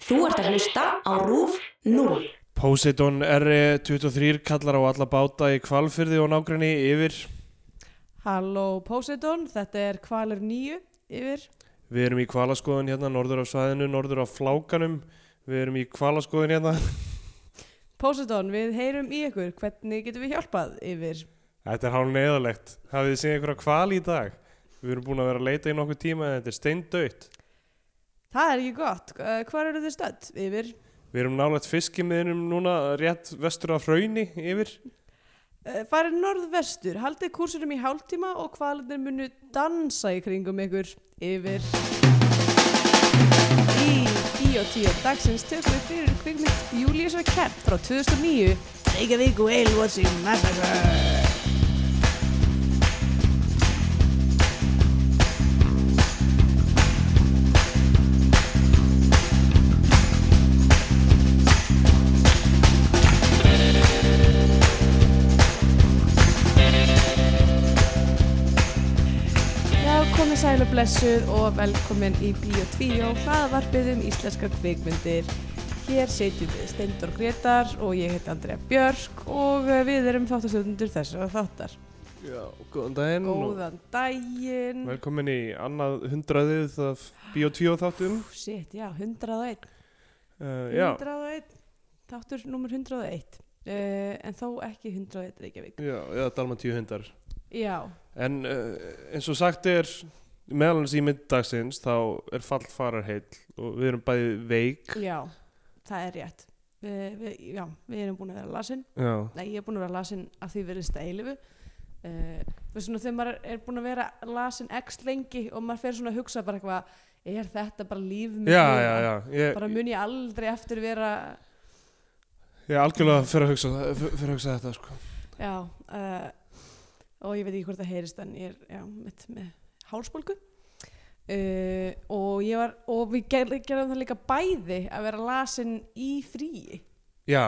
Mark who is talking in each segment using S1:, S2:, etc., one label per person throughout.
S1: Þú ert að hlusta á RÚF 0.
S2: Poseidon R23 E kallar á alla báta í kvalfyrði og nágrinni yfir.
S3: Halló Poseidon, þetta er Kvalur 9 yfir.
S2: Við erum í kvalaskoðun hérna, norður á svæðinu, norður á flákanum. Við erum í kvalaskoðun hérna.
S3: Poseidon, við heyrum í ykkur, hvernig getum við hjálpað yfir?
S2: Þetta er hálf neðalegt. Hafið þið séð einhverja kvali í dag? Við erum búin að vera að leita í nokkuð tíma en þetta er steindauðt.
S3: Það er ekki gott, Eh, hvar eru þið stödd yfir?
S2: Við erum nálægt fiskimiðinum núna rétt vestur af hrauni yfir.
S3: Eh, Farið norðvestur, haldið kursunum í hálftíma og kvalirnir munu dansa í kringum ykkur yfir. Í Bíó 10 dagsins tökum við fyrir kvikmynd Júliusar Kent frá 2009. Reykjavík Whale Watching Massacre. Já, komið sæl og blessuð og velkomin í Bíó 2 hlaðvarpið um íslenskar kvikmyndir. Hér setjum við Steindor Gretar og ég heiti Andrea Björk og eh, við erum þáttastjóðundur þessara þáttar.
S2: Já, góðan daginn.
S3: Góðan daginn.
S2: Velkomin í annað hundraðið af Bíotvíó þáttum.
S3: Úff, Shit, já, 101.
S2: Uh, já,
S3: 101, þáttur numur 101. Uh, en þó ekki 101 Reykjavík.
S2: já, já, Dalmatíu hundar.
S3: Já,
S2: En uh, eins og sagt er meðal hans í middagsins þá er fallfararheill og við erum bæði veik
S3: já, það er rétt. Uh, við, já, við erum búin að vera lasin.
S2: Já,
S3: Nei, ég er búin að vera lasin að því verið stælifu. Uh, við svona þegar maður er búin að vera lasin x lengi og maður fer svona að hugsa bara eitthvað, er þetta bara líf mitt
S2: já,
S3: núna?
S2: já, já. Ég,
S3: Bara mun ég aldrei eftir vera,
S2: ég er algjörlega fyrir að hugsa, það- fyrir að hugsa þetta sko.
S3: já, uh, og ég veit ekki hvort það heyrist en ég er, já, mitt með hálsbólgu. Uh, og ég var, og við ger, gerðum það líka bæði að vera lasin í fríi
S2: Já,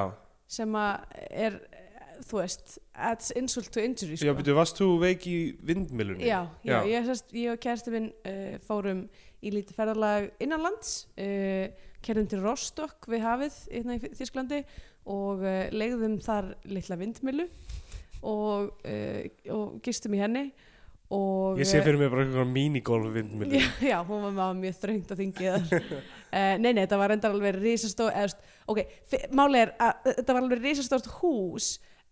S3: sem að er, eh, þú veist, adds insult to injury, sko.
S2: já, byrju, varst þú veik í vindmilunni?
S3: Já,
S2: Já.
S3: já, Ég, sest, ég og kæristi minn uh, fórum í lítið ferðalag innanlands, uh, kærum til Rostock við hafið hérna í Þísklandi og uh, legðum þar litla vindmilu og, uh, og gistum í henni og
S2: Ég sé fyrir mér bara einhverjum mínigolf vindmilu.
S3: Já, já, hún var maður mjög þröngt á þingið þar. uh, nei, nei, þetta var endar alveg risastó, eða, þú veist, ok, fyr- málið er að þetta var alveg risastórt hús,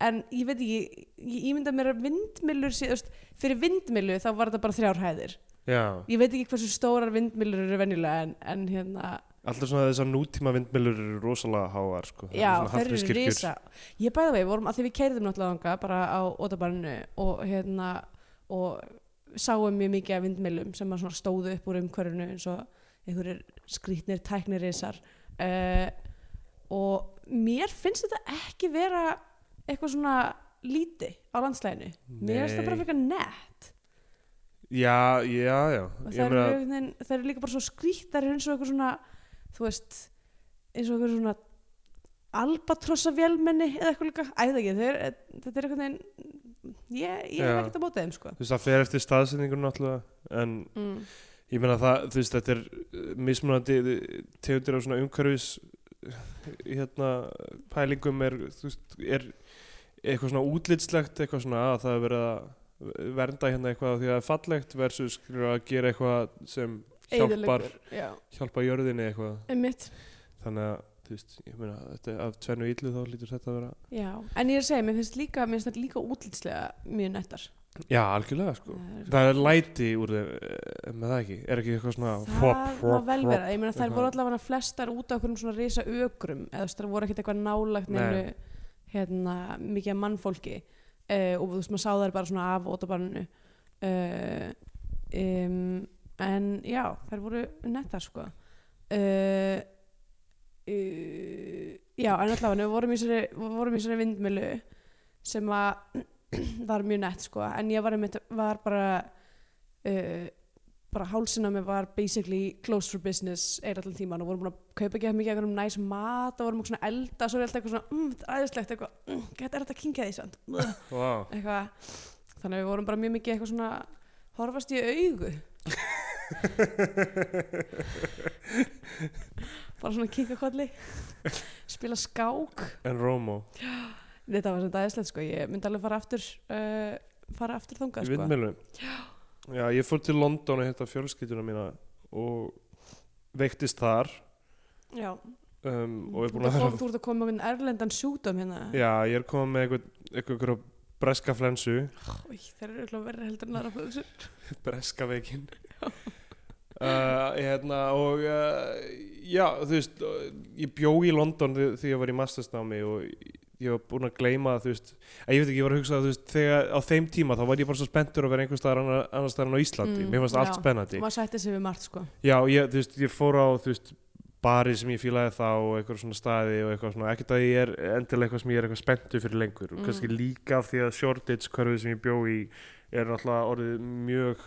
S3: en ég veit ekki, ég ímynda mér að vindmillur, sé, þú veist, fyrir vindmillu þá var þetta bara þrjár hæðir.
S2: Já,
S3: Ég veit ekki hversu stórar vindmillur eru venjulega, en, en hérna,
S2: alltaf svona þessar nútíma vindmilur eru rosalega háar sko. Það eru
S3: já,
S2: svona
S3: þeir eru
S2: Hallgrímskirkjur.
S3: risa. Ég bæði við, vorum að því við keirðum náttúrulega þanga, bara á Ótabarnu og hérna, og sáum mjög mikið af vindmilum sem að svona stóðu upp úr umhverfinu eins og einhverjir skrýtnir tæknir risar uh, og mér finnst þetta ekki vera eitthvað svona líti á landslæðinu mér
S2: Nei.
S3: finnst það bara fyrir nett
S2: Já, já, já. Ég
S3: og það eru,
S2: meina-
S3: einhvern veginn- það eru líka bara svo skrýttar eins og eitthvað svona þú veist, eins og eitthvað svona albatrossa vélmenni eða eitthvað líka, æða ekki, þeir, þetta er eitthvað neginn, ég, ég er
S2: Já.
S3: ekkert að móta þeim sko
S2: Þú veist, það fer eftir staðsendingur náttúrulega en
S3: mm.
S2: Ég meina það, þú veist, þetta er uh, mismunandi uh, tegundir af svona umhverfis uh, hérna pælingum er, þú veist, er eitthvað svona útlitslegt, eitthvað svona að það er verið að vernda hérna eitthvað af því að það er fallegt versus skilur að gera eitthvað sem hjálpar,
S3: Eyðileggur, já,
S2: hjálpar jörðinni eitthvað.
S3: einmitt
S2: Þannig að, þú veist, ég meina, þetta er af tvennu illu þá lítur þetta að vera.
S3: Já, en ég er að segja, mér finnst líka, mér finnst þetta líka útlitslega mjög nettar.
S2: Já, algjörlega, sko. Það er læti úr þeim, eh, með það ekki, er ekki eitthvað svona
S3: Það má vel vera, ég meina þær
S2: eitthvað.
S3: voru allavega flestar út á okkur um svona risa ögrum eða þú veist, þær voru ekkert eitthvað nálagt
S2: Nei.
S3: neinu hérna, mikið af mannfólki uh, og þú veist, maður sá þær bara svona af ótabarninu uh, um, en já, þær voru nettar sko uh, uh, Já, en allavega við vorum í sér, vorum í sér vindmilu sem að var mjög nett sko, en ég var, einmitt, var bara uh, bara hálsinn á mig var basically closed for business eða allan tíman og vorum búin að kaupa ekki mikið eitthvað um næs mat og vorum okkur svona að elda svo er alltaf eitthvað svona, mm, þetta er æðislegt eitthvað, mm, þetta er þetta að kynkja því samt Ugh,
S2: Vá.
S3: eitthvað, þannig að við vorum bara mjög mikið eitthvað svona, horfast í augu bara svona kinkakolli spila skák
S2: en Rómó
S3: þetta var sem dæðislegt sko, ég myndi alveg fara aftur uh, fara aftur
S2: í
S3: þangað sko
S2: vindmjölu já, ég fór til London að hitta fjölskylduna mína og veiktist þar
S3: Já,
S2: um, og er búin
S3: þú ert
S2: að
S3: að
S2: vera
S3: koma- þú ert að koma með erlendan sjúkdóm hérna
S2: já, ég er komið með eitthvað, eitthvað, eitthvað breska flensu
S3: Í, þeir eru örugglega verri heldur en aðra flöðsir
S2: breska veikin uh, hérna og uh, já, þú veist uh, ég bjó í London þi- því ég var í mastersnámi og ég var búin að gleyma þú veist, að ég veit ekki, ég var að hugsa að þú veist þegar á þeim tíma þá var ég bara svo spenntur að vera einhvers staðar annar, annars staðar en á Íslandi
S3: Mm,
S2: mér fannst allt
S3: já.
S2: spennandi
S3: maður sætti sig við margt sko
S2: já, ég, þú veist, ég fór á þú veist bari sem ég fílaði þá og eitthvað svona staði og eitthvað svona, ekkert að ég er endilega eitthvað sem ég er eitthvað spenntu fyrir lengur og
S3: Mm.
S2: kannski líka af því að Shoreditch hverfið sem ég bjó í er náttúrulega orðið mjög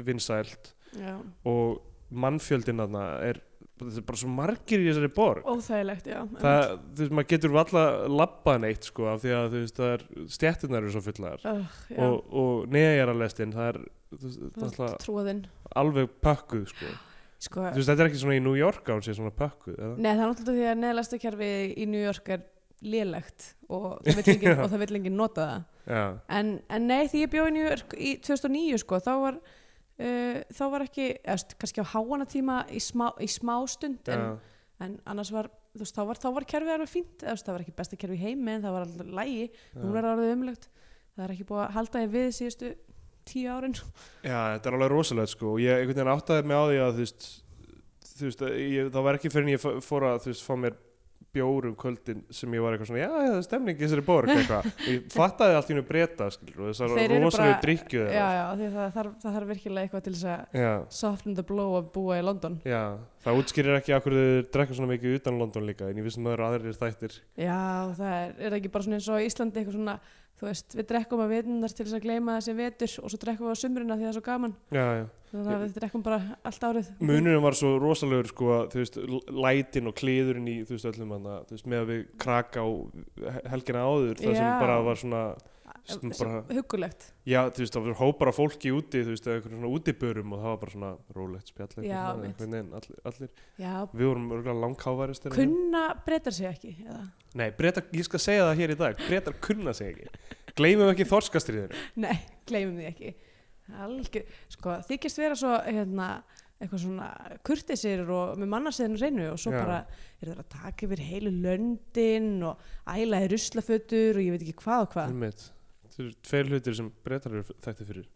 S2: vinsælt
S3: Já.
S2: og mannfjöldin þarna er, þetta er bara svo margir í þessari borg
S3: óþægilegt, já
S2: það, þú veist, maður getur valla labbað neitt sko af því að þú veist, það er stjættirnar eru svo fullar
S3: uh, já.
S2: og, og neðjararlestin það er þú veist,
S3: það
S2: náttúrulega
S3: er trúðinn
S2: alveg pökkuð sko.
S3: sko.
S2: þú veist, þetta er ekki svona í New York án sé svona pökkuð eða?
S3: Nei, það er náttúrulega því að neðlæstakerfi í New York er lélegt og það vill enginn, og það vill enginn nota það
S2: já,
S3: en, en nei, því ég bjóði í New York í 2009 sko, þá var uh, þá var ekki, eðst, kannski á háanatíma í smá, í smá stund en,
S2: já,
S3: en annars var, þú veist, þá var, þá var kerfið alveg fínt, eðst, það var ekki besta kerfi í heimi en það var alltaf lægi, núna
S2: já.
S3: er það orðið umlegt það er ekki búið að halda því við síðustu tíu árin
S2: já, þetta er alveg rosalegt sko og ég einhvern veginn áttaði mig á því að þú veist, þú veist, að ég, það var ekki fyrir en ég fó- fór að þú veist, fá mér bjórum kvöldin sem ég var eitthvað svona, já, já, það er stemning í þessari borg eitthvað, Og ég fattaði allt í hennu breyta skilur, og þessar
S3: Þeir eru
S2: rosalegu
S3: bara-
S2: drikkju
S3: já, já, af því að það þarf, það þarf virkilega eitthvað til þess að
S2: já,
S3: soften the blow að búa í London
S2: já, það útskýrir ekki akkur þau drekka svona mikið utan London líka en ég vissum að það eru aðrir þættir
S3: Já, það er, er það ekki bara svona eins og á Íslandi eitthvað svona, þú veist, við drekkum að vetunar til þess að gleyma þessi vetur og svo drekkum við á sumrina því það er svo gaman
S2: já, já.
S3: þannig að við drekkum bara allt árið
S2: munurinn var svo rosalegur sko að þú veist, l- lætin og kliðurinn í þú veist, öllum hann þú veist, með að við krakka á he- helgina áður það sem
S3: Já.
S2: bara var svona
S3: Sem-
S2: bara-
S3: Huggulegt,
S2: já, þú veist, það var hópar af fólki úti þú veist, eða einhverjum svona útibörum og það var bara svona rólegt spjall eitthvað
S3: Já,
S2: svona,
S3: mitt.
S2: einhvern veginn, allir, allir,
S3: já,
S2: við vorum örgulega langhávaristir
S3: kunna breytar sig ekki eða?
S2: nei, breytar, ég skal segja það hér í dag breytar kunna sig ekki gleymum ekki þorskastriðinu
S3: Nei, gleymum því ekki Algjör, sko, þykist vera svo hérna, eitthvað svona kurtisir og með mannarsæðinu reynu og svo
S2: Já.
S3: bara eru það að taka yfir heilu löndin og ælaði ruslafötur og ég veit ekki hvað og hvað
S2: Einmitt. þetta eru tveir hlutir sem breytar eru þekktið fyrir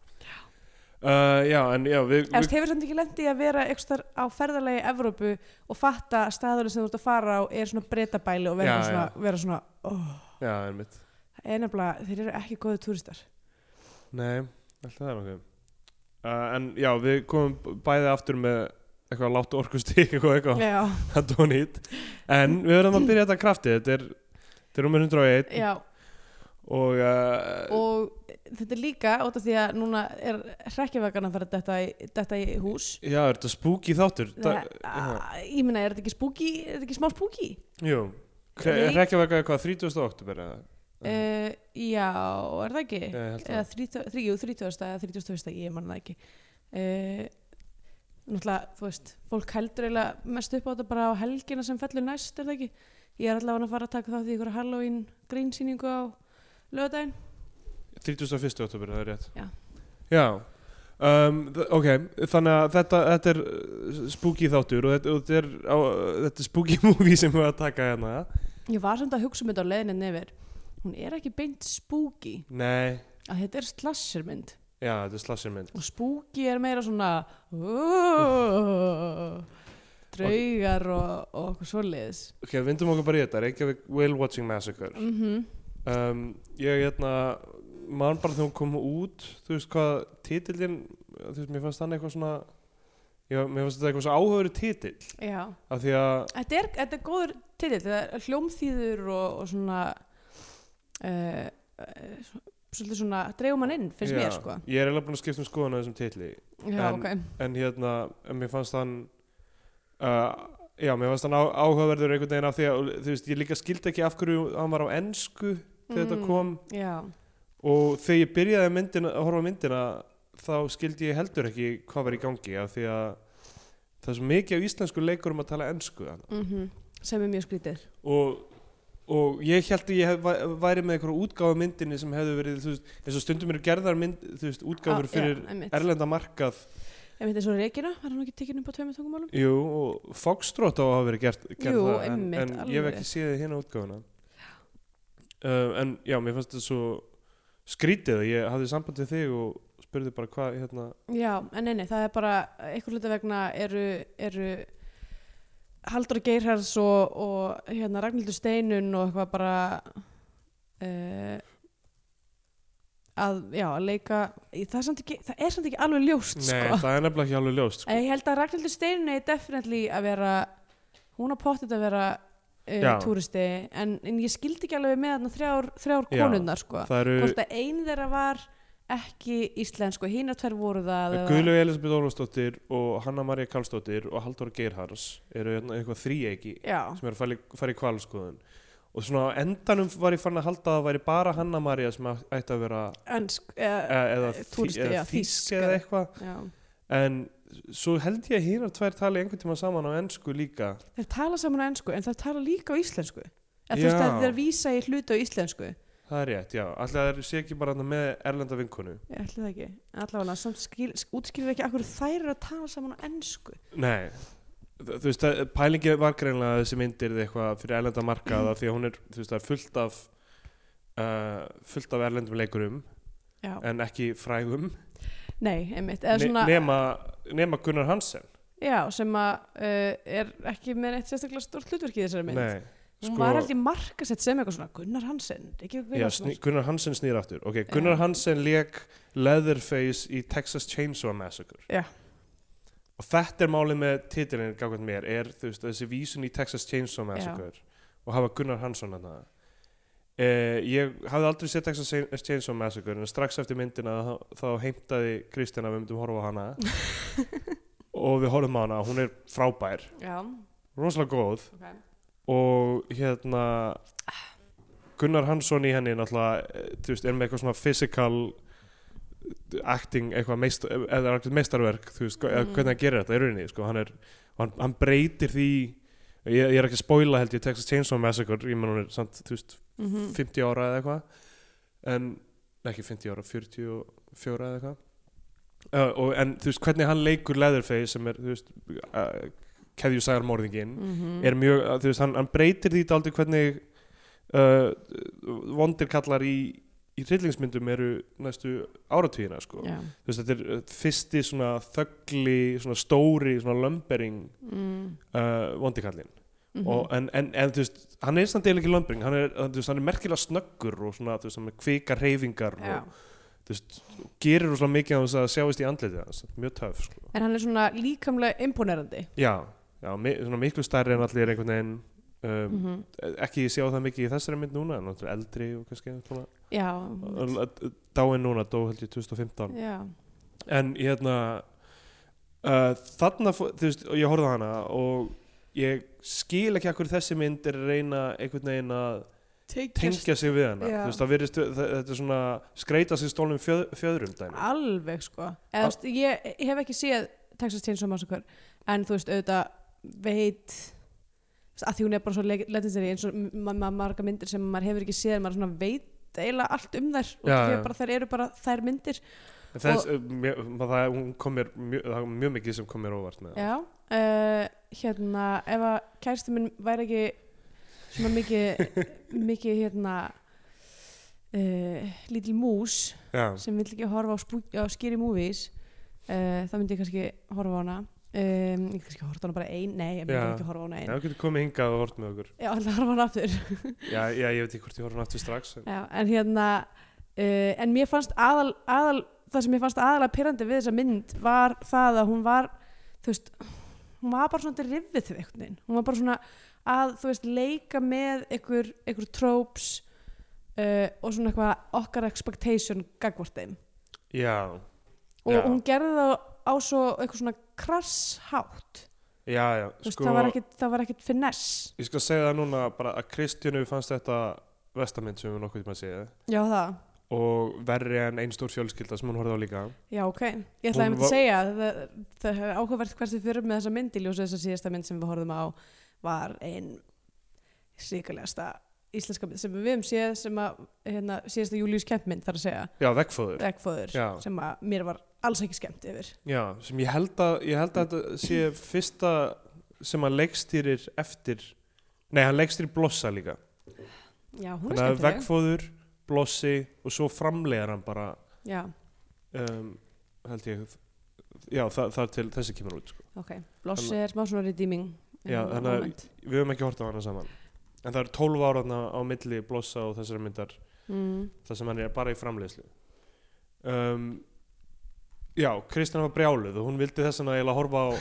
S2: Uh, já, en já, við,
S3: Eða þú veist, hefur samt ekki lendi að vera eitthvað á ferðarlegi í Evrópu og fatta að staðurinn sem þú ert að fara á er svona breytabæli og vera
S2: Já,
S3: bara svona, vera svona oh,
S2: já, einmitt
S3: það er nefnilega, þeir eru ekki góðu túristar
S2: Nei, alltaf það er nokkuð uh, En já, við komum b- bæði aftur með eitthvað látt orkustík og eitthvað
S3: Já,
S2: að donít En við verðum að byrja þetta krafti Þetta er, þetta er nummer 101
S3: já
S2: og, uh,
S3: og þetta er líka út af því að núna er hrekkjavagan að fara þetta í, þetta í hús
S2: Já, er þetta spooky þáttur?
S3: það,
S2: já.
S3: að, Ég meina, er þetta ekki spúki, er þetta ekki smá spúki?
S2: Jú,
S3: Reykjavík-
S2: Reykjavík er hvað, 30. oktober? eða?
S3: Uh, já, er það ekki?
S2: Já, Eh, ég held
S3: eða
S2: það
S3: 30 þrí- jú, 30. eða 31. ég man það ekki uh, náttúrulega, þú veist fólk heldur eiginlega mest upp á þetta bara á helgina sem fellur næst, er það ekki ég er allavega að fara að taka þátt í ykkur Halloween grínsýningu á lögadaginn
S2: 31. oktober, það er rétt
S3: Já.
S2: Já, um, þ- ok, þannig að þetta, þetta er uh, spooky þáttur og þetta, og þetta, er, á, þetta er spooky movie sem við að taka hérna
S3: ég var samt að hugsa um þetta á leiðinni nefir hún er ekki beint spooky
S2: Nei,
S3: að þetta er slashermynd
S2: já, þetta er slashermynd
S3: og spooky er meira svona "Ooh", draugar og, og okkur svoleiðis
S2: Ok, vindum okkur bara í þetta, Reykjavík Whale Watching Massacre
S3: mhm
S2: um, Ég, hérna, mann bara þegar hún kom út Þú veist hvað, titillin, þú veist, mér fannst þannig eitthvað svona Já, mér fannst þetta eitthvað svo áhugri titill
S3: já
S2: Af því að,
S3: Þetta er, þetta er góður titill, þetta er hljómþýður og, og svona uh, uh, svolítið svona dreigum mann inn, finnst
S2: já,
S3: mér sko
S2: Ég er eiginlega búin að skipta um skoðan á þessum titli
S3: Já,
S2: En-
S3: ok,
S2: En hérna, en mér fannst hann uh, Já, mér fannst hann á, áhugaverður einhvern veginn af því að, þú veist, ég líka skildi ekki af hverju hann var á ensku þegar
S3: Mm.
S2: þetta kom
S3: já
S2: og þegar ég byrjaði myndina, að horfa á myndina þá skildi ég heldur ekki hvað var í gangi af því að það er svo mikið af íslensku leikurum að tala ennsku þarna.
S3: -hmm. sem er mjög skrítið
S2: og, og ég held að ég hef, væ- væri með eitthvað útgáfa myndinni sem hefðu verið þú veist, eins og stundum eru gerðar mynd, þú veist, útgáfur fyrir
S3: Ah, já, einmitt.
S2: erlenda markað
S3: einmitt eins og Regina, var hann ekki tekinn upp á tveimur tungumálum
S2: jú, og Foxtrot á að hafa verið gert, gert
S3: Jú,
S2: það, en,
S3: einmitt,
S2: en ég hef
S3: alveg.
S2: ekki séð hérna útgáfuna uh, en já, mér fannst þetta svo skrítið, ég hafði samband við þig og spurði bara hvað hérna,
S3: já, en neini, það er bara einhver hluta vegna eru, eru Haldur Geirhers og, og hérna Ragnhildur Steinun og eitthvað bara uh, að, já, að leika það er samt ekki, það er samt ekki alveg ljóst
S2: nei,
S3: sko.
S2: það er nefnilega ekki alveg ljóst sko.
S3: En ég held að Ragnhildur Steinun er definitely að vera hún á pottið að vera uh,
S2: Já.
S3: túristi en, en ég skildi ekki alveg með þarna þrjár, þrjár
S2: Já.
S3: konunnar sko.
S2: það eru
S3: hvort að ein þeirra var ekki íslensku, hínar tvær voru það eða-
S2: Guðlaug Elisabeth Ólafsdóttir og Hanna Maria Karlsdóttir og Halldór Geirhars eru hérna eitthvað þríegi
S3: Já,
S2: sem eru að fara í- fara í kvalskoðun og svona á endanum var ég fann að halda að það væri bara Hanna Maria sem æ- ætti að vera
S3: ensk
S2: e-
S3: uh,
S2: eða,
S3: túristi,
S2: eða
S3: já,
S2: þýsk
S3: þýsk
S2: eða
S3: eða-
S2: eitthvað
S3: já.
S2: en svo held ég að hínar tvær tali einhvern tíma saman á ennsku líka
S3: Þeir tala saman á ensku en þeir tala líka á íslensku En
S2: Já.
S3: þú veist að þeir vísa í hluti á íslensku
S2: það er rétt, já, alltaf það sé ekki bara þarna með erlenda vinkonu
S3: Ég ætli það ekki En allavega, samt skil, útskýrir ekki akkur þær eru að tala saman á ensku
S2: Nei, Þ- þú veist að pælingi var greinlega að þessi myndir eitthvað fyrir erlenda markaða því að hún er, þú veist, það er fullt af uh, fullt af erlendum leikurum
S3: Já,
S2: en ekki frægum
S3: nei, einmitt eða
S2: ne
S3: svona,
S2: nema, nema Gunnar Hansen
S3: Já, sem að uh, er ekki með neitt sérstaklega stórt hlutverk í þessari mynd
S2: Nei, sko-
S3: Hún var aldrei markasett sem eitthvað svona Gunnar Hansen, ekki
S2: já,
S3: Gunnar
S2: sný, Gunnar Hansen snýr aftur ok, Gunnar
S3: Já.
S2: Hansen leik Leatherface í Texas Chainsaw Massacre
S3: Já.
S2: og þetta er málið með titilin gangvænt mér, er þú veist, þessi vísun í Texas Chainsaw Massacre og hafa Gunnar Hansson að það ég hafði aldrei séð Texas Chain- Chainsaw Massacre en strax eftir myndina þá, þá heimtaði Kristjana að við myndum horfa á hana og við horfum á hana hún er frábær,
S3: Já,
S2: rosalega góð
S3: ok
S2: og hérna Gunnar Hansson í henni náttúrulega, eh, þú veist, er með eitthvað svona physical acting eitthvað meist, eða eitthvað meistarverk þú veist, mm.
S3: Mm.
S2: hvernig hann gerir þetta í rauninni sko, hann, er, hann, hann breytir því ég, ég er ekki að spoila held ég Texas Chainsaw Massacre, ég menn hún er samt, þú veist,
S3: mm
S2: 50 ára eða eitthvað en nei, ekki 50 ára, 44 eða eitthvað uh, og, en þú veist, hvernig hann leikur Leatherface sem er, þú veist uh, keðju sæðar morðingin
S3: Mhm.
S2: er mjög, að, þú veist, hann, hann breytir því aldrei hvernig uh, vondir kallar í, í hryllingsmyndum eru næstu áratvíðina sko.
S3: Já
S2: þú veist, þetta er uh, fyrsti svona þöggli, svona stóri svona lömbering
S3: mm
S2: uh, vondi kallinn
S3: -hmm.
S2: og, en, en, en þú veist, hann er samt eiginlega ekki lömbering hann er, uh, þú veist, hann er merkilega snöggur og svona, þú veist, hann er kvika reyfingar
S3: Já.
S2: og þú veist, gerir rosalega mikið af þess að sjáist í andlitið hans, mjög töf sko.
S3: En hann er svona líkamlega imponerandi
S2: já, já, mi svona miklu stærri en allir einhvern veginn um,
S3: mm
S2: ekki sjá það mikið í þessari mynd núna en náttúrulega eldri og kannski svona,
S3: Já,
S2: dáin núna, dó held ég 2015
S3: já
S2: en hérna uh, þarna, fó- þú veist, og ég horfði á hana og ég skil ekki akkur þessi mynd er að reyna einhvern veginn að tengja sig við hana
S3: Já.
S2: þú veist, það virðist, þa- þetta er svona skreita sig stólum fjöð, fjöðrum dæmi
S3: Alveg sko Eða, þú veist, ég, ég hef ekki séð Texas Chainsaw Massacre En þú veist auðvitað veit þú veist, að því hún er bara svo legendary eins og ma ma marga myndir sem maður hefur ekki séð en maður svona veit eiginlega allt um þær og
S2: Já,
S3: því
S2: já.
S3: að bara þær eru bara þær myndir
S2: En þess, og, mjö, maður, það, hún kom mér mjög, það var mjög mikið sem kom mér óvart með það.
S3: Já, uh, hérna ef að kæristi minn væri ekki svona mikið mikið hérna uh, lítil mús
S2: Já.
S3: sem vill ekki horfa á, spú- á skýri movies uh, þá myndi ég kannski horfa á hana um, ég kannski horfa á hana bara ein nei, ég myndi
S2: Já.
S3: ekki horfa á hana
S2: Já,
S3: ein já,
S2: þú getur komið hingað og hort með okkur
S3: ég ætla að horfa á hana aftur
S2: já, já, ég veit ekki hvort ég horf hann aftur strax en...
S3: já, en hérna uh, en mér fannst aðal, aðal það sem mér fannst aðalega pyrrandi við þessa mynd var það að hún var þú veist, hún var bara svona derivið til einhvern veginn, hún var bara svona að þú veist, leika með einhver, einhver tropes uh, og svona eitthvað okkar expectation gagvart þeim
S2: já,
S3: og
S2: Já.
S3: hún gerði það á svo eitthvað svona krasshátt
S2: já, já
S3: sko, það var ekkit, það var ekkit finess
S2: Ég skal segja það núna bara að Kristjánu fannst þetta vestamynd sem við nokkuð tíma séð
S3: já það
S2: og verri en einn stór fjölskylda sem hún horfði á líka
S3: Já, ok. Ég ætlaði
S2: Hún
S3: einmitt
S2: var-
S3: að segja að það, það er áhugavert hvert þið fyrir með þessa mynd í ljósi þess að síðasta mynd sem við horfðum á var ein sýkulegasta íslenska mynd sem við höfum séð sem að hérna, síðasta Július Kempmynd þarf að segja
S2: já, veggfóður,
S3: Vegfóður
S2: Já.
S3: sem að mér var alls ekki skemmt yfir.
S2: já, sem ég held að ég held að þetta sé fyrsta sem hann leikstýrir eftir nei, hann leikstýrir blossa líka
S3: Já, hún
S2: þannig
S3: er
S2: að
S3: skemmtileg.
S2: veggfóður, blossi og svo framlegar hann bara
S3: Já,
S2: um, held ég já, þa þar til þessi kemur út sko.
S3: ok. Blossi er smá svona redeeming.
S2: Já,
S3: hérna,
S2: þannig að-
S3: moment.
S2: við höfum ekki hort á hana saman en það eru 12 ára þarna á milli blossa og þessari myndar
S3: Mm.
S2: það sem hann er bara í framleiðslu um, já, Kristján var brjáluð og hún vildi þess vegna eiginlega horfa á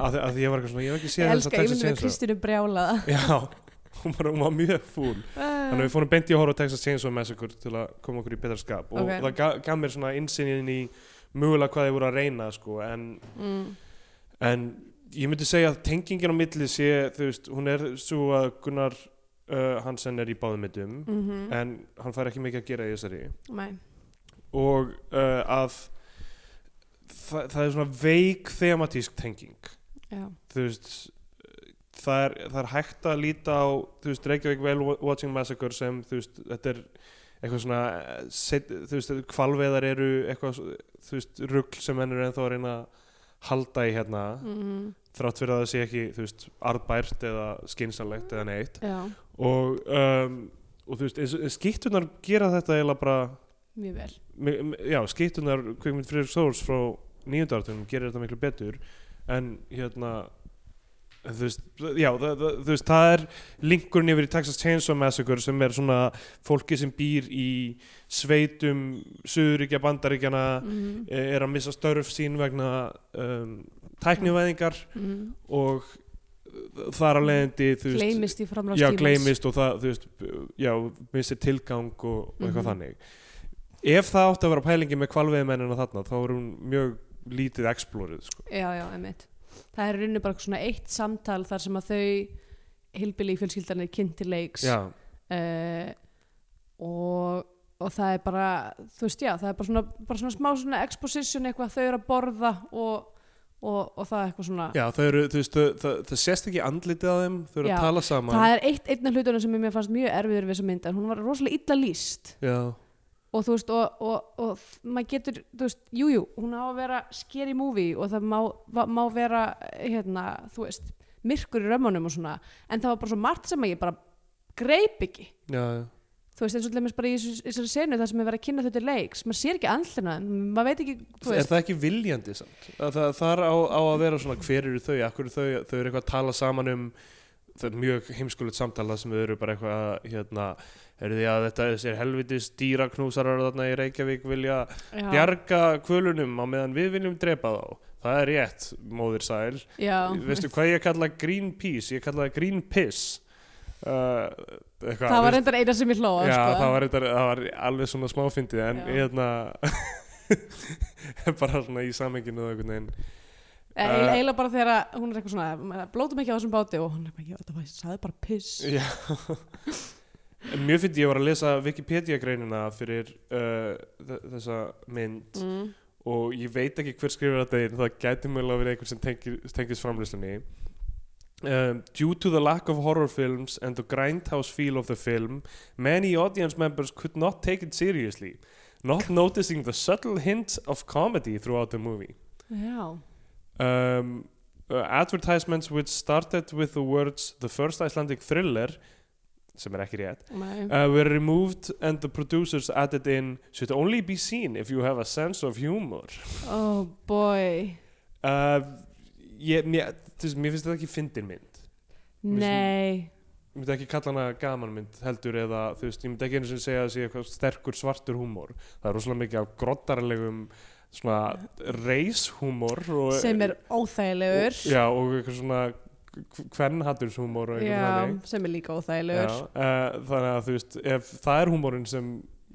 S2: að, að því ég var eitthvað svona, ég hef ekki
S3: Ég
S2: séð þess að
S3: elska, ég
S2: Texas
S3: myndi með
S2: Chainsaw
S3: Kristínu brjálaða.
S2: já, hún var, hún var mjög fúl þannig að við fórum beint í að horfa á Texas Chainsaw Massacre til að koma okkur í betra skap og
S3: Ok.
S2: það gaf, gaf mér svona insinnin í mögulega hvað þið voru að reyna sko, en,
S3: Mm.
S2: en ég myndi segja að tengingin á milli sé, þú veist, hún er svo að Gunnar uh, Hansen er í báðum myndum
S3: Mm
S2: en hann fær ekki mikið að gera í þessari
S3: Nei,
S2: og uh, að það, það er svona veik thematísk tenging
S3: já.
S2: þú veist það er, það er hægt að líta á þú veist Reykjavík Whale Watching Massacre sem þú veist þetta er eitthvað svona eh, set, þú veist kvalveðar eru eitthvað svo- þú veist rugl sem henn eru ennþá að reyna að halda í hérna
S3: Mm
S2: þrátt fyrir að það sé ekki þú veist arðbært eða skynsalegt eða neitt
S3: Já,
S2: og, um, og þú veist eins og- skýttunar gera þetta eiginlega bara
S3: mjög vel.
S2: Mi- mi- já, skýttunar kvikmynd Friðrik Sórs frá nýjöndarartunum gerir þetta miklu betur en hérna en þú veist, já, það, það, þú veist, það er linkurinn yfir í Texas Chainsaw Massacre sem er svona fólki sem býr í sveitum Suðuríkja bandaríkjana
S3: Mm
S2: er að missa störf sín vegna um, tæknivæðingar
S3: -hmm.
S2: og þar af leiðandi þú veist,
S3: Gleimist í framlástímas.
S2: já, gleymist og það, þú veist, já, missir tilgang og, og eitthvað
S3: Mhm.
S2: þannig ef það átti að vera pælingi með kvalveiðmennina þarna þá er hún mjög lítið explorið sko.
S3: Já, já, einmitt. Það er rauninu bara svona eitt samtal þar sem að þau hilbili í fjölskyldan er kynnt til leiks
S2: já,
S3: uh, og, og það er bara, þú veist, já, það er bara svona, bara svona smá svona exposition eitthvað þau eru að borða og, og, og það er eitthvað svona...
S2: já, það eru, þú veist það, það, það sést ekki andlitið að þeim þau eru
S3: Já,
S2: að tala saman
S3: Það er eitt einna hlutunum sem mér fannst mjög erfiður við þessa mynd en hún var rosalega illa lýst
S2: já,
S3: og þú veist, og, og, og maður getur, þú veist, jújú, jú, hún á að vera scary movie og það má, va- má vera, hérna, þú veist, myrkur í römmunum og svona, en það var bara svo margt sem að ég bara greip ekki.
S2: já, já.
S3: Þú veist, eins og lemmis bara í þessu- í þessari senu þar sem er verið að kynna þau til leiks, maður sér ekki andlina, maður veit ekki, þú
S2: er
S3: veist,
S2: það ekki viljandi samt það, það, það er á, á að vera svona hver eru þau, akkur eru þau, þau eru eitthvað að tala saman um það er mjög heimskulegt samtala sem þau eru bara eitthvað hérna, er því að þetta þessir helvitis dýraknúsarar þarna í Reykjavík vilja
S3: já,
S2: bjarga kvölunum á meðan við viljum drepa þá það er rétt, móðir sæl
S3: já,
S2: veistu hvað ég kalla Greenpeace ég kalla það Greenpiss uh, eitthvað,
S3: það var
S2: veist-
S3: reyndar eina sem ég hlóa,
S2: já,
S3: sko.
S2: það var, reyndar, það var alveg svona smáfyndið en
S3: Já.
S2: hérna bara svona í samenginu og einhvern veginn Uh,
S3: Eila, eila bara þegar að hún er eitthvað svona blótum ekki á þessum báti og hún er bara, já, þetta var, það er bara piss
S2: Já En Mjög fyndi ég var að lesa Wikipedia greinina fyrir uh, þ- þessa mynd
S3: mm.
S2: og ég veit ekki hver skrifur þetta en það gæti mögulega verið einhver sem tengir- tengist framlýslunni um, Due to the lack of horror films and the grindhouse feel of the film many audience members could not take it seriously not noticing the subtle hint of comedy throughout the movie
S3: Já,
S2: um, uh, advertisements which started with the words the first Icelandic thriller sem er ekki rétt
S3: nei
S2: uh, were removed and the producers added in should only be seen if you have a sense of humor
S3: Oh boy
S2: uh, ég, mér, þess, mér finnst þetta ekki fyndin mynd Mér
S3: Nei
S2: ég myndi ekki kalla hana gaman mynd heldur eða þú veist, ég myndi ekki einu sem segja að það sé eitthvað sterkur svartur húmor það er rosalega mikið af grottarlegum svona reishúmor og-
S3: sem er óþægilegur
S2: og, já og eitthvað svona kvennhatturshúmor og eitthvað
S3: Já,
S2: þannig
S3: sem er líka
S2: Já,
S3: óþægilegur
S2: uh, þannig að þú veist ef það er húmórin sem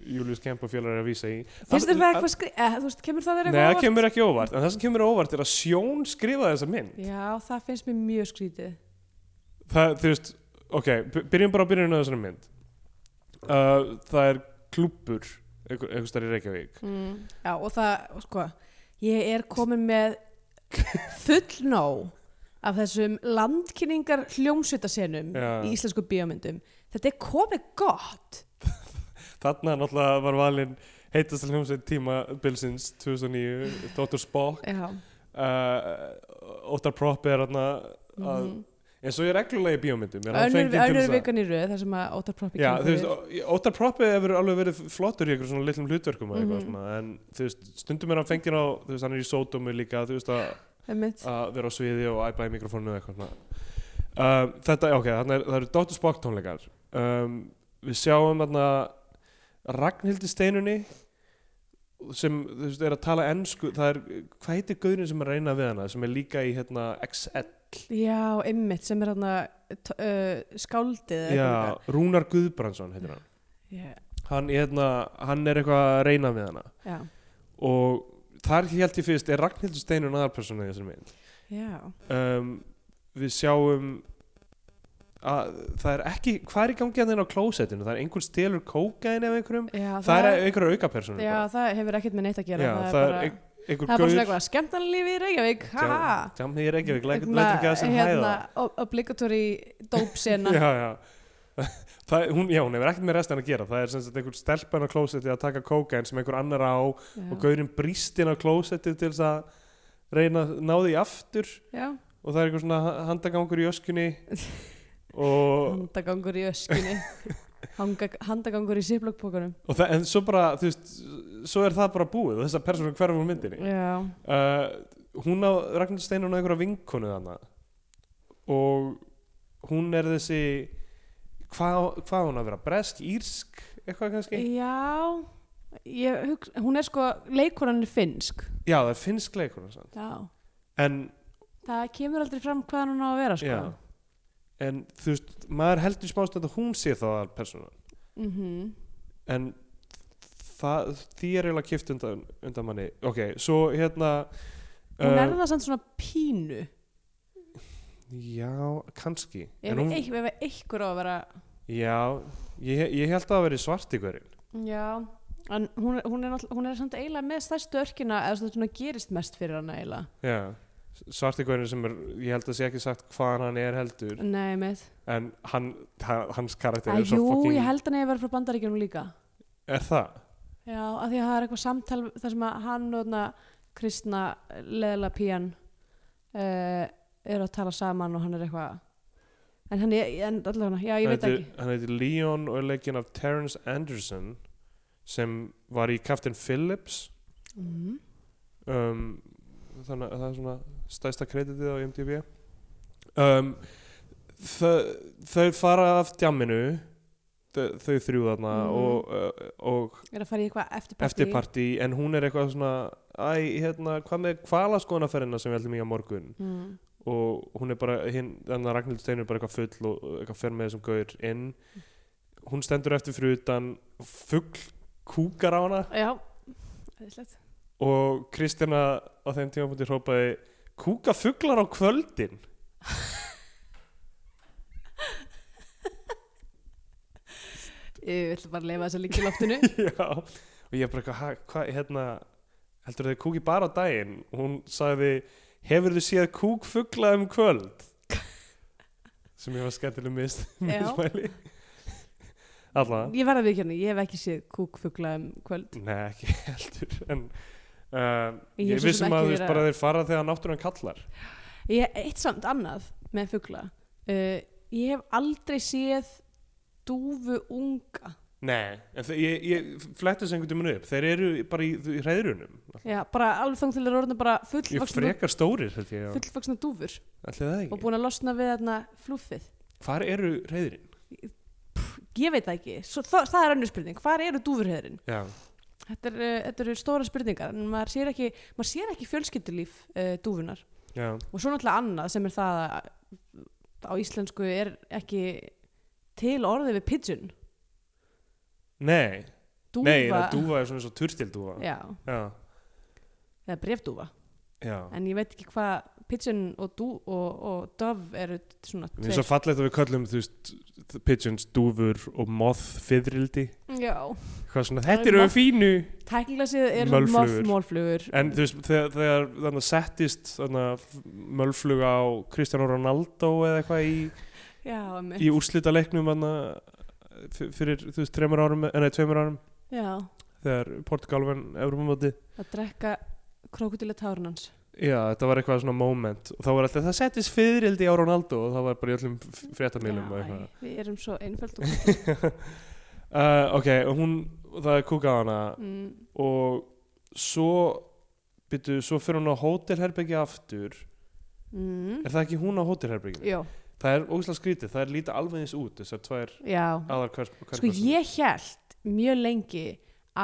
S2: Július Kemp og félagur er að vísa í
S3: Finnst þér það
S2: An-
S3: eitthvað skri... Eh, þú veist, kemur það þér
S2: Nei,
S3: eitthvað
S2: það
S3: óvart?
S2: kemur ekki óvart, en það sem kemur óvart er að Sjón skrifaði þessa mynd.
S3: Já, það finnst mér mjög skrítið
S2: Það, þú veist, ok, by- byrjum bara á byrjunum á þessari mynd. Uh, það er klúppur einhver, einhver starf í Reykjavík
S3: mm. Já, og það, sko ég er komin með full nóg af þessum landkynningar hljómsveitasenum
S2: Já.
S3: í íslensku bíómyndum þetta er komið gott
S2: Þarna náttúrulega var valinn heitast hljómsveit tíma Bilsins 2009, Dr. Spock
S3: Já,
S2: uh, Óttar Propp er hann að
S3: mhm.
S2: eins og ég er reglulega í bíómyndum er hann
S3: önnur,
S2: fenginn til
S3: önnur
S2: þess að-
S3: vikan í röð þar sem að Óttar Proppi
S2: Já, þú veist, Ó- Óttar Proppi hefur alveg verið flottur í einhverjum svona litlum hlutverkum mm
S3: Mhm.
S2: -hmm. svona, en þú veist, stundum er hann fengið á þú veist, hann er í sódómi líka, þú veist að
S3: veist
S2: að vera á sviði og æpa í mikrofónu eða eitthvað svona um, þetta, já, ok, þarna er, það eru Dr. Spock tónleikar um, við sjáum þarna Ragnhildi Steinunni sem, þú veist, er að tala ennsku það er, hvað heitir guðurinn sem er að reyna við hana sem er líka í, hérna, XL
S3: Já, ymmit sem er hann uh, skáldið eða
S2: já,
S3: eitthvað.
S2: Rúnar Guðbrandsson heitir hann
S3: Já,
S2: hann, hérna, hann er eitthvað að reyna við hana
S3: já,
S2: og þar held ég fyrst, er Ragnhildi Steinunni aðarpersonu í þessari mynd
S3: já.
S2: um, við sjáum að það er ekki hvað er í gangi að þeirna á klósettinu það er einhver stelur kókaðin eða einhverjum
S3: já
S2: það, er einhverja aukapersonu
S3: Já, það hefur ekkert með neitt að gera
S2: Já,
S3: það,
S2: það er
S3: er bara,
S2: ein- einhver
S3: það er bara svona
S2: gaur
S3: eitthvað skemmtanlífi í Reykjavík ha? hérna,
S2: Jam, ég er ekki, við lætum
S3: Eitthvað,
S2: ekki að sem hæða
S3: o- Obligatory dope sena
S2: Já, já Það, hún, já, hún hefur ekkert með restin að gera það er sem sagt einhver stelpan á klósetti að taka kókain sem einhver annar á og gaurinn brýst inn á klósetti til þess að reyna að ná því aftur
S3: já.
S2: og það er einhver svona handagangur í öskunni og
S3: Handagangur í öskinni Hanga, Handagangur í siplokkbókunum
S2: og það, en svo bara, þú veist svo er það bara búið, þessar persónum hverfum úr myndinni
S3: Já,
S2: uh, hún á, Ragnar Steinar á einhverja vinkonu þarna og hún er þessi hvað hva hún að vera, bresk, írsk eitthvað kannski?
S3: já ég, hugsa- Hún er sko, leikonan er finnsk
S2: Já, það er finnsk leikuna sann.
S3: Já
S2: en,
S3: Það kemur aldrei fram hvaðan hún á að vera sko.
S2: já en þú veist, maður heldur smást að hún sé þá að persóna,
S3: mm
S2: en það, því er eiginlega kipt undan, undan manni, ok, svo hérna
S3: Hún er
S2: uh,
S3: það samt svona pínu
S2: já, kannski
S3: Ef
S2: En hún-
S3: hún... einhver á að vera
S2: Já, ég, ég held að það veri svart í hverjum.
S3: Já En hún, er- hún, er, náttúrulega- hún er samt eiginlega með stærstu örkina eða svona- svona gerist mest fyrir hana eiginlega
S2: Já, svart í hverjum sem er, ég held að sé ekki sagt hvaðan hann er heldur,
S3: Nei, með
S2: en hann, hann, hans karakter
S3: Æ,
S2: er svo
S3: Jú,
S2: fucking,
S3: ég held hann eigi að vera frá bandaríkjunum líka
S2: er það?
S3: Já, af því að það er eitthvað samtal þar sem að hann og þarna kristna leðla pían uh, eru að tala saman og hann er eitthvað en hann, er- en allavega, já, ég veit
S2: Hann
S3: ekki
S2: heitir- Hann heitir Leon og er leikinn af Terence Anderson sem var í Captain Phillips,
S3: mm.
S2: um, þannig að það er svona stæsta kreditið á IMDb. Um, þau, þau fara af djamminu, þau, þau þrjú þarna
S3: Mhm.
S2: og, og
S3: er að fara í eitthvað eftirparti
S2: eftirparti en hún er eitthvað svona æ, hérna, hvað með hvalaskonaferðina sem við heldum í að morgun
S3: mm.
S2: og hún er bara, hinn, þannig að Ragnhild Steinu er bara eitthvað full og eitthvað fer með þessum gaur inn hún stendur eftir fyrir utan fuggl kúkar á hana
S3: Já, eðislegt
S2: og Kristina á þeim tímapunkti hrópaði kúka fugglar á kvöldin
S3: Ég ætla bara að leifa þess að líka í loftinu
S2: já, og ég bara eitthvað "Ha, hvað, hérna, heldur þau kúki bara á daginn og hún sagði hefur þau séð kúk fuggla um kvöld sem ég var skemmtileg mist
S3: Já.
S2: mismæli allavega
S3: Ég verða við hérna, ég hef ekki séð kúkfugla um kvöld
S2: Nei, ekki heldur en uh,
S3: Ég
S2: ég
S3: hef svo sem
S2: vissum
S3: ekki
S2: að þú
S3: verið
S2: veist
S3: að-
S2: bara þeir fara þegar náttúran kallar
S3: Ég eitt samt annað með fugla uh, Ég hef aldrei séð dúfu unga
S2: Nei, en þe- ég, ég flettis einhvern tímun upp þeir eru bara í, í reyðrunum
S3: Já, bara alveg þang til þeir eru orðin bara
S2: ég
S3: fullvaksna,
S2: frekar stórir held ég já.
S3: fullvaksna dúfur
S2: Ætli það
S3: og
S2: ekki.
S3: búin að losna við þarna flúfið.
S2: Hvar eru reyðrin?
S3: Ég veit það ekki. Svo, það, það er önnur spurning. Hvar eru dúfurheðurinn?
S2: Já,
S3: Þetta, er, uh, þetta eru stóra spurningar en maður sér ekki, maður sér ekki fjölskyldulíf uh, dúfunar.
S2: já,
S3: Og svo náttúrulega annað sem er það að á íslensku er ekki til orðið við pigeon.
S2: nei
S3: Dúfa.
S2: Nei, það dúfa er svona eins og turtildúfa
S3: Já,
S2: já,
S3: eða brefdúfa.
S2: já.
S3: En ég veit ekki hvað pigeon og, dú, og, og dove eru svona
S2: Mér finnst svo
S3: tveir.
S2: fallegt að við köllum þú veist pigeons, dúfur og moth fiðrildi
S3: já
S2: hvað svona,
S3: Það er
S2: þetta eru
S3: moth-
S2: fínu
S3: tæknilega séð er
S2: Mölflugur.
S3: málflugur
S2: en þú veist, þegar, þegar þannig að settist þannig að mölfluga á Cristiano Ronaldo eða eitthvað í,
S3: já, einmitt.
S2: í úrslita leiknum fyrir, þú veist, tremur árum en eða tveimur árum
S3: já,
S2: þegar Portugal vann Európa-móti
S3: að drekka krokodila tárnans
S2: Já, þetta var eitthvað svona moment og þá var alltaf, það settist fiðrildi á Ronaldo og það var bara í öllum fréttamilum og eitthvað
S3: við erum svo einföld og
S2: uh, Ok, og hún, það er kúkað á hana
S3: mm,
S2: og svo byrju, svo fyrir hún á hótelherbyggi aftur
S3: mm,
S2: er það ekki hún á hótelherbygginu?
S3: já,
S2: Það er ógislega skrítið, það er líta alveg eins út þessar tvær
S3: já
S2: aðar hvers, hvers
S3: sko ég held mjög lengi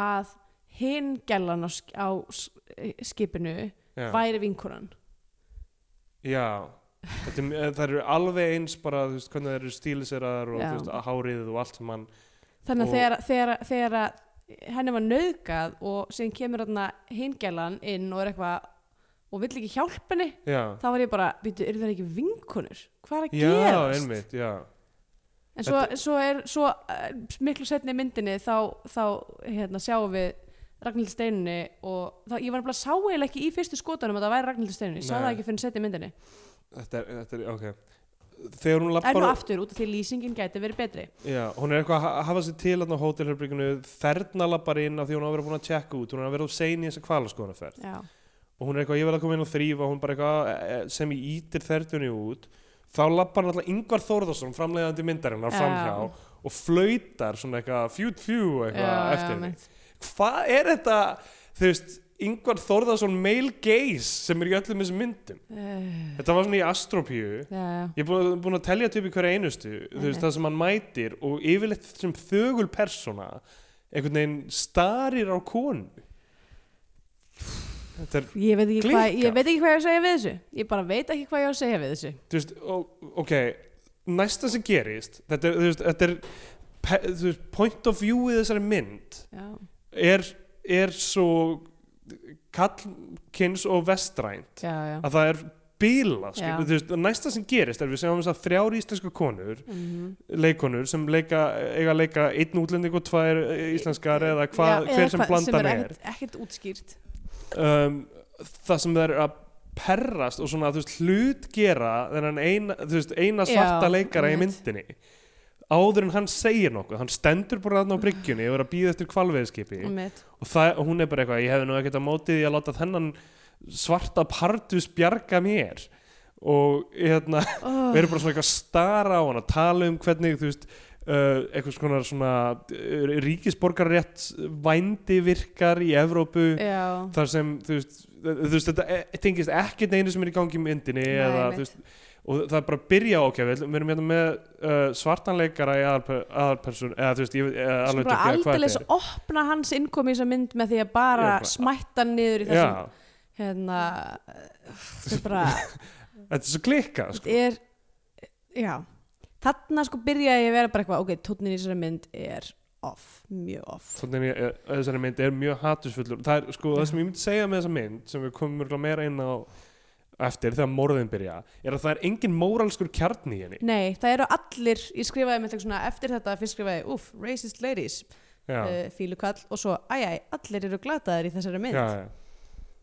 S3: að hinn gellan á, sk- á s- eh, skipinu
S2: já.
S3: væri vinkunan
S2: já. Þetta, er- eh, það eru alveg eins bara, þú veist, hvernig það eru stíliseraðar og
S3: Já.
S2: þú veist, hárið og allt saman
S3: þannig
S2: Og-
S3: að þegar, þegar, þegar að henni var nöðgað og síðan kemur hérna hinn gellan inn og er eitthvað og vill ekki hjálpa henni
S2: Já,
S3: þá var ég bara, býtu, eru það ekki vinkunur? Hvað er að
S2: já,
S3: gerast?
S2: einmitt, já
S3: En svo, svo er, svo eh, miklu setni í myndinni þá, þá hérna, sjáum við Ragnhildur Steinunni og þá, ég var bara að sá eiginlega ekki í fyrstu skotunum að það væri Ragnhildur Steinunni, ég sá
S2: Nei.
S3: það ekki fyrir setni í myndinni.
S2: Þetta er, þetta er, ok Þegar hún
S3: En nú
S2: lappar
S3: aftur, út af því lýsingin gæti verið betri.
S2: Já, hún er eitthvað að ha- hafa sér til þarna á hótelherbygginu Þerna lappar inn af því hún á að vera búin að tjekka út Hún er að vera of sein í þessa kvalaskoðanaferð
S3: Já,
S2: Og hún er eitthvað, ég verð að koma inn og þrýfa Hún bara eitthvað eh, eh, sem ég ítir þernunni út Þá lappar hann alltaf Ingvar Þórðarsson Framleiðandi myndarinnar
S3: Já.
S2: framhjá Og flautar svona eitthvað Fjú, fjú, eitthvað
S3: Já, já,
S2: eftir henni
S3: einmitt.
S2: Hvað er þetta, þú veist Ingvar Þórðarsson male gaze Sem er í öllum þessum myndum
S3: Eh,
S2: Þetta var svona í Astropíu
S3: já, já.
S2: Ég er búin, búin að telja upp í hverja einustu þú veist,
S3: Einmitt.
S2: það sem hann mætir og yfirleitt sem þögul persóna einhvern veginn starir á konu Þetta er,
S3: Ég veit, ekki hvað,
S2: Klikkað.
S3: ég veit ekki hvað ég á að segja við þessu Ég bara veit ekki hvað ég á að segja við þessu
S2: þú veist, ó- ok næsta sem gerist þetta er, þú veist, þetta er pe- þú veist, point of view í þessari mynd
S3: Já,
S2: er, er svo kallkins og vestrænt
S3: já, já
S2: að það er bíla,
S3: Já.
S2: þú veist, næsta sem gerist er við segjum þess að þrjár íslensku konur
S3: Mhm.
S2: leikonur sem leika, eiga að leika einn útlending og tvær eh, íslenskar eða hva,
S3: Já, eða
S2: hver sem
S3: hvað-
S2: blandan
S3: er
S2: er,
S3: ekkert, ekkert útskýrt
S2: Um, það sem það er að perrast og svona þú veist, hlutgera þennan eina, þú veist, eina
S3: Já,
S2: svarta leikara í
S3: einmitt.
S2: myndinni áður en hann segir nokkuð, hann stendur bara þarna á bryggjunni og er að býða eftir kvalveðskipi
S3: Einmitt.
S2: og, það, og hún er bara eitthvað, ég hefði nú ekkert að móti því að láta þennan svarta partus bjarga mér og hérna
S3: oh,
S2: við erum bara svona eitthvað að stara á hann að tala um hvernig þú veist Uh, eitthvað svona, svona uh, ríkisborgarrétt vændi virkar í Evrópu
S3: Já,
S2: þar sem þú veist, þú veist þetta e- tengist ekkert einu sem er í gangi í myndinni
S3: Nei,
S2: eða, þú
S3: einmitt.
S2: veist, og það er bara að byrja ok við, ætlum- við erum hérna með uh, svartanleikara í aðalper- aðalperson eða þú veist ég veit eða
S3: svo
S2: alveg
S3: bara
S2: ekki hvað
S3: aldeilis
S2: þetta
S3: opna hans innkomi í þessa mynd með því að bara
S2: Já, bara-
S3: smætta hann niður
S2: er
S3: í
S2: já,
S3: þessum hérna þetta er bara,
S2: þetta er svo klikka sko.
S3: þetta er já, þarna sko byrjaði ég að vera bara eitthvað, ok, tónnin í þessari mynd er off, mjög off
S2: þannig að ég- eh, að þessari mynd er mjög hatusfullur það er sko það sem ég myndi segja með þessa mynd sem við komum mjög meira inn á eftir þegar morðin byrja er að það er engin móralskur kjarni í henni
S3: Nei, það eru allir, ég skrifaði með eitthvað svona eftir þetta, fyrst skrifaði, uff, racist ladies
S2: já,
S3: uh, fílukall og svo, æjæ, allir eru glataðir í þessari mynd
S2: já, já.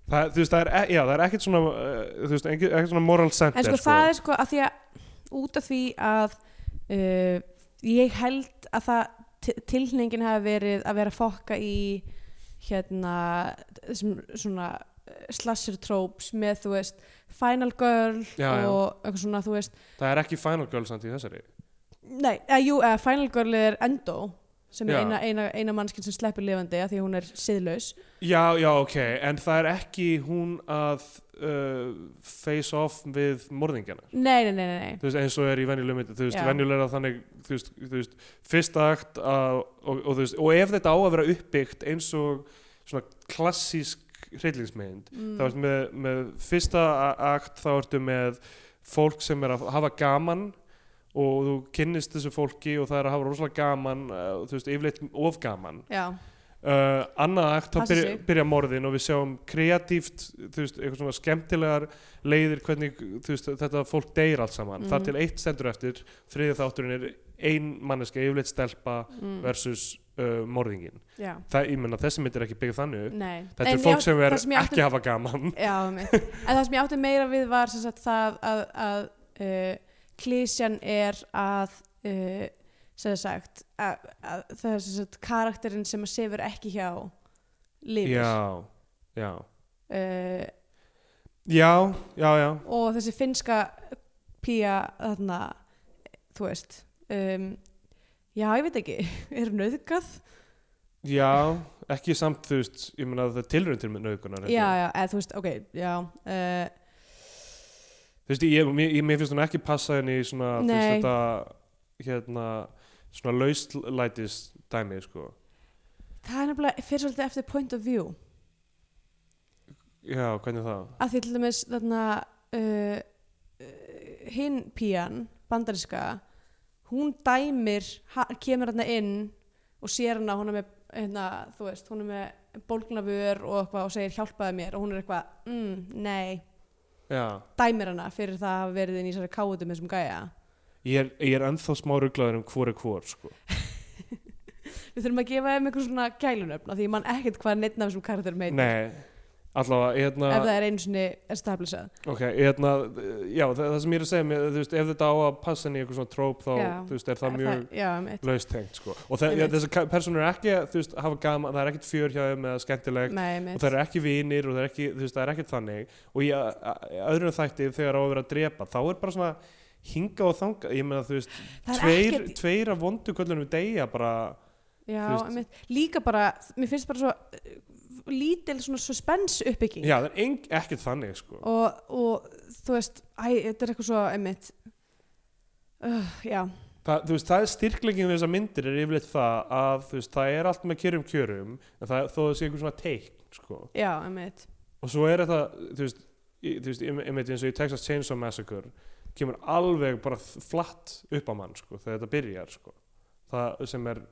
S2: Það, þú veist, það er, e- já, það er ekkert svona uh, þú veist, ekkert, ekkert svona moral center
S3: En sko, það er sko að því að út af því að uh, ég held að það tilhningin hafi verið að vera að fokka í hérna þessum svona eh, slasher tropes með þú veist Final Girl
S2: Já, já.
S3: og eitthvað svona þú veist
S2: það er ekki Final Girl samt í þessari
S3: Nei, að, jú, að Final Girl er Endo sem
S2: Já.
S3: er eina, eina, eina mannskinn sem sleppur lifandi að því að hún er siðlaus
S2: já, já, ok, en það er ekki hún að uh, face off við morðingjana
S3: Nei, nei, nei, nei, nei.
S2: þú veist, eins og er í venjulegum myndi, þú veist,
S3: Já.
S2: venjulega þannig, þú veist, þú veist fyrsta akt að, og, og þú veist, og ef þetta á að vera uppbyggt eins og svona klassísk hryllingsmynd,
S3: Mm.
S2: þá ertu með, með fyrsta a- akt, þá ertu með fólk sem er að hafa gaman og þú kynnist þessu fólki og það er að hafa rosalega gaman, eh, og þú veist, yfirleitt of gaman
S3: Mm, Já,
S2: uh, annað akt þá
S3: Passa
S2: byrja,
S3: sig.
S2: byrja morðin og við sjáum kreatíft þú veist, eitthvað svona skemmtilegar leiðir hvernig þú veist, þetta fólk deyr allt saman
S3: Mhm.
S2: þar til eitt stendur eftir þriðið þátturinn er ein manneska yfirleitt stelpa
S3: mm.
S2: versus uh, morðingin
S3: já,
S2: það, ég menna þessi mynd er ekki byggð þannig upp.
S3: nei
S2: þetta
S3: En
S2: er
S3: ég
S2: fólk
S3: átti-
S2: sem er
S3: það ég átti-
S2: ekki að hafa gaman
S3: Já, einmitt. en það sem ég átti meira við var sem sagt, það að, að uh, klísjan er að uh, sem sagt að, að það er sem sagt karakterinn sem að sefur ekki hjá lífur uh,
S2: já, já já, já, já
S3: og þessi finnska pía þarna, þú veist um, já, ég veit ekki er hún auðgað?
S2: já, ekki samt þú veist ég menna það er tilraun til með nauðgunar
S3: Já, já, eða þú veist, ok, já uh,
S2: þú veist, ég, mér, ég- mér finnst hún ekki passa henni í svona, þú veist,
S3: Nei.
S2: þetta hérna, svona lauslætis dæmi, sko
S3: það er nefnilega fyrir svolítið eftir point of view
S2: já, hvernig það?
S3: að því til dæmis þarna uh, uh, hinn pían, bandariska hún dæmir ha- kemur hann inn og sér hana hún er með, hérna, þú veist hún er með bólgnavör og eitthvað og segir hjálpaði mér og hún er eitthvað, mm, nei
S2: já,
S3: dæmir hana fyrir það að hafa verið inn í þessari káutum þessum gæja.
S2: ég er, ég er ennþá smá rugglaður um hvor er hvor, sko
S3: Við þurfum að gefa þeim einhver svona gælunöfn af því ég man ekkert hvað neitt af þessum karakterum heitir
S2: nei, allavega, hérna
S3: ef það er einu sinni established.
S2: ok, hérna, já, það, það sem ég er að segja mér, þú veist, ef þetta á að passa henni í eitthvað svona tróp, þá,
S3: Já.
S2: þú veist, er það mjög
S3: Já, mitt.
S2: laustengt, sko, og það,
S3: Einmitt.
S2: þessi personur er ekki, þú veist, hafa gaman, það er ekkit fjör hjá þeim eða skemmtilegt,
S3: Nei,
S2: og
S3: mitt.
S2: það eru ekki vinir og það er ekki, þú veist, það er ekkert þannig og í a- a- öðrum þætti þegar á að vera að drepa þá er bara svona hinga og þanga, ég meina þú veist
S3: Það er
S2: tveir,
S3: ekkert-
S2: tveir af vondu köllunum deyja bara,
S3: Já,
S2: Þú veist-
S3: einmitt, líka bara, mér finnst bara svo eh, lítil svona suspense uppbygging
S2: já það er eng, ekkert þannig sko
S3: og, og þú veist, æ, þetta er eitthvað svo einmitt uh, Já,
S2: Þa, þú veist, það er styrklingin við þessar myndir er yfirleitt það að þú veist, það er allt með kjörum kjörum en það, þó það sé einhver svona teikn sko.
S3: já, einmitt
S2: og svo er þetta, þú veist, í, þú veist ég, ég eins og í Texas Chainsaw Massacre kemur alveg bara flatt upp á mann sko, þegar þetta byrjar sko. það sem er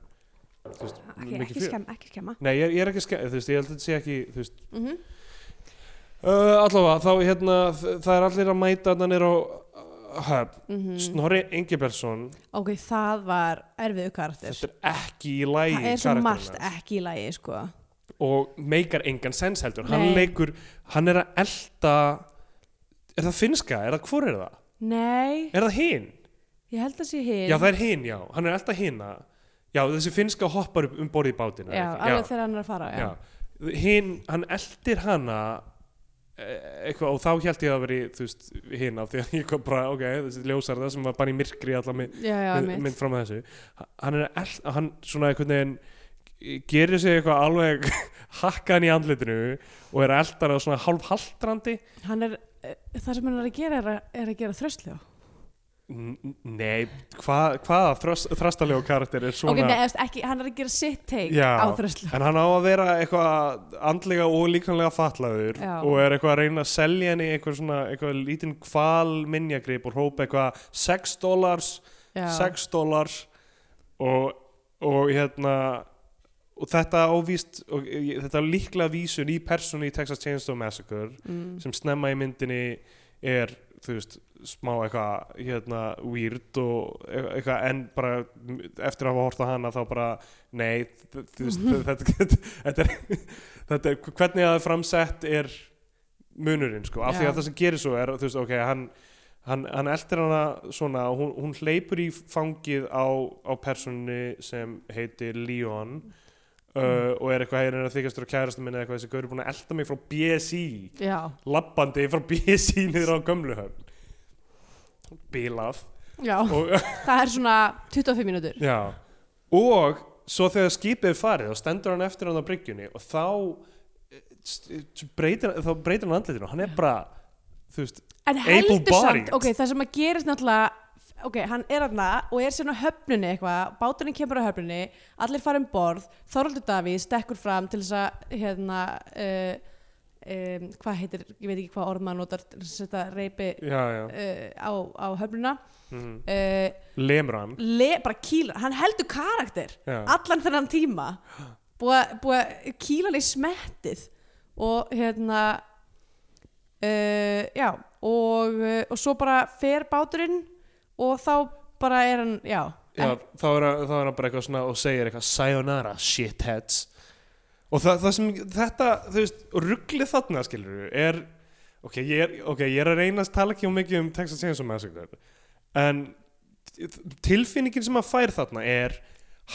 S2: þú veist,
S3: ekki,
S2: mikið
S3: ekki,
S2: fjör.
S3: skemma, ekki skemma
S2: Nei, ég, er- ég er ekki skemmt, þú veist, ég held að þetta sé ekki, þú veist,
S3: mm
S2: uh, allavega, þá hérna, þ- það er allir að mæta hann er á uh, höfn,
S3: Mhm.
S2: Snorri Engibelsson,
S3: Ok, það var erfiðu karakter
S2: þetta er ekki í lægi
S3: Það er svo margt ekki í lagi, sko
S2: og meikar engan sens heldur, hann
S3: Nei.
S2: leikur, hann er að elta, er það finnska, er það, hvor er það?
S3: Nei,
S2: Er það hinn?
S3: ég held að sé hinn
S2: Já, það er hinn, já, hann er að elta hinna, já, þessi finnska hoppar upp um borðið í bátinn,
S3: Já, alveg þegar hann er að fara, já,
S2: já. hinn, hann eldir hana eh, eitthvað og þá held ég að veri þú veist, hinn af því að ég kom bara ok, þessi ljósar það sem var bara í myrkri allar mynd,
S3: já, já
S2: mynd,
S3: einmitt
S2: mynd fram að þessu Ha- hann er eld, hann svona einhvern veginn gerir sig eitthvað alveg hakkan í andlitinu og er eldar á svona hálf haldrandi
S3: Hann er, eh, það sem hann er að gera er að, er að gera þröslu
S2: nei, hvað, hvaða þrast, þrastalegu karakter er svona
S3: Ok, nei, eftir, ekki, hann er að gera sitt take
S2: Já.
S3: á þröslu
S2: En hann á að vera eitthvað andlega og líkanlega fatlaður
S3: Já.
S2: og er eitthvað að reyna að selja henni eitthvað svona, eitthvað lítinn kval minjagrip og hrópa eitthvað 6 dollars, 6 dollars og, og hérna og þetta ávíst og ég- þetta er líklega vísun í personu í Texas Chainsaw Massacre
S3: mm.
S2: sem snemma í myndinni er þú veist, smá eitthvað hérna, weird og eitthvað en bara m- eftir að hafa hort á hana þá bara, nei þ- þú veist, þetta, þetta, þetta, er, þetta er hvernig það er framsett er munurinn, sko, af því
S3: Já.
S2: að það sem gerir svo er, þú veist, ok, hann hann, hann eldir hana svona og hún, hún hleypur í fangið á, á personni sem heitir Leon uh, og er eitthvað hægir en að þykjastur á kærastu minni eða eitthvað þessi gaur er búin að elda mig frá BSI
S3: Já,
S2: lappandi frá BSI niður á gömluhöfn bílað
S3: já,
S2: og,
S3: það er svona 25 mínútur
S2: já, og svo þegar skipið er farið þá stendur hann eftir hann á bryggjunni og þá eh, s- eh, breytir, þá breytir hann andlitinu hann er bara þú veist,
S3: En heldur
S2: Able-bodied.
S3: samt, ok, það sem að gerist náttúrulega Ok, hann er aðna og er sérna höfnunni eitthvað Báturinn kemur á höfnunni, allir fara um borð Þoraldur Davíð stekkur fram til þess að hérna uh, um, Hvað heitir, ég veit ekki hvað orð maður notar til þess að setja reypi
S2: já, já,
S3: uh, á, á höfnuna
S2: mm,
S3: uh,
S2: lemur hann
S3: le, Bara kýlar, hann heldur karakter
S2: já.
S3: Allan þennan tíma búið, búið að kýla hann í smettið og hérna uh, já og, uh, og svo bara fer báturinn og þá bara er hann já,
S2: Já, þá er, hann, þá er hann bara eitthvað svona og segir eitthvað sayonara shitheads og það, það sem þetta, þú veist, rugglið þarna skilur er, ok, ég er, okay, ég er að reynast tala ekki um mikið um Texas Chainsaw Massacre en tilfinningin sem að fær þarna er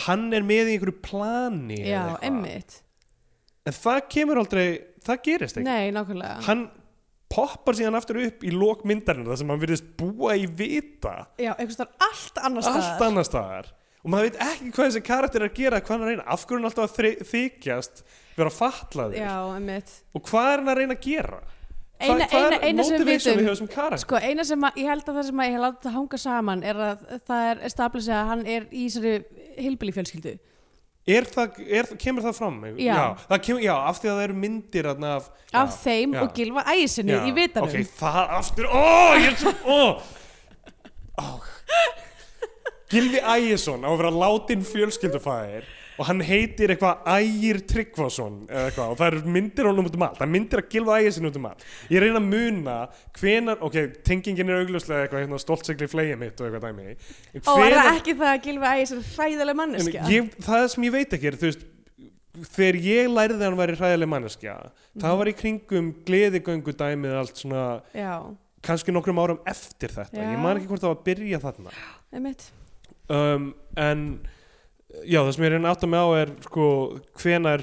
S2: hann er með í einhverju plani
S3: en,
S2: eða
S3: já
S2: eitthvað.
S3: emmitt
S2: en það kemur aldrei, það gerist ekki
S3: nei, nákvæmlega
S2: hann poppar síðan aftur upp í lok myndarinn þar sem hann virðist búa í vita
S3: já, einhvers þar allt annars
S2: allt annar staðar og maður veit ekki hvað þessi karakter er að gera hvað hann er að reyna, af hverju hann er alltaf að þri- þykjast vera fatlaðir
S3: já, emmitt
S2: og hvað er hann að reyna að gera Hva-
S3: Eina-
S2: hvað
S3: eina- eina sem við
S2: motivation
S3: vitum-
S2: við höfum sem karakter
S3: Sko, eina sem að, ég held að það sem að ég hef látið að hanga saman er að það er established að hann er í þessari hilbili fjölskyldu.
S2: er það, er, kemur það fram?
S3: Já.
S2: það kemur, já, af því að það eru myndir þarna af, já,
S3: Af þeim
S2: já,
S3: og gilva ægisinni
S2: já,
S3: í vitanum.
S2: ok, það aftur, ó, ég er svo ó, ó Gilvi Ægjesson á að vera látin fjölskyldufæðir og hann heitir eitthvað Ægir Tryggvason eða eitthvað og það eru myndir honum út um allt það er myndir að Gilva Ægjesson út um allt ég reyna að muna hvenar, ok, tengingin er augljóslega eitthvað hérna stoltsigli flegið mitt og eitthvað dæmi En
S3: Og er
S2: hvenær-
S3: það ekki það að gilva ægisin hræðileg
S2: En
S3: manneskja?
S2: ég, það sem ég veit ekki er þú veist, þegar ég læriði að hann væri hræðileg manneskja
S3: Mhm.
S2: það var í kringum gleðigöngu dæmið allt svona
S3: Já,
S2: kannski nokkrum árum eftir þetta
S3: Já.
S2: ég man ekki hvort það var að byrja þarna
S3: einmitt.
S2: um, en já það sem ég reyna aftur með á er sko hvenar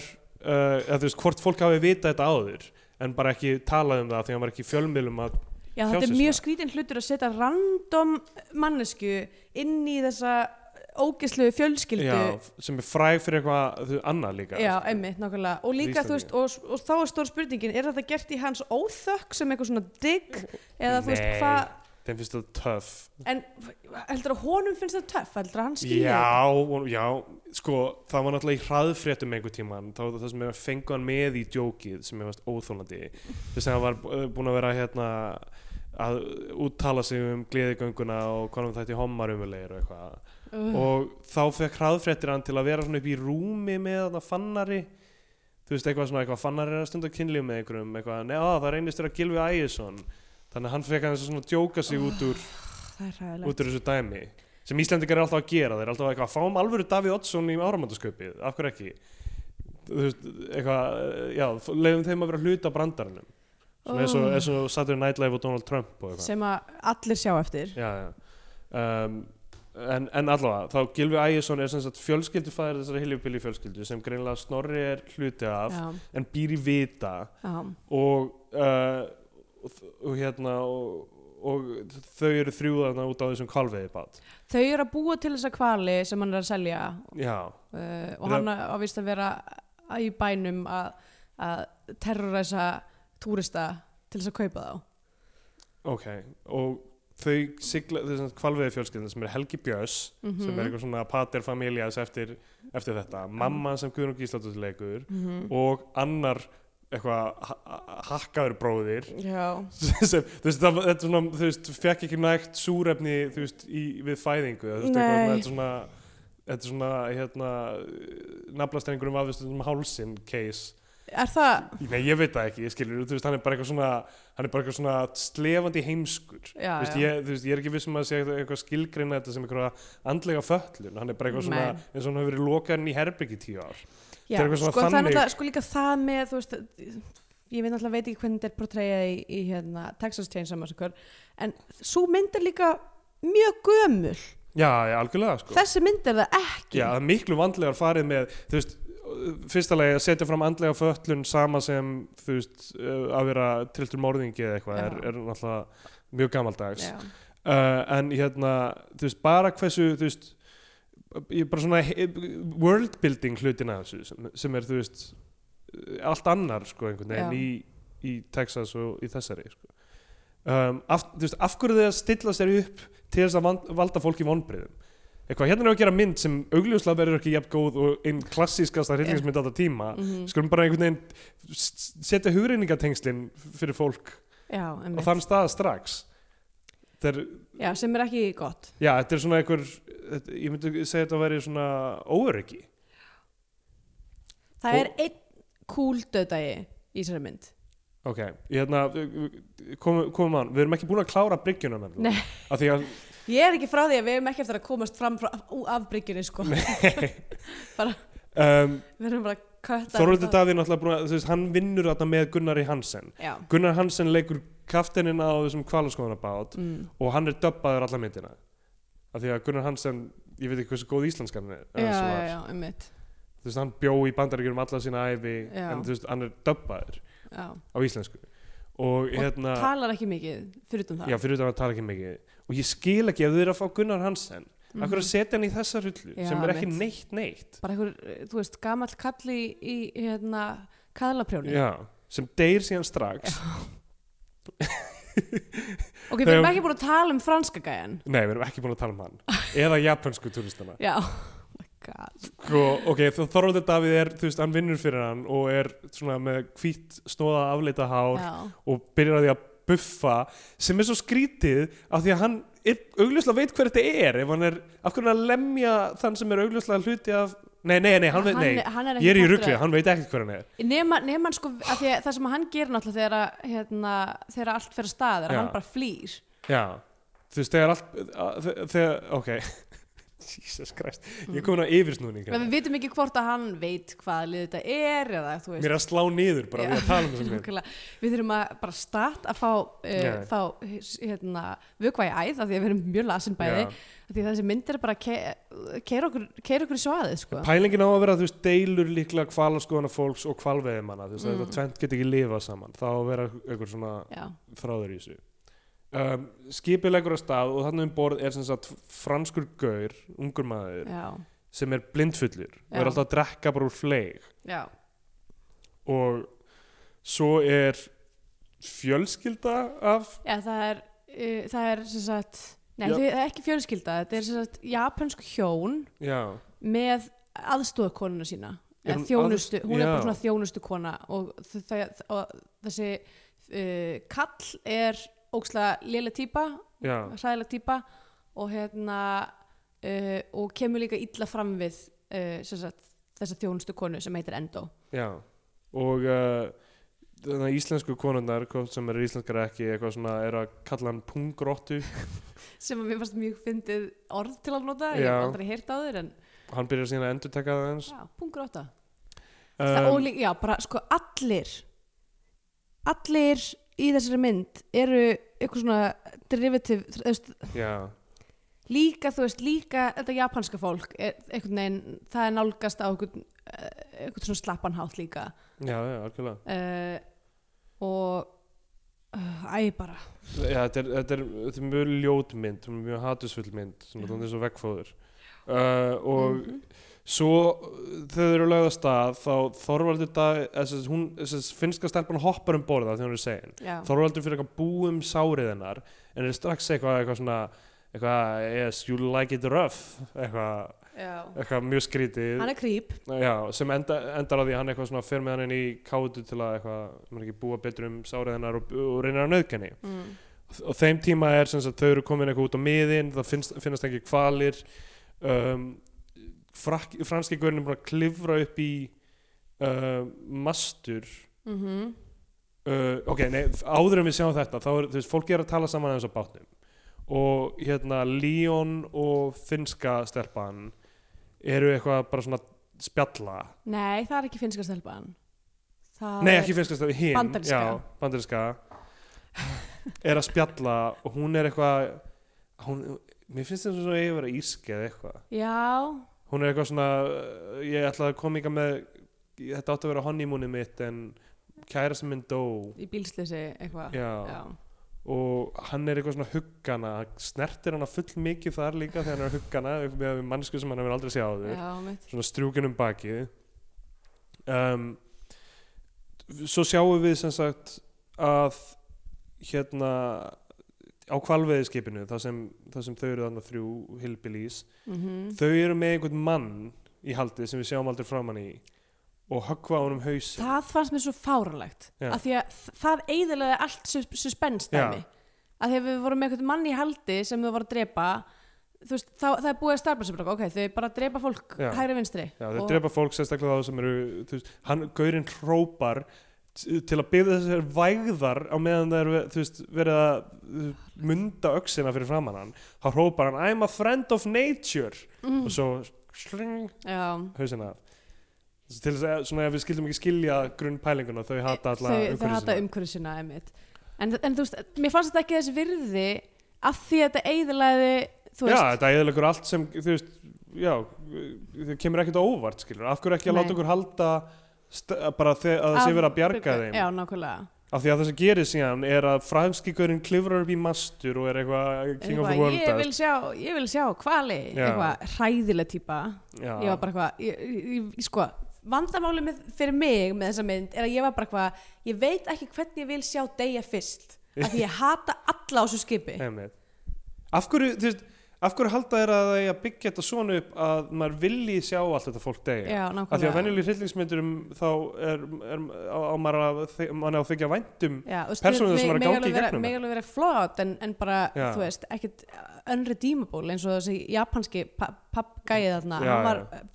S2: uh, eða, þú veist, hvort fólk hafi vitað þetta áður en bara ekki talað um það því að hann var ekki í fjölmiðlum að
S3: Já, þetta er
S2: Frjálsins
S3: mjög
S2: maður.
S3: skrítin hlutur að setja random mannesku inn í þessa ógislu fjölskyldu.
S2: já, sko. sem er fræg fyrir eitthvað þú, annað líka
S3: Já, einmitt, nákvæmlega. Og líka, þú veist, og, og þá er stór spurningin, er þetta gert í hans óþökk sem eitthvað svona digg? Eða, þú veist,
S2: Nei.
S3: hvað...
S2: þeim finnst það töff
S3: En heldur að honum finnst það töff, heldur að hann skilja
S2: Já, og- já, sko það var náttúrulega í hraðfréttum einhver tíman þá var það það sem ég fengu hann með í djókið sem ég varst óþólandi þess að hann var eh, búinn að vera hérna að úttala sig um gleðigönguna og hvað hann þætti homarumulegir og eitthvað
S3: Uh,
S2: og þá fekk hraðfréttir hann til að vera svona upp í rúmi með þarna fannari þú veist eitthvað svona eitthvað fannari er að stunda kynlíf með einhverjum eitthvað, neða það reynist þér að gilfi Ægisson þannig að hann fekk hann svona að djóka sig út úr
S3: það er ræðilegt.
S2: út úr þessu dæmi sem Íslendingar er alltaf að gera þeir eru alltaf eitthvað, fáum alvöru Davíð Oddsson í áramöndaskaupið af hverju ekki þú veist, eitthvað, já leiðum þeim að vera hluta brandarunum svona eins og,
S3: Oh.
S2: eins og Saturday Night Live og Donald Trump og eitthvað
S3: Sem að allir sjá eftir.
S2: já, já. Um, en, en allavega, þá Gilvi Ægjesson er sem sagt fjölskyldufæðir þessari hiljubili fjölskyldu sem greinlega Snorri er hluti af
S3: Já,
S2: en býr í vita
S3: já,
S2: og, uh, og, og hérna og, og þau eru þrjúðarna út á þessum kvalveiðibát
S3: Þau eru að búa til þessa kvali sem hann er að selja
S2: Já,
S3: uh, og
S2: Þeir
S3: hann á á vist að vera að- í bænum að, að terroræsa túrista til þess að kaupa þá.
S2: ok og þau sigla, þessum kvalveiði fjölskyldin sem er Helgi Björs
S3: Mhm.
S2: sem er eitthvað svona pater familias eftir, eftir þetta, mamma sem Guðrún Gísláttúr leikur
S3: Mm
S2: og annar eitthvað ha- ha- hakkaður bróðir
S3: Já,
S2: sem, þú veist, það, var- þetta er svona, þú veist, fekk ekki nægt súrefni, þú veist, í, við fæðingu, þú veist, eitthvað
S3: Nei.
S2: svona, þetta er svona þetta er svona, hérna naflastrengur um aðvistum hálsin case
S3: er það?
S2: Nei, ég veit það ekki, ég skilur, þú veist, hann er bara eitthvað svona, hann er bara eitthvað svona slefandi heimskur.
S3: Já,
S2: þú, veist,
S3: já.
S2: ég, þú veist, ég er ekki viss um að segja eitthvað skilgreina þetta sem eitthvað andlega föllun, hann er bara eitthvað svona,
S3: Nei.
S2: eins og hann hefur verið lokaðin í herbyggi í tíu ár.
S3: Já,
S2: Þetta er eitthvað svona
S3: sko, það er
S2: þannig-
S3: náttúrulega, sko líka það með, þú veist, ég veit náttúrulega veit ekki hvernig þetta er portreyjað í, í hérna, Texas Chainsaw Massacre, en svo mynd er líka mjög gömul.
S2: Já, já, algjörlega, sko.
S3: Þessi mynd er það ekki.
S2: Já, það er miklu vandlegar farið með, þú veist, fyrsta lagi að setja fram andlega föllun sama sem, þú veist, uh, að vera triltur morðingi eða eitthvað, er,
S3: Já.
S2: er náttúrulega mjög gamaldags.
S3: Já.
S2: uh, en hérna, þú veist, bara hversu þú veist, ég bara svona he- worldbuilding hlutin af þessu sem, sem er, þú veist allt annar, sko, einhvern veginn
S3: Já.
S2: í, í Texas og í þessari sko. um, af, þú veist, af hverju þau að stilla sér upp til þess að van- valda fólki vonbriðum eitthvað, hérna er að gera mynd sem augljóslega verður ekki jafn góð og einn klassískasta hryllingsmynd alltaf tíma
S3: Mhm.
S2: skulum bara einhvern veginn s- s- setja hugreiningatengslin fyrir fólk á
S3: Já, einmitt.
S2: þann stað strax þegar
S3: Já, sem er ekki gott.
S2: Já, þetta er svona einhver, þetta- ég myndi segja þetta að vera svona óöryggi.
S3: það
S2: Og-
S3: er einn kúl döðdagi í þessari mynd
S2: ok, hérna komum kom að, við erum ekki búin að klára bryggjuna
S3: Nei.
S2: nefnilega, af því að
S3: ég er ekki frá því að við erum ekki eftir að komast fram frá, ú, af bryggjunni sko Bara-
S2: um,
S3: við erum bara að kötta
S2: Þorvaldur Davíð náttúrulega búin að, þú veist, hann vinnur þarna með Gunnari Hansen
S3: já,
S2: Gunnar Hansen leikur kaftinina á þessum kvalaskoðanabát
S3: mm.
S2: og hann er döbbaður alla myndina af því að Gunnar Hansen, ég veit ekki hversu góð íslenskan er,
S3: já,
S2: sem
S3: já,
S2: var.
S3: já, um mitt
S2: Þú veist, hann bjó í bandaríkjum alla sína æfi
S3: Já.
S2: en þú veist, hann er döbbaður
S3: já.
S2: á íslensku og hérna,
S3: talar ekki mikið, fyrir utan það
S2: já, fyrir utan að tala ekki mikið og ég skil ekki ef þau eru að fá Gunnar Hansen mm. akkur að setja hann í þessa rullu
S3: Já,
S2: sem er ekki
S3: einmitt.
S2: neitt neitt
S3: Mhm. bara einhver, eh, þú veist, gamall kalli í, í hérna, kaðlaprjóni
S2: já, sem deyr síðan strax
S3: ok, við erum
S2: Þegar-
S3: ekki búin að tala um franska gæjan
S2: nei, við erum ekki búin að tala um hann eða japansku turistana
S3: já, oh my god
S2: Sko, ok, þá Þorvaldur Davíð er, þú veist, hann vinnur fyrir hann og er svona með hvít snóða afleita hár
S3: já,
S2: og byrjar að því að buffa sem er svo skrítið af því að hann er augljóslega veit hver þetta er ef hann er, af hvernig að lemja þann sem er augljóslega hluti af nei, nei, nei, hann veit, nei,
S3: hann
S2: ég er í
S3: partur af-
S2: ruggli hann veit ekkert hver hann er
S3: nema, nema hann sko, af því að það sem hann gerir náttúrulega þegar, að, hérna, þegar allt fer að stað er
S2: Já.
S3: að hann bara flýr
S2: já, þú veist, þegar allt að- þe- þegar, ok Jesus Christ, ég er komin á yfirsnúning
S3: en
S2: hérna.
S3: Mm. við vitum ekki hvort að hann veit hvað lið þetta er eða þú veist
S2: mér er að slá niður bara við að tala um þessum mynd
S3: Nákvæmlega. við þurfum að bara start að fá, uh,
S2: Já.
S3: fá hérna, vökva í æð af því að við erum mjög lasin bæði
S2: Já.
S3: af því að þessi mynd er bara að ke keira okkur, keira okkur í svaðið sko.
S2: Pælingin á að vera, þú veist, deilur líklega kvalaskoðana fólks og kvalveiðimanna þú veist, mm. þetta tvent get ekki lifa saman þá að vera einhver svona
S3: Já.
S2: þráður í þessu um, skipið leggur að stað og þannig um borð er sem sagt franskur gaur, ungur maður
S3: Já.
S2: sem er blindfullur og
S3: Já.
S2: er alltaf að drekka bara úr fleig
S3: Já.
S2: og svo er fjölskylda af
S3: Já, það er uh, það er sem sagt nei,
S2: Já.
S3: þau, það er ekki fjölskylda, þetta er sem sagt japansk hjón
S2: já,
S3: með aðstofakonuna sína
S2: Er
S3: eða
S2: hún
S3: þjónustu,
S2: aðst-
S3: hún er bara
S2: já.
S3: svona þjónustu kona og, þ- það, og þessi uh, kall er ókslega lélega típa
S2: já,
S3: hræðilega típa og hérna uh, og kemur líka illa fram við uh, sem sagt, þessa þjónustu konu sem heitir Endo
S2: já og uh, þannig að íslensku konundar sem eru íslenskar ekki eitthvað svona er að kalla hann pungrottu
S3: sem að mér fannst mjög fyndið orð til að nota, ég
S2: Já.
S3: hef aldrei heyrt á þér en
S2: hann byrjar síðan að endurtaka það eins
S3: já, pungur átta það, og
S2: um,
S3: líka, já, bara sko allir allir í þessari mynd eru eitthvað svona derivative þú veist,
S2: já,
S3: líka, þú veist, líka þetta japanska fólk, er, einhvern veginn það er nálgast á einhvern eh, einhvern svona slappanhátt líka
S2: já, já, algjörlega
S3: uh, og uh, æ, bara
S2: já, þetta, er, þetta, er, þetta er mjög ljót mynd hún er mjög hatusfull mynd svona, þannig er svo vekkfóður uh, og
S3: Mm. Mhm.
S2: svo uh, þegar þau eru lögð að stað þá Þorvaldur dag, þessi, hún, þessi, finnska stelpan hoppar um borða þegar hún er segin
S3: já,
S2: Þorvaldur fyrir eitthvað búum sárið hennar en er strax eitthvað, eitthvað svona eitthvað, yes, you like it rough eitthvað,
S3: já.
S2: eitthvað mjög skrítið
S3: hann er krýp
S2: Já, sem enda, endar á því að hann eitthvað svona fer með hann inn í kátu til að eitthvað, maður ekki búa betur um sárið hennar og, og reynir að nöðkenni.
S3: mm.
S2: Og þeim tíma er sem sagt þau eru komin eitthvað út á miðin, það finnst, finnast ekki kvalir, um, frak, franski gaurin er búin að klifra upp í uh, mastur.
S3: Mm -hmm.
S2: Uh, ok, nei, áður en við sjáum þetta, þá er, þú veist, fólki er að tala saman aðeins á bátnum. Og hérna, Leon og finska stelpan eru eitthvað bara svona spjalla.
S3: nei, það er ekki finnska stelpan það
S2: Nei,
S3: er,
S2: ekki finnska stafi, hinn
S3: Bandaríska.
S2: já, bandaríska er að spjalla og hún er eitthvað hún, mér finnst þetta svo að ég vera ísk eða eitthvað
S3: já,
S2: hún er eitthvað svona, uh, ég ætlaði að koma ykkar með þetta átti að vera honeymoonið mitt en kæra sem minn dó
S3: í bílslýsi eitthvað
S2: já.
S3: já.
S2: og hann er eitthvað svona huggana snertir hana full mikið þar líka þegar hann er að huggana með við mannsku sem hann hefur aldrei séð áður
S3: já, mitt
S2: svona strjúkin um bakið um, svo sjáum við sem sagt að hérna á kvalveiðiskipinu þar sem, þar sem þau eru þarna þrjú hillbillies,
S3: mm
S2: þau eru með einhvern mann í haldið sem við sjáum aldrei framann í og höggva á honum hausin
S3: það fannst mér svo fáranlegt
S2: Já.
S3: af því að þ- það eiðilega allt suspenstæmi
S2: Já.
S3: af því að við vorum með einhvern mann í haldi sem þau voru að drepa þú veist, þá, það er búið að starfa sem bara, ok, þau bara drepa fólk
S2: Já.
S3: hægri vinstri
S2: Já, þeir
S3: og,
S2: drepa fólk sérstaklega þá sem eru þú veist, hann, gaurinn hrópar t- til að byrða þessar vægðar á meðan það eru, þú veist, verið að þú veist, munda öxina fyrir framann hann þá hrópar hann, I'm a friend of nature
S3: mm,
S2: og svo sling
S3: já,
S2: hausina af. til þess að, svona, ef við skildum ekki skilja grunnpælinguna, þau hata alla
S3: þau, þau hata um,
S2: umhverfisina.
S3: umhverju sína einmitt. en, en þú veist, mér fannst þetta ekki þessi virði af því að þetta eigðilaði þú
S2: Já,
S3: veist,
S2: þetta eðilegur allt sem, þú veist, já, þau kemur ekkert á óvart, skilur, af hverju ekki að
S3: Nei.
S2: láta okkur halda st- bara þe- að það sé
S3: Af-
S2: verið að bjarga þeim
S3: já, nákvæmlega
S2: af því að það sem gerir síðan er að franski gaurinn klifrar upp í mastur og er eitthvað king of the
S3: Eitthvað,
S2: world
S3: ég, vil sjá, ég vil sjá hvali
S2: Já.
S3: eitthvað hræðilega típa ég var bara eitthvað ég, ég, ég, sko, vandamáli með, fyrir mig með þessa mynd er að ég var bara eitthvað ég veit ekki hvernig ég vil sjá degja fyrst af því ég hata alla á þessu skipi
S2: Einmitt. af hverju, þú veist af hverju halda þér að það er að byggja þetta svona upp að maður vilji sjá allt þetta fólk degja
S3: já,
S2: af því að
S3: nákvæmlega
S2: venjuleg hryllingsmyndurum þá er, er á, á maður að þy- mann á að þykja um. væntum
S3: Já, þú veist,
S2: persónur sem
S3: mig-
S2: eru að
S3: mig
S2: gangi
S3: alveg
S2: í
S3: vera-
S2: gegnum
S3: mig alveg verið flott en, en bara,
S2: Já.
S3: þú veist, ekkit unredeemable eins og þessi japanski pa- pappgæði þarna,
S2: Já,
S3: hann var já.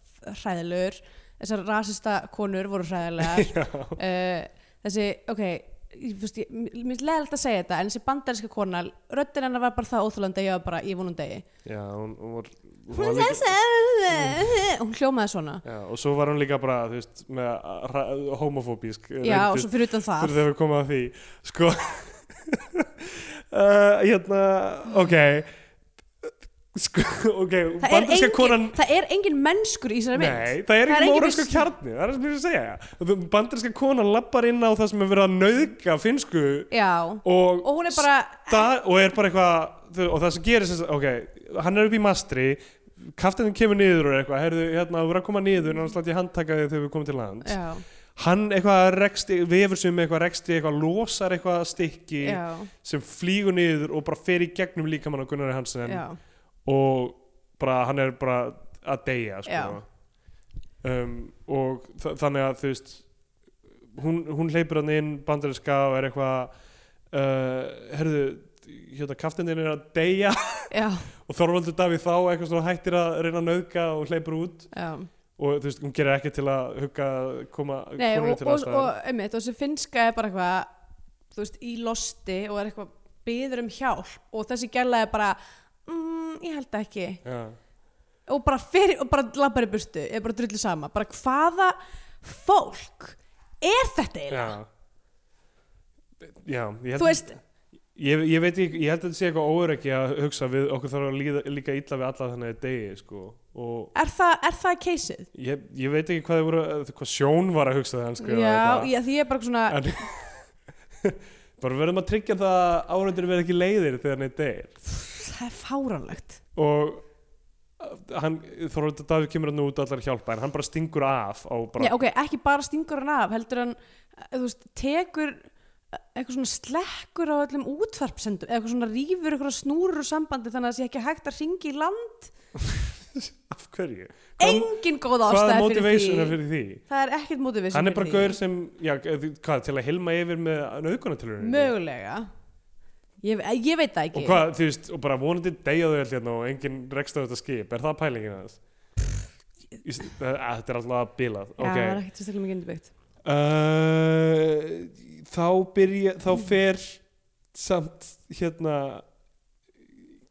S3: hræðilegur, þessar rasista konur voru hræðilegar uh, þessi, ok ég, þú veist, ég, mér mér er leðilegt að segja þetta en þessi bandarinska kona, röddin hennar var bara það óþjólandi, ég var bara, ég vonum degi
S2: já, hún, hún var, hún
S3: hún,
S2: var Mm.
S3: er þessi- hún hljómaði svona
S2: já, og svo var hún líka bara þú veist, með ra- homofóbísk
S3: já,
S2: reyndist.
S3: og svo fyrir utan það
S2: fyrir þegar við komum að því sko uh, hérna, ok sko, ok
S3: það er,
S2: bandarinska
S3: engin,
S2: konan
S3: það er engin mennskur í þessari mynd
S2: Nei, það er
S3: Það er
S2: ekki
S3: engin
S2: móralsku
S3: viss-
S2: kjarni, það er það sem ég er að segja Bandarinska konan lappar inn á það sem er verið að nauðga finnsku
S3: já,
S2: og,
S3: og hún er bara
S2: sta- og er bara eitthvað þú- og það sem gerir sem sagt, ok, hann er upp í mastri kaftinni kemur niður og er eitthvað heyrðu, hérna, þú verður að koma niður, annars látt ég handtaka þig þegar við komum til land
S3: já,
S2: hann eitthvað reksti, vefur sem eitthvað reksti eitthvað losar eitthvað stykki
S3: já,
S2: sem flýgur niður og bara fer í gegnum líkamann á Gunnari Hansen
S3: já,
S2: og bara hann er bara að deyja sko. um, og þa- þannig að þú veist hún, hún hleypur hann inn bandarinska og er eitthvað uh, herðu hérna kaftindin er að deyja
S3: já,
S2: og Þorvaldur Davíð þá eitthvað svona hættir að reyna að nauðga og hleypur út
S3: já.
S2: og þú veist, hún gerir ekki til að hugga að koma
S3: Nei,
S2: konunni
S3: og,
S2: til
S3: og,
S2: aðstæðan
S3: og einmitt, og þessi finnska er bara eitthvað þú veist, í losti og er eitthvað byður um hjálp og þessi gæla er bara mm, ég held það ekki
S2: Já,
S3: og bara fyrir, og bara labbar í burtu er bara drullu sama, bara hvaða fólk er þetta eiginlega?
S2: já. Já, ég held,
S3: Þú veist,
S2: ég, ég veit ekki, ég held að þetta sé eitthvað óöryggi að hugsa við okkur þarf að líða, líka illa við alla þannig að degi, sko og
S3: er það, er það keysið?
S2: ég, ég veit ekki hvað, þau voru, hvað sjón var að hugsa þegar hann skrifaði
S3: Já,
S2: þetta.
S3: já, því ég er bara svona
S2: En- bara verðum að tryggja það að áhundir verð ekki leiðir þegar hann er degir
S3: það er fáránlegt
S2: og uh, hann, Þorvaldur Davíð kemur hann út allar hjálpa en hann bara stingur af á bara,
S3: Já, ok, ekki bara stingur hann af, heldur hann, eh, þú veist, tekur eh, eitthvað svona slekkur á öllum útvarpsendum, eða eitthvað svona rýfur eitthvað snúrur úr sambandi þannig að það sé ekki hægt að ringi í land,
S2: af hverju
S3: engin góð
S2: hvað
S3: ástæði
S2: er
S3: fyrir því.
S2: motivation er fyrir því?
S3: Það er ekkert motivation
S2: hann er bara
S3: fyrir
S2: gaur
S3: því.
S2: sem, já, eh, hvað, til að hilma yfir með nöðgunatilurinn
S3: Mögulega. Ég, eh, ég veit það ekki.
S2: og hvað, þú veist, og bara vonandi deyja þau allir hérna og enginn rekst á þetta skip er það pælingin hans? þetta er alltaf bilað
S3: Já, það er
S2: ok
S3: ekkert sérstaklega mikið undirbyggt.
S2: uh, þá byrja þá fer samt hérna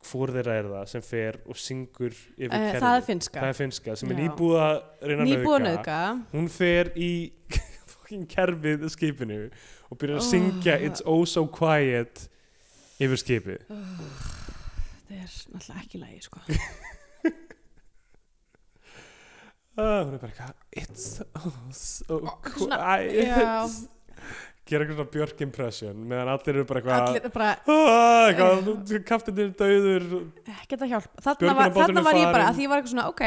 S2: hvor þeirra er það sem fer og syngur yfir
S3: Eh,
S2: kerfið
S3: það er finnska.
S2: það er finnska sem er
S3: Já.
S2: nýbúða reyna að
S3: Nýbúin
S2: nauðga.
S3: auðga.
S2: hún fer í fucking kerfið skipinu og byrjar að
S3: Oh.
S2: syngja It's oh so quiet yfir skipi
S3: Það er náttúrulega ekki lægi, sko.
S2: uh, hún er bara eitthvað It's oh so
S3: svona- já.
S2: quiet gera eitthvað svona Björk impression meðan allir eru bara eitthvað
S3: Allir bara,
S2: Ah, eitthvað, kaftinir dauður
S3: ekkert að hjálpa þarna var,
S2: Björgunarbáturinn
S3: þarna var ég
S2: farinn.
S3: bara, að því ég var eitthvað svona ok,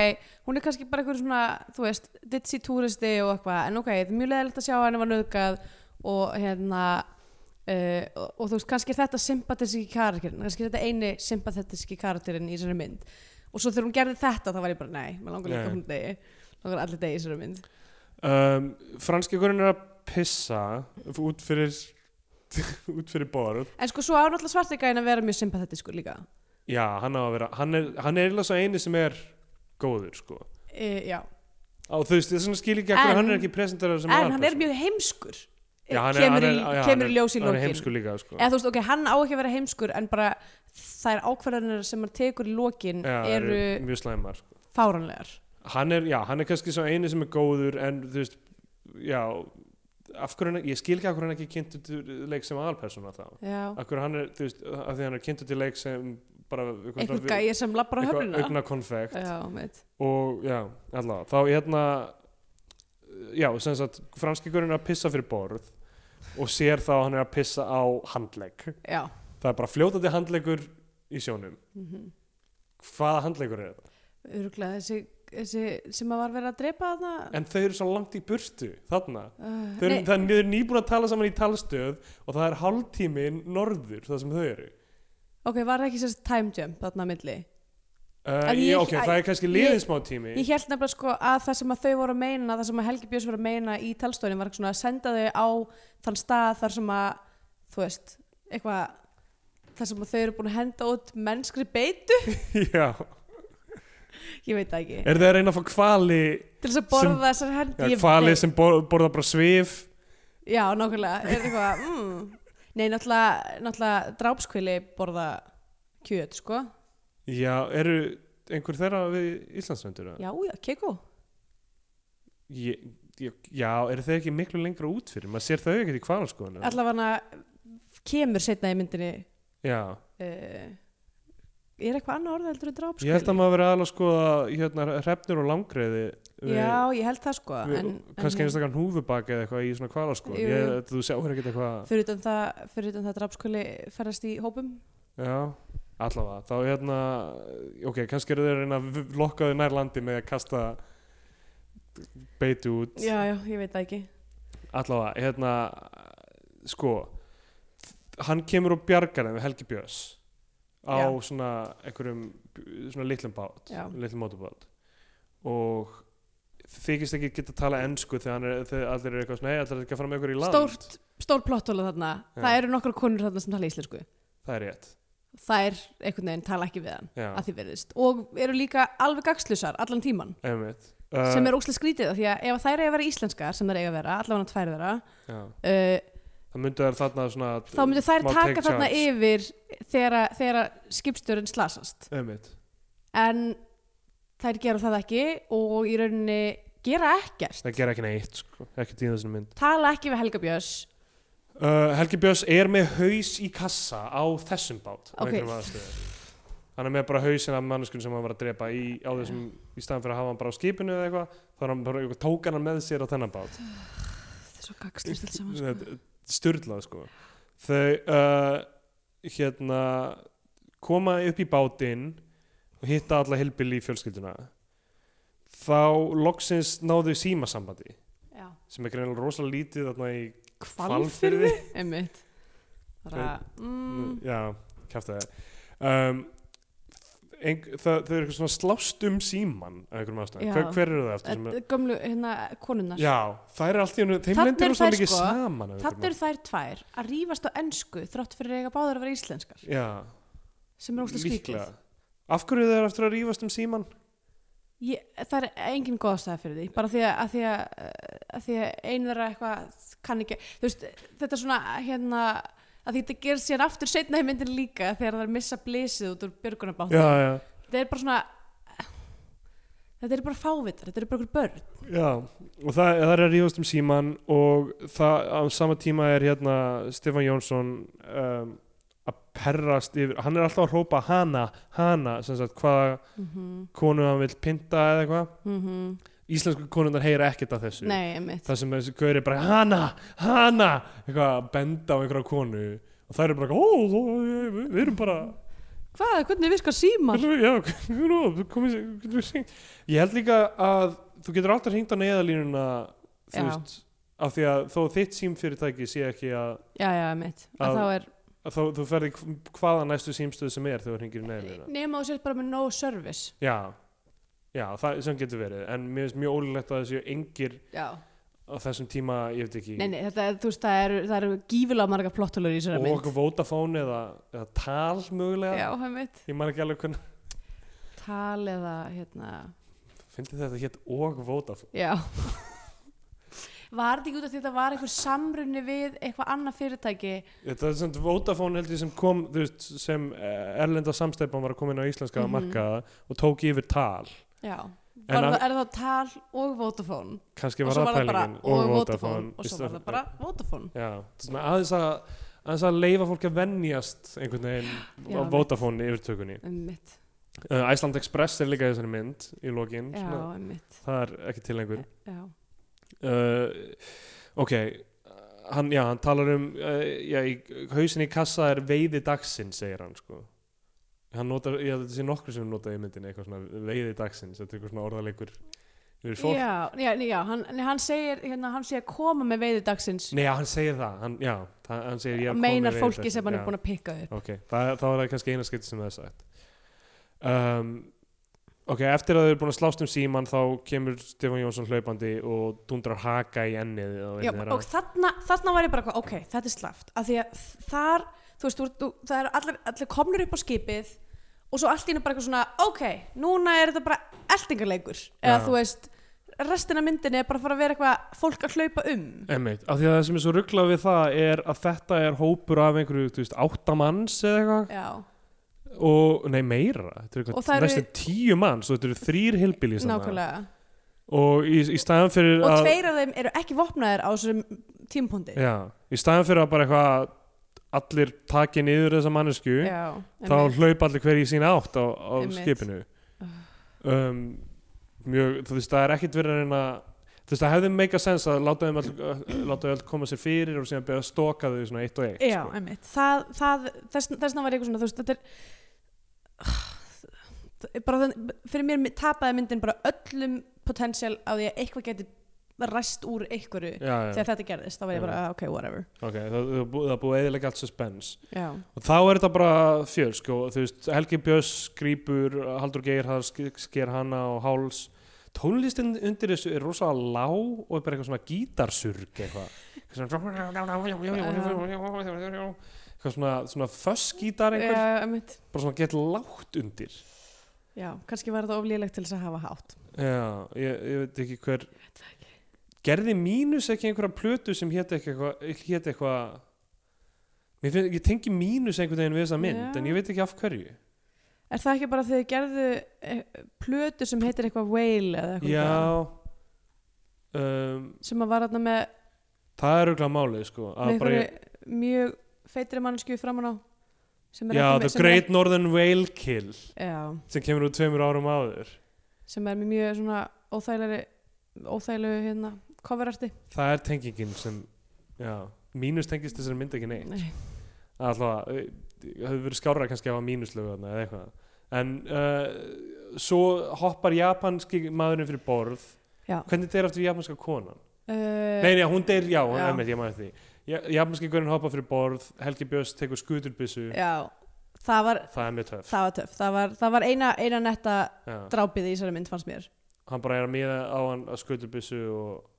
S3: hún er kannski bara eitthvað svona þú veist, ditsi túristi og eitthvað en ok, það er mjög leðilegt að sjá að henni var nöðgað og hérna uh, og, og þú veist, kannski er þetta sympatíski karakterin, kannski er þetta eini sympatíski karakterin í þessari mynd og svo þegar hún gerði þetta, þá var ég bara, nei, maður langar líka
S2: Nei.
S3: hún degi langar allir degi í þessari mynd
S2: um, franski hvernig er að pissa út fyrir út fyrir borð
S3: en sko, svo á náttúrulega svartegæðin að vera mjög sympatískur líka
S2: já, hann á að vera hann er, hann er eiginlega svo eini sem er góður sko
S3: e, já.
S2: á þú veist, þess vegna skil ég ekki akkur
S3: En-
S2: hann er ekki presentarar sem
S3: en hann er
S2: aðalpersóna.
S3: mjög heimskur
S2: Já, hann er-
S3: kemur,
S2: hann er-
S3: í,
S2: já, hann
S3: kemur
S2: er-
S3: í ljós í
S2: hann er
S3: lokin
S2: heimskur líka sko.
S3: eða þú veist, ok, hann á ekki að vera heimskur en bara þær ákvarðanir sem hann tekur í lokin
S2: já,
S3: eru
S2: mjög slæmar sko.
S3: fáranlegar
S2: hann er, já, hann er kannski svo eini sem er góður en þú veist, já af hverju, hann- ég skil ekki af hverju hann er ekki kynntu til leik sem aðalpersona þá
S3: já.
S2: af hverju hann er, þú veist, af því hann er kynntu til leik sem bara
S3: einhvern gæja sem labbar á höfnuna
S2: augna konfekt
S3: já, veit
S2: og já, allavega, þá hérna já, sem sagt franskigurinn er að pissa fyrir borð og sér þá að hann er að pissa á handlegg
S3: já.
S2: það er bara fljótandi handleggur í sjónum
S3: Mm
S2: hvaða handleggur er þetta?
S3: örgulega þessi, þessi sem að var verið að drepa þarna
S2: en þau eru svo langt í burtu, þarna
S3: uh,
S2: þau eru,
S3: nei,
S2: það er niður nýbúin að tala saman í talstöð og það er hálftímin norður það sem þau eru
S3: ok, var það ekki sérst time jump þarna á milli
S2: uh,
S3: En
S2: ég,
S3: ég-
S2: ok, það er kannski liðin
S3: ég-
S2: smá tími
S3: Ég held nefnilega sko að það sem að þau voru að meina, það sem að Helgi Björns voru að meina í talstónin var svona að senda þau á þann stað þar sem að, þú veist, eitthvað, þar sem að þau eru búin að henda út mennskri beitu,
S2: já,
S3: ég veit það ekki,
S2: er það að reyna að fá hvali
S3: til þess að borða þessar hendi.
S2: já,
S3: ég
S2: hvali
S3: veit-
S2: sem bor, borða bara svif
S3: Já, nákvæmlega, er það eitthvað, mm, nei, náttúrulega, náttúrulega drápskvili borða kjöt, sko.
S2: Já, eru einhver þeirra við Íslandsvendur?
S3: Já, já, keiko.
S2: Ég, ég, já, eru þeir ekki miklu lengra út fyrir? Maður sér þau ekkert í kvalarskoðunum.
S3: Allavega kemur setna í myndinni,
S2: Já,
S3: uh, er eitthvað annað orðið heldur en drápskvili?
S2: ég held að maður verið aðlega að skoða hérna, hrefnur og langreiði við,
S3: Já, ég held það sko
S2: við,
S3: en,
S2: kannski
S3: en,
S2: einstakar húfubak eða eitthvað í svona kvalarskoðun.
S3: Jú,
S2: Ég,
S3: jú.
S2: þú sjáur ekkert eitthvað,
S3: fyrir utan það, fyrir utan það drafskvöli ferðast í hópum
S2: já, allavega. Þá hérna, ok, kannski eru þeir að reyna að lokka þau nær landi með að kasta beitu út.
S3: Já, já, ég veit það ekki
S2: allavega, hérna sko hann kemur og bjargar þeim við Helgi Björns á
S3: Já.
S2: svona einhverjum svona litlum bát,
S3: Já.
S2: litlum mótubát og þykist ekki geta tala ensku þegar, hann er, þegar allir eru eitthvað svona, hei, allir ekki að fara með ykkur í land
S3: Stórt, stór plottóla þarna
S2: Já.
S3: Það eru nokkra konur þarna sem tala íslensku
S2: það er rétt
S3: Það er einhvern veginn tala ekki við hann
S2: Já,
S3: að því verðist og eru líka alveg gagslusar allan tíman
S2: einmitt
S3: sem er óslega skrítið af því að ef þær eiga að vera íslenskar sem þær eiga að vera, allavega tvær þeirra
S2: já,
S3: uh,
S2: það myndu þær þarna svona
S3: þá myndu þær
S2: má
S3: taka
S2: take
S3: þarna
S2: charge.
S3: yfir þegar, þegar skipstjórinn slasast
S2: einmitt,
S3: en þær gera það ekki og í rauninni gera ekkert
S2: það gera ekki neitt sko. ekki tíða þessum mynd
S3: tala ekki við Helga Björns
S2: Uh, Helgi Björns er með haus í kassa á þessum bát á
S3: Ok.
S2: einhverjum aðstöðu. hann er með bara hausin af mannskun sem hann var að drepa í, á þessum, í staðan fyrir að hafa hann bara á skipinu eða eitthvað, þá er hann bara eitthvað tókan hann með sér á þennan bát
S3: það er svo gagslust allt saman sko.
S2: Þetta er sturlað sko þau uh, hérna koma upp í bátinn og hitta alla hilbili í fjölskylduna þá loksins náðu þau símasambandi
S3: Já.
S2: sem er greinilega rosalega lítið þarna í,
S3: hvalfyrði einmitt bara, mm,
S2: mm. já, kæfti það um, ein, það, þau eru eitthvað svona slást um síman af einhverjum ástæðum,
S3: Já.
S2: hver, hver eru það eftir sem er,
S3: þetta er gömlu hérna konunnar
S2: já, þær eru alltaf þeim
S3: Þarna
S2: lendir
S3: eru
S2: hún svo
S3: þær,
S2: mikið
S3: sko.
S2: saman af einhverjum
S3: þannig eru þær tvær að rífast á ensku þrátt fyrir að eiga báðar að vera íslenskar
S2: ástæðum. já,
S3: sem er óslega skrítið
S2: líklega af hverju þau eru eftir að rífast um síman
S3: Ég, það er engin góðstæði fyrir því bara því að, að, því að, að, því að einu þeirra eitthvað kann ekki þú veist, þetta er svona hérna að því þetta gerir sér aftur setna í myndin líka þegar það er missa blísið út úr björgunabátt
S2: já, já,
S3: þetta er bara svona þetta er bara fávitar, þetta er bara einhver börn
S2: já og það, það eru að rífast um síman og það á sama tíma er hérna Stefán Jónsson um, að perrast yfir, hann er alltaf að hrópa hana, hana, sem sagt hvaða
S3: mm -hmm.
S2: konu hann vil pynta eða eitthvað
S3: Mm
S2: íslensku konundar heyra ekkert af þessu
S3: nei, einmitt
S2: það sem þessi gaur er bara hana, hana eitthvað að benda á einhverja konu og það eru bara, ó, þú, við- við erum bara
S3: hvað, hvernig virkar símar?
S2: já, nú, komið getur við syngt ég held líka að þú getur alltaf hringt á neyðalínuna
S3: Já.
S2: þú veist, af því að þó þitt símfyrirtæki sé ekki að,
S3: já, já, einmitt, að,
S2: Að-
S3: þá er
S2: að þá, þú ferði hvaða næstu símstöð sem er þegar þú hringir í neyðalínuna
S3: nema þú sér bara með no service
S2: já, já, það sem getur verið en mér finnst mjög ólíklegt að þessi engir
S3: já,
S2: á þessum tíma, ég veit ekki
S3: Nei, nei, þetta, er- þú veist, það eru, það eru gífilega marga plottulur í þessari mynd.
S2: og Vodafone eða, eða tal mögulega
S3: Já, heimitt.
S2: ég man ekki alveg hvernig
S3: Tal eða, hérna,
S2: fyndi þetta hétt og Vodafone
S3: já. Var þetta ekki út af því að þetta var einhver samrunni við eitthvað annað fyrirtæki?
S2: þetta er samt Vodafone held ég sem kom þú veist, sem eh, erlenda samsteipan var að koma inn á íslenska mm
S3: Mhm.
S2: markaða og tók yfir tal
S3: Já.
S2: En
S3: Var,
S2: að-
S3: það, er það tal og Vodafone?
S2: kannski
S3: Og
S2: var
S3: svo
S2: það
S3: var það bara
S2: pælingin
S3: og Vodafone. Og
S2: í
S3: svo
S2: stað-
S3: var það bara Vodafone.
S2: já, þetta er svona aðeins að aðeins að leifa fólk að venjast einhvern veginn
S3: Já,
S2: á
S3: mitt.
S2: Vodafone yfirtökunni
S3: Einmitt.
S2: uh, Iceland Express er líka í þessari mynd í lokin
S3: Já,
S2: svona,
S3: einmitt.
S2: það er ekki til lengur
S3: Já.
S2: uh, ok hann, já, hann talar um uh, já, í, hausin í kassa er veiði dagsin segir hann sko hann notar, ég held að þetta sé nokkur sem notaði í myndinni eitthvað svona veiði dagsins, þetta er eitthvað svona orðalegur yfir fólk,
S3: Já, já, nei, já hann, nei, hann segir, hérna, hann segir að koma með veiði dagsins.
S2: nei já, hann segir það hann, já, það, hann segir ég er
S3: og
S2: kominn
S3: meinar
S2: með
S3: fólki
S2: veiðidagsins.
S3: sem hann
S2: Já.
S3: er búin að pikka upp.
S2: ok, það, þá er það kannski eina skipti sem það er sagt um, ok, eftir að þau eru búin að slást um síman þá kemur Stefán Jónsson hlaupandi og dundrar haka í ennið á einni
S3: Já,
S2: þeirra.
S3: og þarna, þarna var ég bara eitthvað, ok, þetta er slaft af því að þar, þú veist, þú, þú, það eru allir, allir komnir upp á skipið og svo allt í henni bara eitthvað svona, ok núna er þetta bara eldingarleikur eða
S2: Já.
S3: þú veist, restina af myndinni er bara að fara að vera eitthvað fólk að hlaupa um
S2: Einmitt, af því að það sem er svo rugglað við það er að þetta er hópur af einhverju, þú veist, áttamanns eða eitthvað
S3: Já,
S2: og, nei meira, þetta er
S3: Og það
S2: eitthvað
S3: eru-
S2: næstu tíu manns og þetta eru þrýr hilbilís
S3: nákvæmlega
S2: og í, í staðan fyrir
S3: og
S2: að
S3: tveir af þeim eru ekki vopnaðir á þessum tímpúndi
S2: já, í staðan fyrir að bara eitthvað allir taki niður þessa mannesku þá
S3: einmitt.
S2: hlaupa allir hver í sína átt á, á
S3: Einmitt. Ah.
S2: skipinu um, mjög, þú veist, það er ekkit verið að reyna þú veist, það hefði meika sens að láta þeim all, láta þau all koma sér fyrir og síðan beða að stoka þau svona eitt sko. og eitt
S3: Já, einmitt það, það, þess, þessna var ég eitthvað svona þú veist, þetta er Það er bara, þann- fyrir mér mi- tapaði myndin bara öllum potensial á því að eitthvað geti ræst úr einhverju
S2: Já, já.
S3: þegar þetta gerðist, þá var ég bara, "Ah, ok, whatever
S2: Ok, það, það, er búið- það er búið eðilega allt suspense
S3: Já,
S2: og þá er þetta bara fjölsk og þú veist, Helgi Björns skrýpur Haldur Geirhars sker hana og háls tónlistin undir þessu er rosalega lág og er bara eitthvað svona gítarsurg eitthvað svona eitthvað svona, svona fössgítar
S3: já,
S2: einhver
S3: einmitt
S2: bara svona gett lágt undir
S3: Já, kannski var þetta oflýlegt til þess að hafa hátt
S2: Já, ég, ég veit ekki hver gerði mínus ekki einhverja plötu sem hétt eitthvað hét eitthvað Mér finn, ég tengi mínus einhvern veginn við þessa mynd
S3: Já.
S2: en ég veit ekki af hverju
S3: Er það ekki bara þegar þið gerðu eh, plötu sem heitir eitthvað Whale eða eitthvað
S2: já um,
S3: sem að var þarna með,
S2: það er auðvitað málið sko að bara
S3: með einhverju
S2: ég-
S3: mjög feitri mannsku framan á sem er
S2: já,
S3: ekki
S2: The
S3: með, sem er
S2: Great Northern Whale Kill
S3: ekki- Já,
S2: sem kemur úr tveimur árum áður
S3: sem er með mjög svona óþægilegri óþægilegu hérna coverarti
S2: það er tengingin sem já, mínus tengist þessari mynd ekki neitt
S3: Nei.
S2: alltaf það hefur verið skárra kannski að hafa mínuslögu þarna eða eitthvað en uh, svo hoppar japanski maðurinn fyrir borð
S3: Já.
S2: hvernig deyr aftur japanska konan?
S3: uh,
S2: nei, nei, hún deyr, já, hún
S3: Já.
S2: er með ég maður því ja, japanski gurinn hoppar fyrir borð Helgi Björns tekur skuturbissu
S3: já, það var
S2: það er mjög töff
S3: það var töff, það var, það var eina, eina netta
S2: já.
S3: drápið í þessari mynd fannst mér
S2: hann bara er að miða á hann að skuturbissu og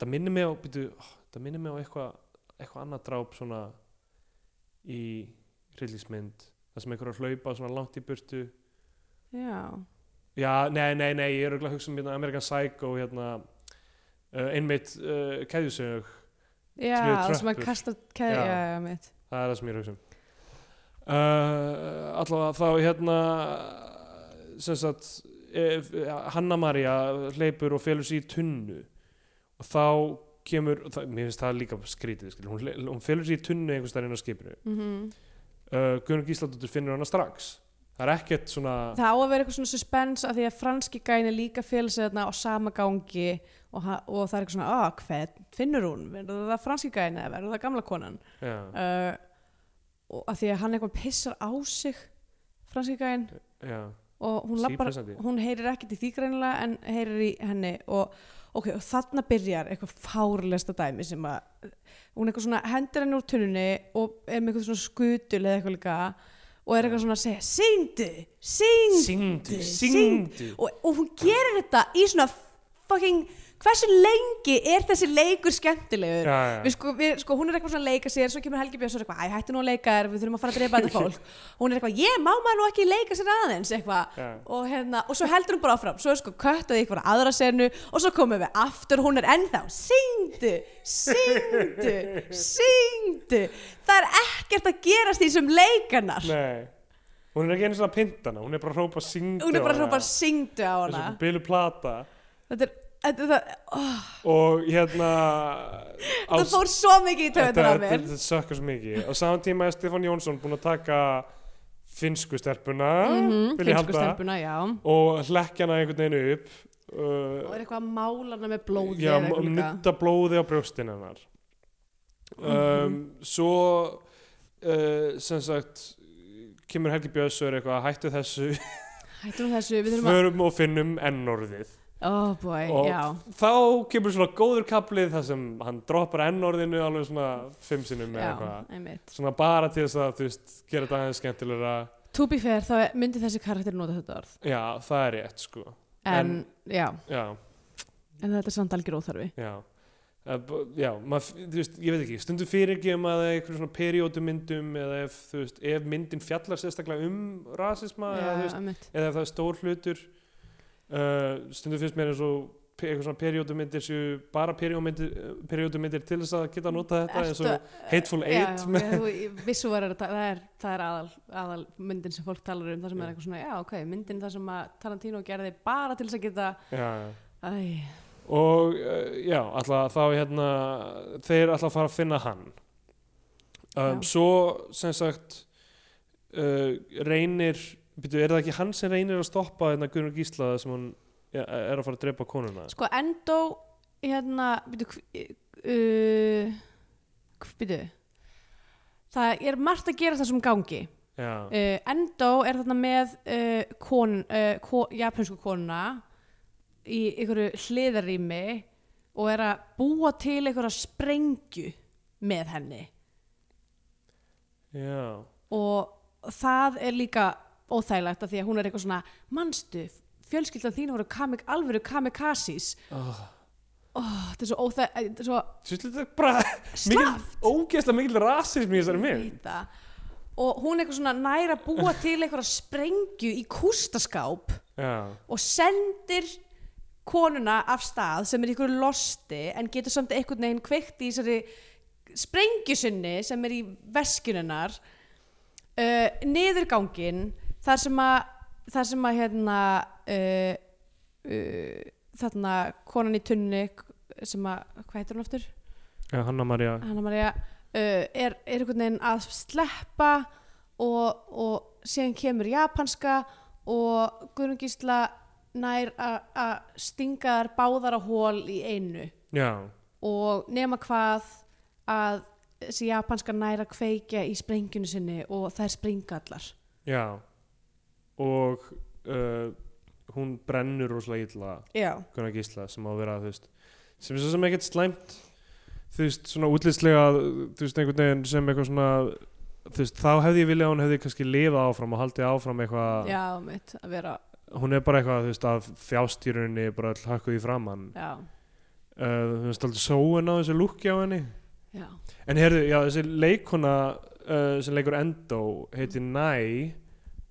S2: það minnir mig á býtu, oh, það minnir mig á eitthvað eitthvað annað dráp svona í rillismynd það sem einhver er að hlaupa svona langt í burtu
S3: já,
S2: Já, nei, nei, nei, ég er auðvitað að hugsa um hérna, American Psycho hérna, uh, einmitt uh, keðjusög,
S3: já
S2: Sem eru
S3: það sem að
S2: tröppur.
S3: kasta keð,
S2: Já.
S3: já. Já, mitt.
S2: það er það sem ég er að hugsa um uh, Allavega þá hérna sem sagt ef, Hanna María hleypur og felur sér í tunnu og þá kemur, það, mér finnst það líka skrítið, skil, hún, hle- hún felur sér í tunnu einhvers staðar inn á skipinu
S3: Mm
S2: uh, Gunnar Gísladóttur finnur hana strax það er ekkert svona
S3: það á að vera eitthvað svona suspense af því að franski gæni líka féls þarna á sama gangi og, ha- og það er eitthvað svona, ah, hvern finnur hún verður það franski gæni eða verður það gamla konan
S2: já,
S3: uh, og að því að hann eitthvað pissar á sig franski gæn
S2: já,
S3: og hún lappar
S2: sípressandi
S3: hún heyrir ekkert í því greinilega en heyrir í henni og, ok, og þarna byrjar eitthvað fárlegasta dæmi sem að hún eitthvað svona hendur henni úr tunnunni og er með eitthvað svona skutul eða eitthvað líka og er eitthvað svona að segja syngdu, syngdu
S2: Syngdu,
S3: Syngdu.
S2: syngdu
S3: og, og hún gerir þetta í svona fucking hversu lengi er þessi leikur skemmtilegur
S2: já,
S3: við sko, við, sko, hún er eitthvað svona að leika sér svo kemur Helgi Björns og er eitthvað, æ, hættu nú að leika þér við þurfum að fara að drepa þetta fólk hún er eitthvað, ég má maður nú ekki leika sér aðeins eitthvað
S2: Já.
S3: og hérna, og svo heldur hún bara áfram svo er sko köttaði ykkur aðra senu og svo komum við aftur, hún er ennþá syngdu, syngdu syngdu það er ekkert að gerast í þessum leikanar
S2: nei hún er ekki einu svona að pynta hana, hún er bara að hrópa syngdu
S3: hún er
S2: á
S3: bara að hrópa
S2: hana.
S3: syngdu á hana
S2: Þessi bilu plata
S3: þetta er, þetta, það, oh,
S2: og hérna á-
S3: það fór svo mikið í
S2: þetta,
S3: töðunar á
S2: þetta,
S3: mér
S2: þetta sökkar svo mikið á saman tíma er Stefán Jónsson búinn að taka finnsku stelpuna
S3: Mhm,
S2: vil ég
S3: finnsku
S2: halda
S3: stelpuna, já og
S2: og hlekkja hana einhvern veginn upp uh,
S3: er eitthvað að mála hana með blóði
S2: já,
S3: eða eitthvað líka. Mhm.
S2: nutta blóði á brjóstin hennar um, svo uh, sem sagt kemur Helgi Björns og er eitthvað hættu þessu,
S3: Hættum við þessu, við þurfum að
S2: förum og finnum ennorðið
S3: Oh boy,
S2: og
S3: já
S2: þá kemur svona góður kaplið þar sem hann droppar ennorðinu alveg svona fimm sinnum eða
S3: Já,
S2: eitthvað
S3: einmitt
S2: svona bara til þess að þú veist gera þetta aðeins skemmtilegra
S3: To be fair, þá myndi þessi karakter nota þetta orð
S2: já það er rétt sko
S3: En,
S2: En-
S3: já,
S2: já,
S3: en þetta er samt algjör óþarfi
S2: já Eh, b- Já, maður, þú veist, ég veit ekki, stundum fyrirgefum að það er einhverjum svona periódumyndum eða ef, þú veist, ef myndin fjallar sérstaklega um rasisma eða, þú
S3: Já,
S2: veist,
S3: einmitt
S2: eða ef það er stór hlutur uh, stundum finnst mér eins og pe- eitthvað svona periódumyndir séu bara periódumyndir, periódumyndir til þess að geta nota þetta eins og Hateful Eight
S3: Já,
S2: með-
S3: já, þú- vissu var að það er, það er aðal, aðal myndin sem fólk talar um Það sem
S2: Já.
S3: er eitthvað svona, já, ok, myndin það sem að Tarantino gerði bara til þess að geta
S2: já, já.
S3: Æ,
S2: og uh, já, alltaf þá hérna þeir alltaf fara að finna hann
S3: Já.
S2: um, svo sem sagt uh, reynir byrju, er það ekki hann sem reynir að stoppa hérna Guðrún Gísla sem hann ja, er að fara að drepa konuna
S3: sko, endó, hérna, byrju, hv- uh, hv- byrju Það er margt að gera þessum gangi
S2: já,
S3: uh, Endó er þarna með uh, kon, uh, ko, japansku konuna í einhverju hliðarými og er að búa til einhverja sprengju með henni
S2: já,
S3: og það er líka óþægilegt að því að hún er eitthvað svona mannstu, fjölskyldan þín voru kamik, alvöru kamikazis
S2: oh.
S3: oh, þetta er svo óþægilegt svo
S2: Sjöfnir, þetta er bara mikil,
S3: slaft
S2: ógeðslega mikil rasism í þessari mynd
S3: Veit það. og hún er eitthvað svona næra að búa til einhverja sprengju í kústaskáp
S2: já,
S3: og sendir konuna af stað sem er í ykkur losti en getur samt einhvern veginn kveikt í þessari sprengjusunni sem er í veskuninnar uh, niðurgangin þar sem að þar sem að hérna uh, uh, þarna konan í tunni sem að, hvað heitir hún aftur?
S2: já Hanna Maria
S3: Hanna Maria uh, er, er einhvern veginn að sleppa og, og síðan kemur japanska og Guðrún Gísla nær a- að stinga þær báðar á hól í einu
S2: já,
S3: og nema hvað að þessi japanska nær að kveikja í sprengjunu sinni og þær springa allar
S2: já og uh, hún brennur rosalega illa
S3: Já,
S2: Gunnar Gísla sem á að vera þú veist, sem er svo sem ekkert slæmt þú veist, svona útlitslega þú veist, einhvern veginn sem eitthvað svona þú veist, þá hefði ég viljað að hún hefði kannski lifað áfram og haldið áfram eitthvað
S3: já, mitt að vera
S2: hún er bara eitthvað, þú veist, að þjástýrunni bara all hakkuð í framann uh,
S3: Já,
S2: þú veist, alltaf sóin á þessu lúkja á henni
S3: já,
S2: en heyrðu, já, þessi leikona uh, sem leikur Endo heitir Næ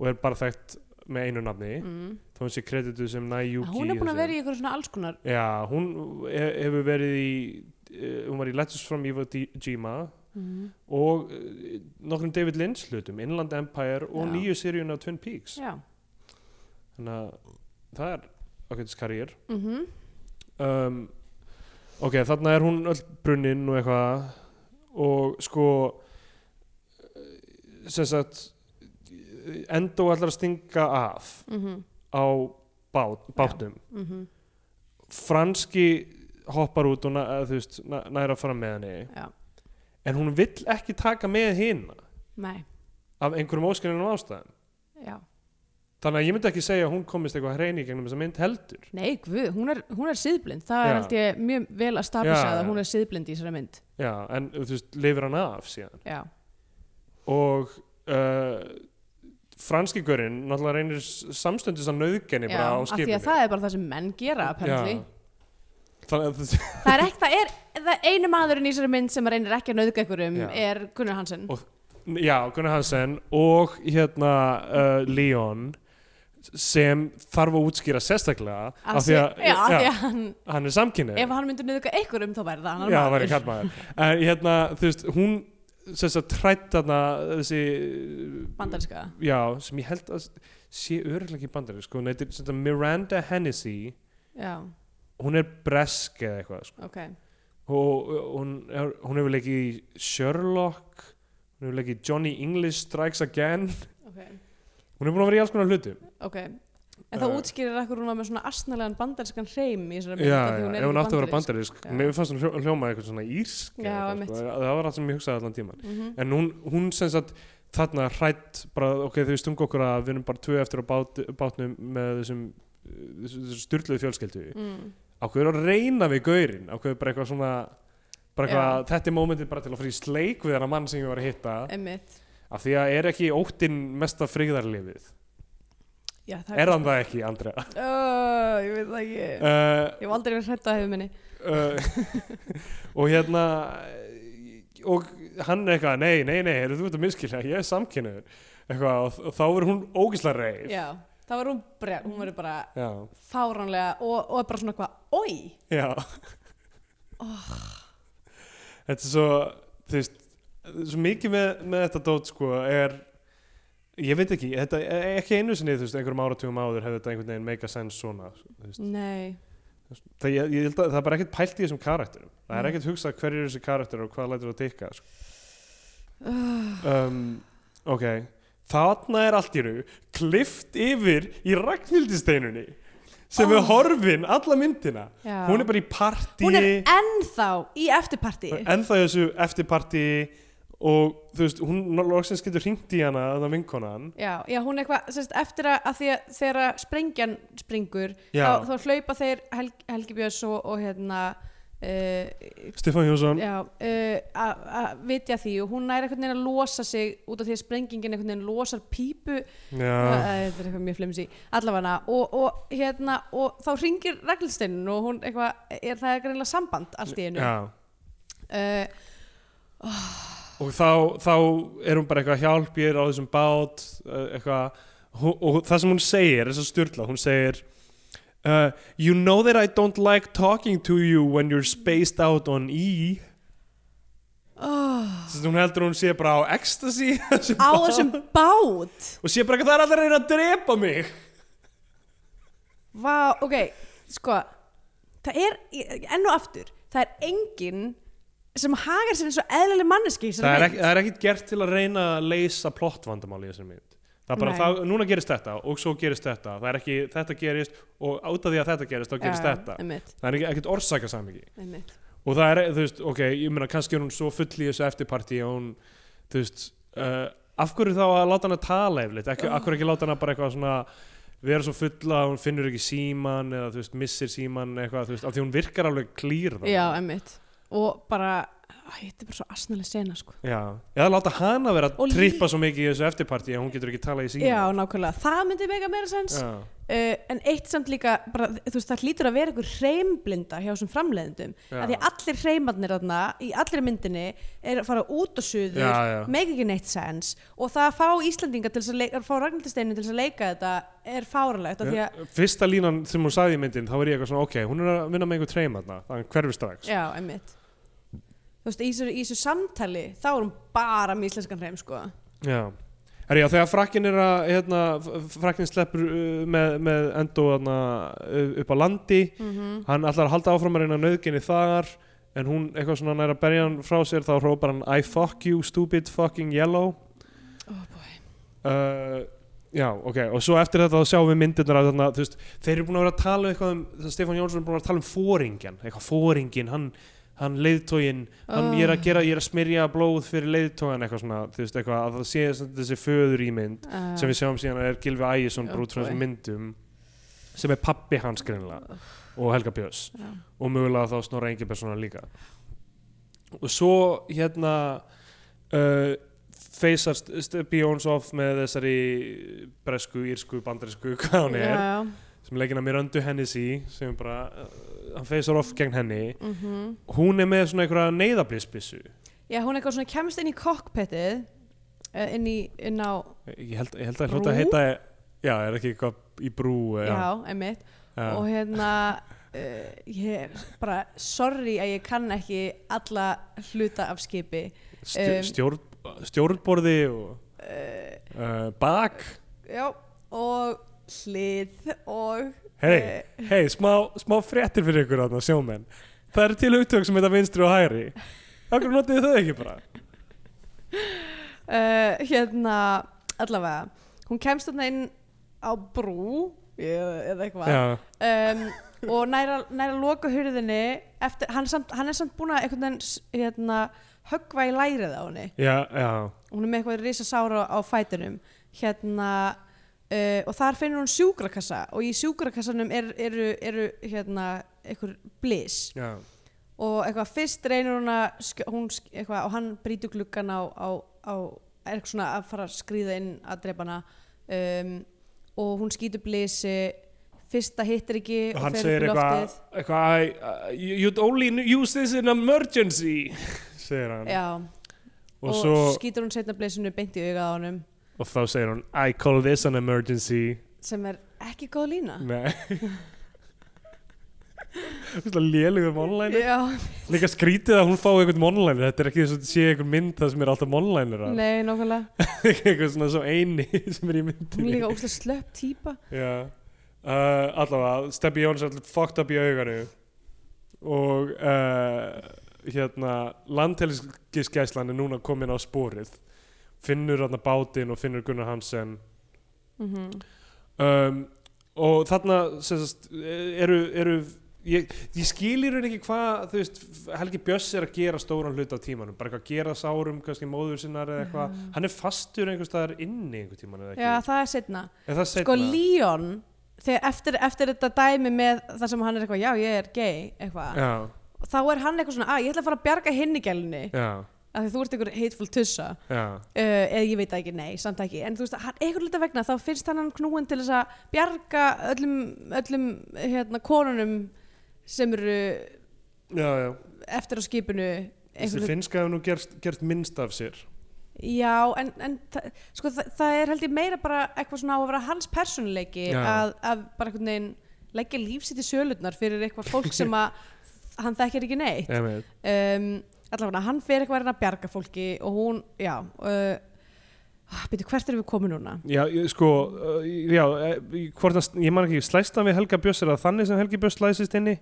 S2: og er bara þekkt með einu nafni,
S3: mm. Ah,
S2: þó hún sé kredituð sem Næ Yuki
S3: Hún er búin
S2: þessu.
S3: að vera í einhverjum svona alls konar
S2: Já, hún he- hefur verið í uh, hún var í Letters from Iwo Di- Jima
S3: mm.
S2: og uh, nokkrum David Lynch hlutum, Inland Empire og
S3: Já.
S2: nýju seríun á Twin Peaks
S3: Já,
S2: þannig að það er okkur karriér
S3: mm
S2: um, ok, þarna er hún öll brunnin og eitthvað og sko eh, sem sagt endó allar að stinga af
S3: Mhm.
S2: á bát, bátum
S3: Mhm.
S2: franski hoppar út og na- eða, þú veist, na- nær að fara með henni
S3: já,
S2: en hún vill ekki taka með hina
S3: nei,
S2: af einhverjum óskilunum ástæðum
S3: já
S2: þannig að ég myndi ekki segja að hún komist eitthvað hrein í gegnum þessa mynd heldur
S3: Nei, guð, hún er, hún er síðblind. Það
S2: Já.
S3: er held ég mjög vel að
S2: Já,
S3: stabilisað
S2: já.
S3: að hún er síðblind í þessari mynd.
S2: Já, en þú veist, lifir hann af síðan
S3: Já,
S2: og uh, franski görinn náttúrulega reynir s- samstundis að nauðgenni
S3: já
S2: bara á
S3: af því
S2: skipinu
S3: að það er bara það sem menn gera, apparently.
S2: Já. þannig að þú-
S3: það er ekki, það er, það einu maðurinn í þessari mynd sem að reynir ekki að nauðga ykkur um
S2: Já.
S3: er Gunnar Hansen
S2: Og- Já, Gunnar Hansen og hérna uh, Leon sem þarf að útskýra sérstaklega af því að,
S3: já, af því
S2: já,
S3: að hann,
S2: hann er samkynni
S3: ef hann myndi nauðga ykkur um þá væri það annar
S2: Já, það væri
S3: maður.
S2: kallmaður En hérna, þú veist, hún þess að trætt þarna uh, þessi
S3: bandarinska
S2: já, sem ég held að sé örgulega ekki bandarísk sko, hún heitir sem þetta Miranda Hennessy
S3: já,
S2: hún er bresk eða eitthvað sko.
S3: ok
S2: og og hún, er, hún hefur leikið í Sherlock hún hefur leikið í Johnny English Strikes Again
S3: ok,
S2: hún er búin að vera í alls konar hlutum
S3: ok en það
S2: Eh.
S3: útskýrir ekkur hún var með svona astnælegan bandarinskan hreim í þessari
S2: já,
S3: mynd
S2: já,
S3: af
S2: ef
S3: því er
S2: hún
S3: ekki
S2: átti að vera
S3: bandarísk.
S2: bandarísk
S3: Já.
S2: mér fannst hún hljó- hljóma eitthvað svona írsk eða
S3: Já,
S2: eitthvað,
S3: einmitt.
S2: sko. það var allt sem ég hugsaði allan tíman
S3: Mhm.
S2: en hún, hún sem sagt þarna hrætt bara, ok, þau stungu okkur að við erum bara tvö eftir á bát, bátnum með þessum, uh, þessum styrluðu fjölskyldu
S3: mm.
S2: ákveður að reyna við gaurin ákveður bara eitthvað svona bara eitthvað,
S3: Já.
S2: þetta er mómentið bara til að fara í sleik við þennan mann sem ég var að hitta
S3: einmitt
S2: af því að er ekki óttinn mesta frigðarlifið
S3: já,
S2: er hann það ekki, Andrea?
S3: oh, ég veit það ekki
S2: Uh,
S3: ég hef aldrei verið hrætt á hefðu minni
S2: uh, og hérna og hann er eitthvað nei, nei, nei, heyrðu, þú ert að minnskilja ég er samkynniður eitthvað, og, og þá er hún ógislega reið
S3: já, það var hún brjál, hún verið bara
S2: já,
S3: fáránlega og, og bara svona eitthvað, oi
S2: já. þetta er svo þú veist, svo mikið með, með þetta dót sko er ég veit ekki, þetta er ekki einu sinni þú veist, einhverjum áratugum áður hefði þetta einhvern veginn make a sense svona, þú veist
S3: nei,
S2: það, ég, ég held að það er bara ekkert pælt í þessum karakterum það er
S3: Mm.
S2: ekkert hugsað hverju eru þessi karakterar og hvað lætur það tikka sko. um, ok þarna er allt í rau klift yfir í Ragnhildisteinunni sem
S3: Oh.
S2: er horfin alla myndina
S3: já
S2: hún er bara í partí
S3: Hún er ennþá í eftirparti
S2: ennþá í þessu eftir partí og þú veist, hún loksins getur hringt í hana þannig að vinkonan
S3: Já, já, hún er eitthvað, sérst, eftir að, að því að þegar að sprengjan springur
S2: Já.
S3: þá, þá hlaupa þeir Hel Helgi Björns og, og hérna uh,
S2: Stefán Jónsson
S3: já, uh, að- að vitja því og hún er einhvern veginn að losa sig út af því að sprengingin einhvern veginn losar pípu
S2: já,
S3: Æ, þetta er eitthvað mjög flimsi allavega og, og hérna og þá ringir reglsteinun og hún eitthvað er það er greinlega samband allt í einu
S2: já.
S3: Eh,
S2: og þá, þá er hún bara eitthvað hjálp ég er á þessum bát uh, eitthvað, og, og það sem hún segir þess að styrla, hún segir uh, you know that I don't like talking to you when you're spaced out on E
S3: oh,
S2: þess að hún heldur hún sé bara á ecstasy á
S3: á þessum bát
S2: og sé bara eitthvað það er allir að reyna að drepa mig
S3: Vá, ok, sko það er, enn og aftur það er enginn sem hagar sér eins og eðlileg manneski í
S2: það
S3: þessari
S2: er,
S3: mynd.
S2: ekki, það er ekkit gert til að reyna að leysa plottvandamáli í þessum mynd það er bara,
S3: Nei.
S2: það, núna gerist þetta og svo gerist þetta það er ekki, þetta gerist og át af því að þetta gerist, þá gerist
S3: Já,
S2: þetta
S3: einmitt,
S2: það er ekki- ekkert orsaka samingi
S3: einmitt.
S2: og það er, þú veist, ok, ég meina kannski er hún svo full í þessu eftirparti og hún, þú veist uh, af hverju þá að láta hana tala yfirleitt,
S3: Ah.
S2: ekki, af hverju ekki láta hana bara eitthvað svona vera svo fulla að hún finnur ekki síman eða þú veist, missir síman eitthvað, þú veist, af því hún virkar alveg klýr þá
S3: Já, emmitt og bara, æ, þetta er bara svo asnalega sena sko.
S2: Já. eða láta hana vera
S3: Og
S2: að
S3: lí-
S2: trippa svo mikið í þessu eftirparti að hún getur ekki talað í síman
S3: Já, nákvæmlega, það myndi mega meira sens uh,
S2: Já.
S3: en eitt samt líka, bara, þú veist, það hlýtur að vera einhver hreimblinda hjá þessum framleiðendum
S2: Já.
S3: af því allir hreimarnir þarna í allir myndinni er að fara út og suður
S2: Já, já.
S3: make ekki neitt sens og það að fá Íslandinga til þess að leika, að fá Ragnhildisteinu til þess að leika þetta er fáralegt af því að,
S2: fyrsta línan sem hún sagði í myndin þá var ég eitthvað svona, ok, hún er að vinna með einhver treym þarna, þannig hverfi strax
S3: já, einmitt þú veist, í þessu, í þessu samtali þá er hún bara með íslenskan hreim sko
S2: Já, Herri, já þegar frakkin er að hérna, f- frakkin sleppur uh, með, með endó hérna, uh, upp á landi
S3: Mhm.
S2: hann ætlar að halda áfram að reyna nöðginni þar en hún eitthvað svona næra berja hann frá sér þá hrópar hann I fuck you stupid fucking yellow
S3: oh boy
S2: uh, Já, ok, og svo eftir þetta þá sjáum við myndirnar að þarna, þú veist, þeir eru búin að vera að tala um eitthvað um, það Stefán Jónsson er búin að vera að tala um fóringjan, eitthvað fóringin, hann, hann leiðtógin, hann,
S3: Oh.
S2: ég er að gera, ég er að smyrja blóð fyrir leiðtógan eitthvað svona, þú veist, eitthvað að það sé sem þessi föður í mynd
S3: uh,
S2: sem við sjáum síðan er Gilvi Ægisson bara út frá
S3: Oh boy.
S2: þessum myndum sem er pappi hans greinlega og Helga Björns
S3: Oh. Já.
S2: og mögulega þá Snorra Engilbergssonar líka og svo hérna uh, feysast Bjóns off með þessari bresku, írsku, bandarísku hvað hún er
S3: já,
S2: sem leikina mér öndu Hennessy sem bara uh, hann feysar off gegn henni
S3: mm -hmm.
S2: hún er með svona einhverja neyðablísbissu
S3: Já, hún eitthvað svona kemst inn í kokpetið eh, inn, í, inn á,
S2: ég held, ég held að
S3: Brú?
S2: hljóta að heita já, er ekki eitthvað í brú
S3: já,
S2: já,
S3: einmitt
S2: já.
S3: og hérna uh, ég er bara sorry að ég kann ekki alla hluta af skipi
S2: Stjó-
S3: um,
S2: stjórn, stjórnborði og
S3: uh,
S2: uh, bak
S3: já, og hlið og
S2: hei,
S3: Eh.
S2: hei, smá, smá fréttir fyrir ykkur þarna sjómenn það eru til hugtök sem heita vinstri og hægri okkur notið þau ekki bara
S3: uh, hérna allavega, hún kemst þarna inn á brú eh, eða eitthvað
S2: já,
S3: um, og næra, næra loka hurðinni eftir, hann, samt, hann er samt búin að einhvern veginn s- hérna, höggva í lærið á henni
S2: já, já,
S3: hún er með eitthvað risasára á fætinum hérna uh, og þar finnur hún sjúkrakassa og í sjúkrakassanum er, eru, eru hérna eitthvað blis
S2: já.
S3: og eitthvað fyrst reynir hún að skj- hún, sk- eitthvað, og hann brýtur gluggan á, á, á er eitthvað svona að fara að skrýða inn að drepa hana um, og hún skýtur blisi fyrsta hittir ekki
S2: og hann
S3: fer upp í
S2: segir eitthvað
S3: loftið.
S2: eitthvað, "I- uh, you'd only use this in emergency segir hann
S3: Já,
S2: og,
S3: og,
S2: svo,
S3: skýtur hún setna blisinu beint í augað á honum
S2: og þá segir hún I call this an emergency
S3: sem er ekki góð lína
S2: Nei Þú lélugum um online
S3: Já,
S2: Líka skrítið að hún fái einhvern online Þetta er ekki þess að þetta sé einhvern mynd það sem er alltaf online
S3: nei, nákvæmlega
S2: Eitthvað svona svo eini sem er í
S3: hún er
S2: myndinni
S3: líka óslega slöpp típa
S2: Já uh, Allavega, Stebbi Jóns er alltaf fucked up í auganu Og uh, hérna Landhelgisgæslan er núna komin á sporið Finnur hérna bátinn og finnur Gunnar Hansen
S3: mm
S2: um, og þarna sem sagt, eh, eru, eru ég, ég skil í raun ekki hvað þú veist, Helgi Bjöss er að gera stóran hlut á tímanum, bara eitthvað að gera sárum kannski móður sinnar eða eitthvað
S3: Já.
S2: hann er fastur einhvers staðar inni einhver tíman eða ekki,
S3: Mhm. Já, það er setna
S2: er það
S3: Sko
S2: setna
S3: Leon, þegar eftir, eftir þetta dæmi með það sem hann er eitthvað, já ég er gay eitthvað,
S2: já,
S3: þá er hann eitthvað svona, að ég ætla að fara að bjarga hinni gælunni
S2: já,
S3: af því þú ert einhver hateful tussa uh,
S2: já
S3: eða ég veit það ekki, nei, samt ekki en þú veist, hann, einhver lita vegna, þá finnst hann hann knúin til þess að bjarga öllum, öllum hérna, konunum sem eru
S2: já, já,
S3: eftir á skipinu
S2: þessi
S3: einhver hlut-
S2: finnska hefur nú gerst, gerst minnst af sér
S3: Já, en, en þa sko, þa það er held ég meira bara eitthvað svona á að vera hans persónuleiki
S2: Já.
S3: að, að bara einhvern veginn leggja lífsitt í sölurnar fyrir eitthvað fólk sem að hann þekkir ekki neitt
S2: Einmitt.
S3: um, allavega hann fer eitthvað að reyna að bjarga fólki og hún, já uh, byrju, hvert erum við komin núna?
S2: já, ég- sko uh, já, eh, hvort að, ég man ekki slæst hann við Helga Bjöss er það þannig sem Helgi Bjöss slæsist inni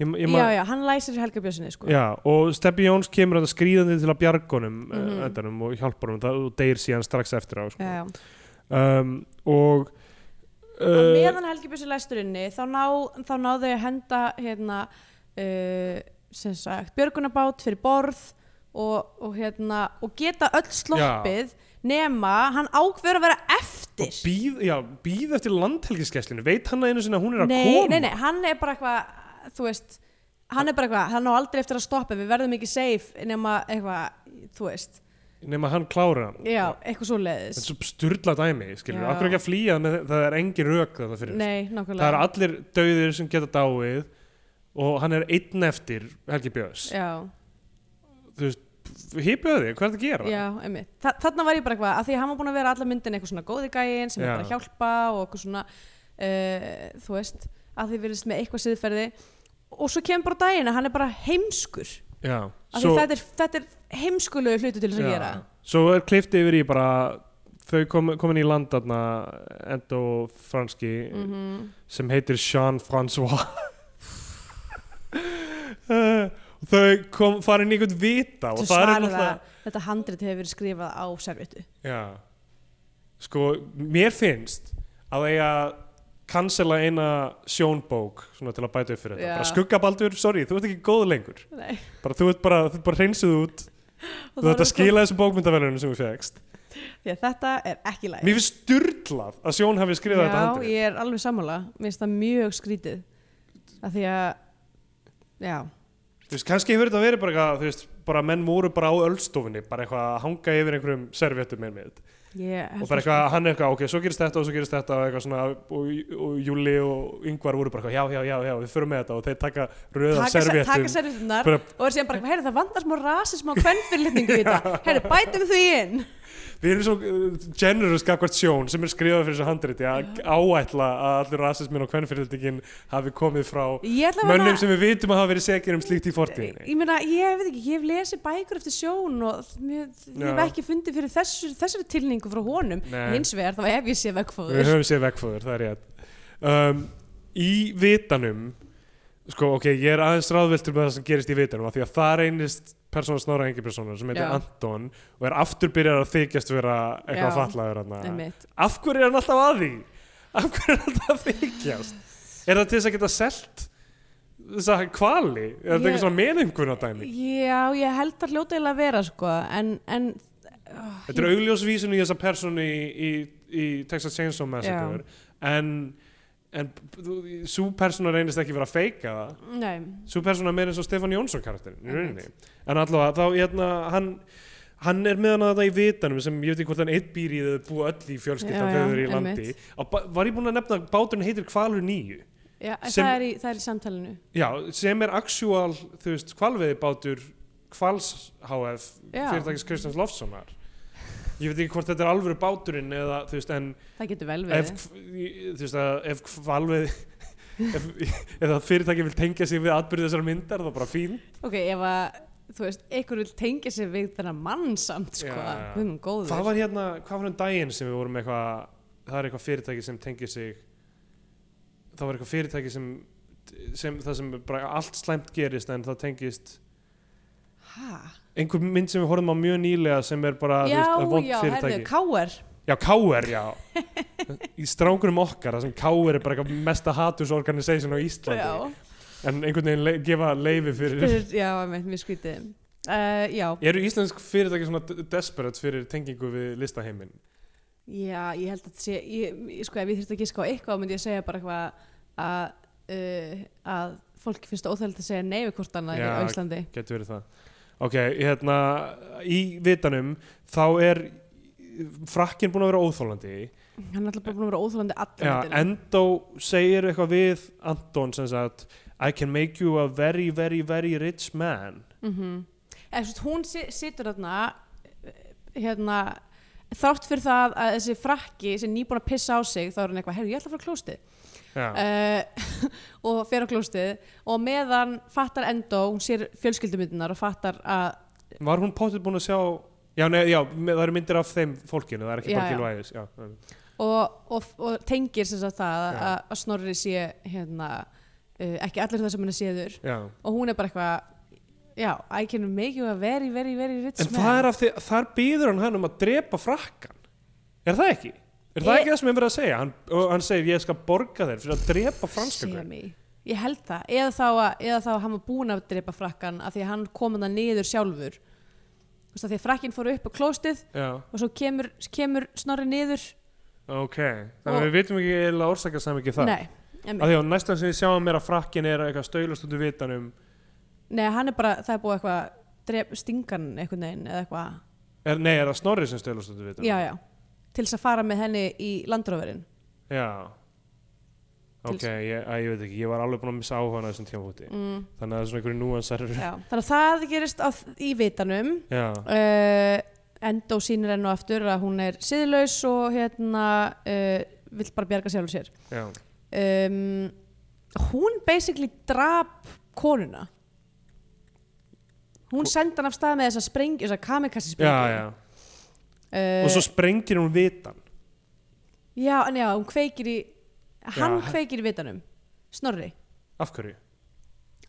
S2: ég, ég man,
S3: Já, já, hann læsir Helga Björnsinni sko
S2: Já, og Steppi Jóns kemur að skrýðandi til að bjargunum mm
S3: Mhm.
S2: -hmm. og hjálpar honum það og deyr síðan strax eftir á sko.
S3: já.
S2: um, og
S3: og
S2: uh,
S3: meðan Helgi Bjössi læstur inni þá, ná, þá náðu þau að henda hérna, uh, sem sagt björgunabát fyrir borð og, og, hérna, og geta öll sloppið nema hann ákveður að vera eftir
S2: býð, já, býð eftir landhelgiskesslinu veit hann að einu sinni að hún er að
S3: nei,
S2: koma
S3: nei, nei, hann er bara eitthvað þú veist, hann er bara eitthvað hann á aldrei eftir að stoppa, við verðum ekki safe nema eitthvað, þú veist
S2: nema hann klára hann
S3: já, eitthvað svo
S2: þetta er
S3: leiðis
S2: svo sturla dæmi, skilur
S3: Já.
S2: akkur ekki að flýja með, það er engin rök það fyrir það
S3: nei,
S2: er
S3: nákvæmlega
S2: allir dauðir sem geta dáið og hann er einn eftir Helgi Björns
S3: já,
S2: hýpjaðu þig, hvað er það að gera?
S3: Já, einmitt. Þa þarna var ég bara eitthvað, að því að hann var búin að vera alla myndin eitthvað svona góði gæin sem
S2: Já.
S3: er bara að hjálpa og eitthvað svona, uh, þú veist, að því virðist með eitthvað siðferði og svo kemur bara daginn að hann er bara heimskur.
S2: Já,
S3: Af því þetta er, þetta er heimskulegu hlutu til þess að
S2: Já.
S3: gera.
S2: Svo er klift yfir í bara þau kom, komin í land þarna endo franski
S3: Mm
S2: sem heitir Jean-François Eh, og þau kom, farin í einhvern vita og
S3: Svo
S2: það er
S3: svarar
S2: náttúrulega
S3: það, þetta handrit hefur verið skrifað á servitu.
S2: Já. sko, mér finnst að eiga að cancela eina sjónbók svona til að bæta upp fyrir þetta
S3: Já.
S2: bara skuggabaldur, sorry, þú ert ekki góð lengur
S3: Nei.
S2: bara þú ert bara, þú ert bara hreinsuð út
S3: Og
S2: þú
S3: þá
S2: ert
S3: er
S2: að skila þessum bókmyndavelunum sem við fegst
S3: sko- Því að þetta er ekki læg.
S2: Mér finnst styrlað að Sjón hafi skrifað þetta
S3: Já,
S2: handrið.
S3: ég er alveg sammála. Mér finnst það mjög skrítið. Af því að, já.
S2: Þú veist, kannski hefur þetta verið bara eitthvað, þú veist, bara menn voru bara á öllstofinni bara eitthvað að hanga yfir einhverjum servjettum með með
S3: yeah,
S2: og bara eitthvað, hann er eitthvað, ok, svo gerist þetta og svo gerist þetta og eitthvað svona, og, og Júli og Yngvar voru bara eitthvað, já, já, já, já, við förum með þetta og þeir taka röða
S3: taka, taka
S2: servjettum
S3: servjettunar
S2: Bara-
S3: og er síðan bara, heyrðu það vandar smá rasism á kvennfyrlitningu í þetta, heyrðu bætum því inn
S2: við erum svo uh, generous gagvart sjón sem er skrifað fyrir þessu handriti að áætla að allur rasismin og kvennfyrirtækin hafi komið frá
S3: ég ætla að
S2: mönnum sem við vitum að hafa verið segir um slíkt í fortíðinni
S3: ég meina, ég veit ekki, ég hef lesið bækur eftir sjón og mér, ég hef
S2: Já.
S3: ekki fundið fyrir þessu, þessari tilningu frá honum
S2: Nei.
S3: hins vegar þá hef ég séð
S2: við
S3: vekkfóður
S2: höfum séð vegfóður, það er rétt um, í vitanum sko ok, ég er aðeins ráðviltur með það sem gerist í vitanum af því að það reynist persóna snorra engi persóna sem heitir
S3: Já.
S2: Anton og er aftur byrjar að þykjast vera eitthvað
S3: Já.
S2: fatlaður hann af hverju er hann alltaf að því? af hverju er hann alltaf að þykjast? er það til þess að geta selt þess að hvali? er þetta
S3: Ég-
S2: eitthvað svona meninguna dæmi?
S3: já, ég held að hljóta eiginlega að vera sko, en, en oh,
S2: Þetta er augljósvísun í þessa persónu í, í, í Texas Chainsaw Massacre en, en svo persóna reynist ekki vera að feika það
S3: nei,
S2: svo persóna er meira eins og Stefán Jónsson karakterin í
S3: Einmitt.
S2: rauninni en allavega þá hérna hann hann er meðan að þetta í vitanum sem ég veit ekki hvort hann eitt býr í þau búa öll í
S3: Já,
S2: fjölskyldan
S3: já,
S2: þegar þau eru í
S3: einmitt.
S2: landi Á ba- var ég búin að nefna að báturinn heitir Kvalur 9
S3: já, en
S2: Sem-
S3: það, er í, það er í samtalinu
S2: Já, sem er actual, þú veist, kvalveiðibátur Kvals HF
S3: Já.
S2: fyrirtækis Kristjáns Lofssonar ég veit ekki hvort þetta er alvöru báturinn eða, þú veist, en
S3: það getur vel
S2: ef,
S3: verið
S2: þú veist, að ef kvalveið ef, ef það fyrirtæki vil tengja sig við atbyrði þessar myndar, þá bara fín
S3: ok, ef að, þú veist, einhver vil tengja sig við þennan mann samt sko,
S2: Já, já.
S3: við erum góður
S2: Hvað var hérna, hvað var um daginn sem við vorum með eitthvað, það er eitthvað fyrirtæki sem tengir sig það var eitthvað fyrirtæki sem, sem það sem bara allt slæmt gerist en það tengist
S3: ha?
S2: einhver mynd sem við horfum á mjög nýlega sem er bara,
S3: já,
S2: þú veist, vond
S3: já,
S2: fyrirtæki
S3: herðu, káar
S2: Já, K.R. já Í strákurum okkar, það sem K.R. er bara eitthvað mesta hatursorganisation á Íslandi
S3: já,
S2: En einhvern veginn le gefa leifi fyrir
S3: Fyrir- já, með mér skrítið uh, já,
S2: Eru íslensk fyrirtæki svona d- desperate fyrir tengingu við listaheimin?
S3: já, ég held að þetta sé ég, ég- sko, ef ég þurfti að gíska á eitthvað myndi ég segja bara eitthvað að uh, að fólki finnst það óþægilegt að segja nei við hvort annað
S2: Já,
S3: á Íslandi
S2: Getur verið það Ok, hérna, í vitanum þá er frakkinn búin að vera óþólandi
S3: hann er alltaf bara búin að vera óþólandi allan
S2: Já, Endo segir eitthvað við Anton sem sagt I can make you a very, very, very rich man
S3: mm eða svo hún si- situr þarna eh, hérna þrátt fyrir það að þessi frakki sem nýbúin að pissa á sig þá er hann eitthvað, herru ég ætla að fara á klóstið
S2: Já,
S3: uh, og fer á klóstið og meðan fattar Endó hún sér fjölskyldumindunar og fattar að
S2: Var hún póttið búin að sjá Já, nei, já, me- það eru myndir af þeim fólkinu, það er ekki
S3: Já,
S2: bara
S3: já.
S2: gilvæðis Já,
S3: og, og, og tengir sem sagt það
S2: Já.
S3: að, að Snorri sé hérna, uh, ekki allir það sem hann er séður
S2: já.
S3: og hún er bara eitthvað já, I can make you a very, very, very rich
S2: En
S3: man
S2: það er af því, þar býður hann hann um að drepa frakkan Er það ekki? Er það
S3: Ég-
S2: ekki það sem er verið að segja? Hann, og hann segir, ég skal borga þér fyrir að drepa franska guð
S3: Semi. ég held það, eða þá að eða þá að hann var búin að drepa frakkan af því að hann kom hann niður sjálfur Þú veist, af því að frakkinn fór upp á klóstið
S2: Já,
S3: og svo kemur, kemur Snorri niður
S2: ok Þannig að
S3: Og-
S2: við vitum ekki eiginlega orsakasamhengi það
S3: nei, einmitt.
S2: Af því að næstan sem við sjáum er að frakkin er eitthvað stöylast út úr vitanum
S3: Nei, hann er bara, það er búið eitthvað dref, stingan einhvern veginn eða eitthvað
S2: er, Nei, er það snorri sem stöylast út úr vitanum?
S3: já, já, til þess að fara með henni í landróverin
S2: Já
S3: Til
S2: Ok, ég, að, ég veit ekki, ég var alveg búin að missa áhuga á þessum tímafóti
S3: mm,
S2: Þannig að það er svona einhverju núansar
S3: já. þannig að það gerist á, í vitanum
S2: Já,
S3: uh, Endó sýnir enn og aftur að hún er siðlaus og hérna uh, vill bara bjarga sjálf sér
S2: já
S3: um, hún basically drap konuna hún sendi hann af stað með þessa sprengi, þessa kamikassi
S2: Já,
S3: sprengi
S2: já,
S3: Uh,
S2: og svo sprengir hún vitan
S3: Já, en já, hún kveikir í hann
S2: Já.
S3: kveikir í vitanum Snorri,
S2: Af hverju?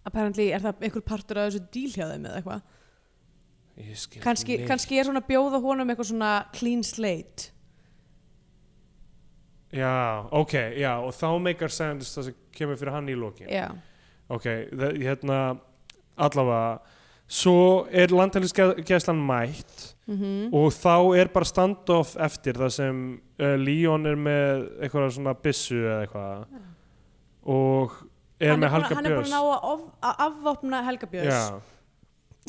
S3: apparently er það einhver partur af þessu díl hjá þeim eða eitthvað
S2: Ég skil ekki
S3: kannski,
S2: neitt.
S3: kannski er hún að bjóða honum eitthvað svona clean slate
S2: Já, ok, já, og þá meikar sense það sem kemur fyrir hann í lokin
S3: Já,
S2: Ok, það, hérna allavega Svo er landhælisgæðslan mætt
S3: Mhm.
S2: og þá er bara standoff eftir þar sem uh, Leon er með eitthvað svona byssu eða eitthvað og er
S3: hann,
S2: með
S3: búinn að-
S2: Helga
S3: hann er búin
S2: Björns
S3: að ná að, of, að afvopna Helga Björns
S2: Já,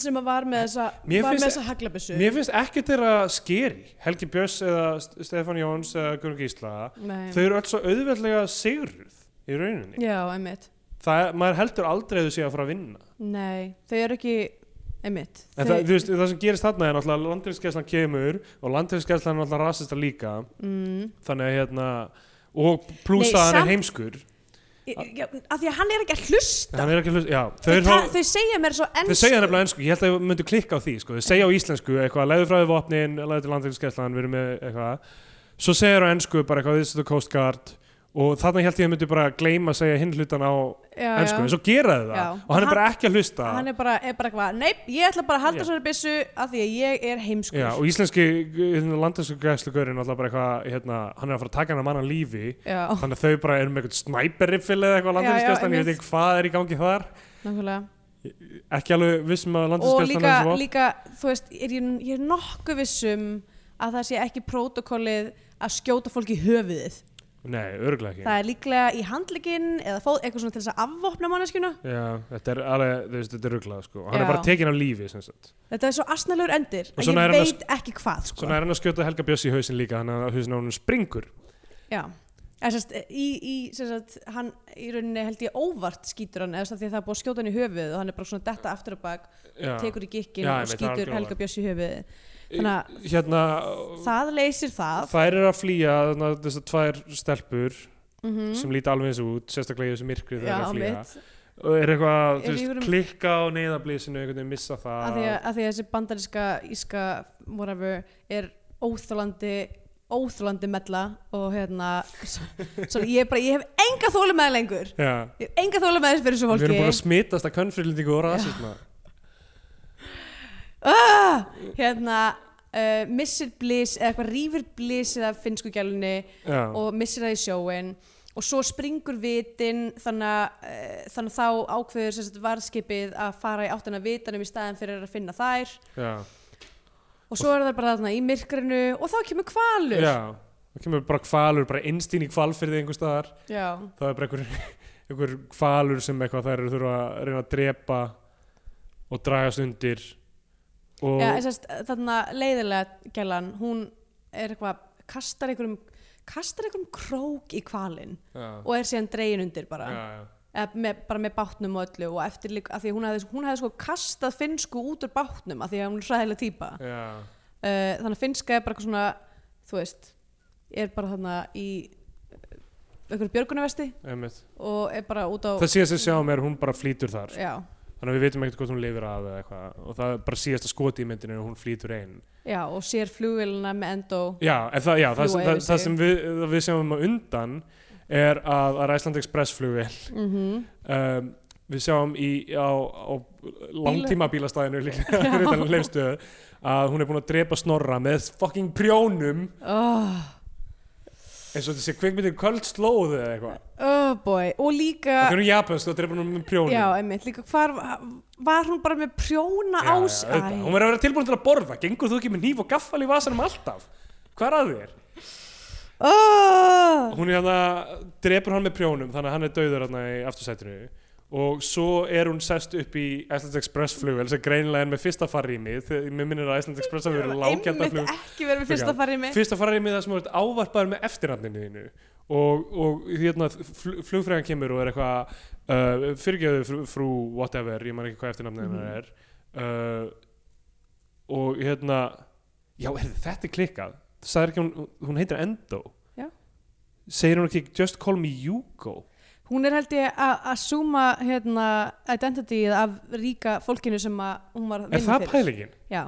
S3: sem að var með þessa,
S2: Mér
S3: var með
S2: finnst-
S3: þessa haglabissu
S2: Mér finnst ekki þeirra skeri Helgi Björns eða St- Stefán Jóns eða Gunnar Gísla
S3: Nei.
S2: Þau eru öll svo auðveldlega sigruð í rauninni
S3: Já, einmitt
S2: Það, maður heldur aldrei að þau sé að fara að vinna
S3: Nei, þau eru ekki einmitt
S2: En það, þú veist, það sem gerist þarna er náttúrulega að landhelgisgæslan kemur og landhelgisgæslan er náttúrulega rasista líka
S3: mm,
S2: þannig að hérna og
S3: Nei,
S2: plúsa hann
S3: samt-
S2: er heimskur
S3: já, Af því að hann er ekki að hlusta
S2: hann er ekki hlust, já, þau,
S3: Þau,
S2: er,
S3: ta-
S2: þá-
S3: þau segja mér svo enn
S2: þau segja nefnilega ennsku, ég held að þau myndu klikka á því sko. þau segja á íslensku eitthvað, leiðu frá því vopnin leiðu til landhelgisgæslan, við erum með eitthvað svo segja þau á ennsku bara eitthvað this is the coast guard og þarna held ég að þau myndu bara gleyma að segja hinn hlutan á
S3: já,
S2: ennsku, en sko, svo gera þau það
S3: Já.
S2: og hann er bara ekki að hlusta
S3: Hann er bara, er bara eitthvað, nei, ég ætla bara að halda
S2: Já.
S3: svona byssu af því að ég er heimskur
S2: Já, og íslenski hérna, landhelgisgæslugurinn alltaf bara eitthvað, hérna, hann er að fara að taka hann að manna lífi
S3: Já,
S2: þannig að þau bara eru með eitthvað sniper riffil eða eitthvað á
S3: Oh. Já, já,
S2: landinskjastan, ég veit
S3: einmitt.
S2: ekki hvað er í gangi þar
S3: nákvæmlega
S2: ekki alveg vissum að
S3: og
S2: landinskjastan
S3: líka,
S2: er svo
S3: líka þú veist, er ég, ég er nokkuð vissum að það sé ekki protokollið að skjóta fólk í höfuðið
S2: nei, örgulega ekki
S3: það er líklega í handlegin eða fóð, eitthvað svona til þess að afvopna manneskjuna
S2: já, þetta er alveg, þú veist, þetta er örgulega sko. hann
S3: Já.
S2: er bara tekinn af lífi sem sagt.
S3: þetta er svo asnalegur endir
S2: Og
S3: að
S2: svona er hann
S3: ég
S2: að
S3: veit ekki hvað sko.
S2: svona er hann að skjóta Helga Bjössi í hausin líka þannig að hausin á hún springur
S3: já En sérst, í, í, sérst, hann í rauninni held ég óvart skýtur hann eða sérst, því að það er búið að skjóta hann í höfuðið og hann er bara svona detta aftur á bak,
S2: já.
S3: tekur í gikkin
S2: Já,
S3: og
S2: einmitt, það er
S3: skýtur
S2: algjörlega.
S3: Helga Björs í höfuðið þannig að
S2: hérna,
S3: það leysir það
S2: þær eru að flýja þannig að þessar tvær stelpur
S3: mm -hmm.
S2: sem líta alveg eins út, sérstaklega í þessu myrkri þegar þær
S3: já,
S2: eru að flýja
S3: mitt
S2: og er eitthvað, þú
S3: Er í
S2: veist,
S3: einhverjum-
S2: klikka á neyðablísinu, einhvern veginn missa það
S3: að því að, að því að þessi bandaríska íska whatever er óþólandi óþólandi mella og hérna svo, svo ég, er bara, ég hef enga þólum með lengur
S2: já,
S3: ég hef enga þólum með þessu fyrir þessu
S2: við erum
S3: fólki
S2: búin að smitast að könnfrýlendingu og rasisma
S3: ah, hérna uh, missir blís eða eitthvað rýfur blís eða finnsku gælunni
S2: Já.
S3: og missir það í sjóin og svo springur vitin þannig að uh, þannig að þá ákveður sem sagt, varðskipið að fara í áttina að vitanum í staðin fyrir að finna þær
S2: Já,
S3: og svo er það bara þarna í myrkrinu og þá kemur kvalur
S2: já, það kemur bara kvalur, bara innstýn í kvalfyrði einhver staðar,
S3: Já.
S2: það er bara einhver, einhver kvalur sem eitthvað þær eru þurfa að reyna að drepa og dragast undir og
S3: Já, þess að þarna leiðilega gælan, hún er eitthvað, kastar einhverjum, kastar einhverjum krók í kvalinn
S2: já,
S3: og er síðan dregin undir bara,
S2: já, já,
S3: eða með, bara með bátnum og öllu og eftir líka, af því að hún hefði, hún hefði sko kastað finnsku út úr bátnum af því að hún er hræðilega típa. Uh,
S2: já,
S3: Eh, þannig að finnska er bara eitthvað svona, þú veist, er bara þarna í eh, einhverju björgunarvesti
S2: einmitt.
S3: og er bara út á,
S2: Það síðast sem sjáum er að hún bara flýtur þar
S3: já,
S2: þannig að við veitum ekkert hvort hún lifir af eða eitthvað og það er bara síðast að skoti í myndinu og hún flýtur einn
S3: já, og sér flugvélina með endó.
S2: Já, en það, já, það, sem,
S3: Fljúga
S2: það,
S3: yfir
S2: það
S3: sig.
S2: sem við, það við sjáum á undan er að, að Iceland Express flugvél
S3: Mm
S2: um, við sjáum í, á, á langtíma bílastæðinu líka fyrir utan leifstöðu, að hún er búin að drepa snorra með fucking prjónum
S3: oh.
S2: eins og þessi kvikmyndir kvöld slóðu eða eitthvað
S3: Oh boy, og líka
S2: það er hún japansk og drepa hún með prjónum
S3: Já, einmitt, líka hvar var hún bara með prjóna
S2: já,
S3: ás
S2: auðvitað.
S3: Æ.
S2: hún verður að vera tilbúin til að borða gengur þú ekki með hníf og gaffal í vasanum alltaf hvað er að þér?
S3: oh,
S2: hún er hann drepur hann með prjónum þannig að hann er dauður hann í aftursætinu og svo er hún sest upp í Iceland Express flugvel sem greinilega er með fyrsta farrýmið þegar mér minnir að Iceland Express hafi verið lágjanda
S3: Einmitt
S2: flug
S3: ekki verið með fyrsta farið mig
S2: fyrsta farrýmið það sem þú ert ávarpaður með eftirnafninu þínu og, og hérna fl flugfræðan kemur og er eitthvað uh, fyrirgeðu frú, frú whatever ég man ekki hvað eftirnafninu mm
S3: Mhm.
S2: er uh, og hérna já er þetta er klikkað það er ekki hún, hún heitir Endo
S3: Já.
S2: segir hún ekki just call me Yuko
S3: Hún er held ég að að zooma hérna, identity af ríka fólkinu sem að hún var
S2: er
S3: vinna
S2: það pælingin?
S3: Já,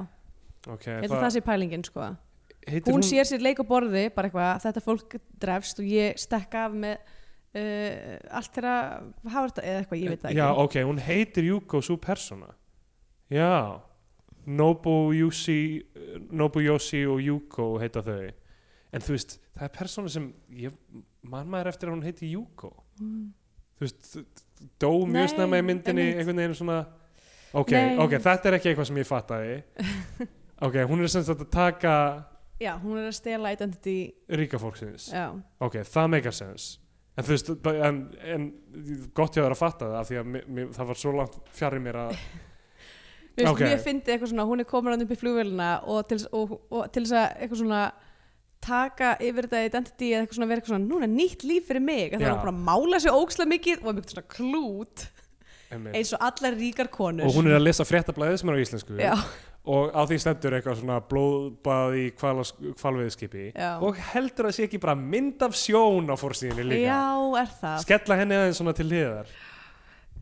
S2: Okay,
S3: ég held að það sé pælingin sko
S2: heitir
S3: Hún sér sér leik á borði, bara eitthvað þetta fólk drefst og ég stekka af með uh, allt þeirra hafa þetta eða eitthvað, ég veit það ekki
S2: Já, ok, hún heitir Yuko sú persóna Já Nobu Yoshi Nobu Yoshi og Yuko heita þau En þú veist, það er persóna sem ég man maður eftir að hún heiti Yuko
S3: Mm.
S2: Þú veist, þ- þ- dó mjög
S3: Nei,
S2: snemma í myndinni
S3: einmitt.
S2: einhvern veginn svona Ok,
S3: Nei.
S2: ok, þetta er ekki eitthvað sem ég fattaði Ok, hún er sem sagt að taka
S3: Já, hún er að stela identity
S2: ríka fólksins
S3: Já
S2: ok, það meikar sens en þú veist, bara- en, en gott ég að vera að fatta það af því að mér, mér, það var svo langt fjarrir mér að
S3: Mér
S2: Ok.
S3: okay. fyndi eitthvað svona, hún er komin hann upp í flugvélina og til, og, og til þess að eitthvað svona taka yfir þetta identity eða eitthvað svona vera eitthvað svona, núna er nýtt líf fyrir mig að það
S2: Já.
S3: er bara að mála sér ókslega mikið og er mjög svona klút eins og allar ríkar konur
S2: og hún er að lesa fréttablaðið sem er á íslensku
S3: Já,
S2: og á því stendur eitthvað svona blóðbað í hvalas- hvalveiðskipi
S3: Já.
S2: og heldur að sé ekki bara mynd af sjón á fórsíðinni líka
S3: já, er það
S2: skella henni aðeins svona til hliðar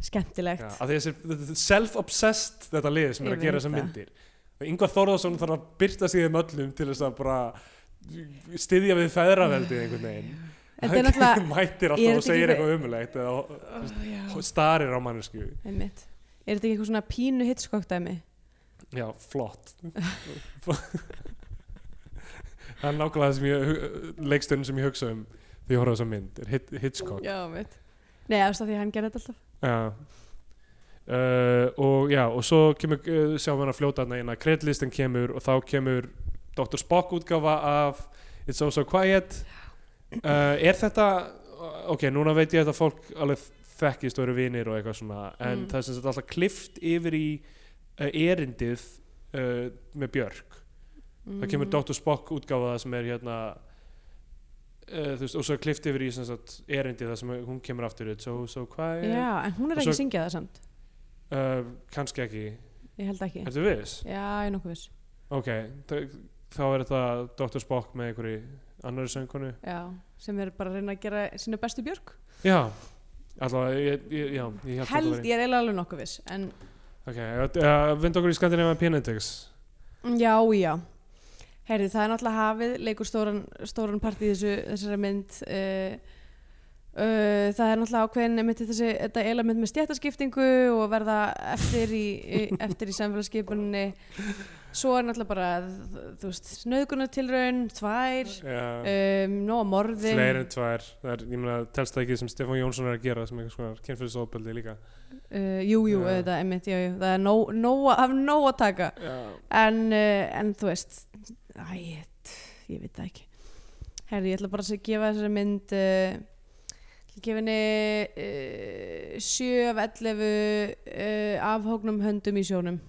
S3: skemmtilegt
S2: Já, af því þessi self-obsessed þetta lið sem er
S3: Ég
S2: að gera
S3: veit
S2: þessar
S3: það.
S2: myndir og Ingvar Þórðarsson þarf að byrta sig í þeim öllum til þess að bara styðja við feðraveldið einhvern veginn
S3: Þetta er náttúrulega-
S2: mætir
S3: Er
S2: alltaf og
S3: þetta ekki
S2: segir
S3: við-
S2: eitthvað umulegt eða
S3: Ó, já.
S2: og starir á mannesku
S3: Einmitt. Er þetta ekki eitthvað svona pínu hitskokk dæmi?
S2: já, flott það er nákvæmlega það sem ég leikstunum sem ég hugsa um því ég horfa á þessa mynd, er Hit Hitchcock
S3: Já, mitt. Nei, ástæð því að hann gerði þetta alltaf.
S2: Já. Uh, og já, og svo kemur, uh, sjáum við hann að fljóta hann að kredlistin kemur og þá kemur Dr. Spock útgafa af It's So So Quiet uh, er þetta ok, núna veit ég að þetta fólk alveg þekkist og eru vinir og eitthvað svona en
S3: Mm.
S2: það er sem sagt alltaf klift yfir í uh, erindið uh, með Björk það kemur Dr. Spock útgáfa það sem er hérna uh, þú veist, og svo er klift yfir í sem sagt, erindi það sem hún kemur aftur í, so, so quiet
S3: Já, en hún er
S2: Og
S3: ekki
S2: svo-
S3: að syngja það samt.
S2: uh, kannski ekki,
S3: Ég held ekki.
S2: ertu viss?
S3: Já, ég er nokkuð viss.
S2: ok, þa- þá er þetta Dr. Spock með einhverju annari söngkonu
S3: Já, sem er bara að reyna að gera sína bestu björg.
S2: já, allavega ég, ég, já, ég held,
S3: Held,
S2: þetta
S3: ég er eiginlega alveg nokkuð viss. En
S2: væri- ok, uh, vind okkur í Scandinavian Penitix
S3: já, já. Herði, það er náttúrulega hafið, leikur stóran, stóran part í þessu, þessari mynd. Uh, uh, það er náttúrulega ákveðin einmitt í þessi, þetta element með stjættaskiptingu og verða eftir í, í, eftir í samfélagsskipuninni. Svo er náttúrulega bara, þ- þú veist, snöðgunartilraun, tvær,
S2: já,
S3: um, nóg morðin.
S2: Eh, fleiri en tvær það er, ég meina, telst það ekki sem Stefán Jónsson er að gera sem einhvers konar kynfyrsóðbeldi líka
S3: Uh, jú, jú,
S2: Já.
S3: auðvitað, einmitt, já, jú. Það er nóg, nóg, að- af nóg að taka.
S2: já,
S3: en, uh, en þú veist æ, ég, ég veit það ekki herri, ég ætla bara að gefa þessari mynd uh, ég ætla að gefa henni uh, 7 af 11 uh, afhóknum höndum í sjónum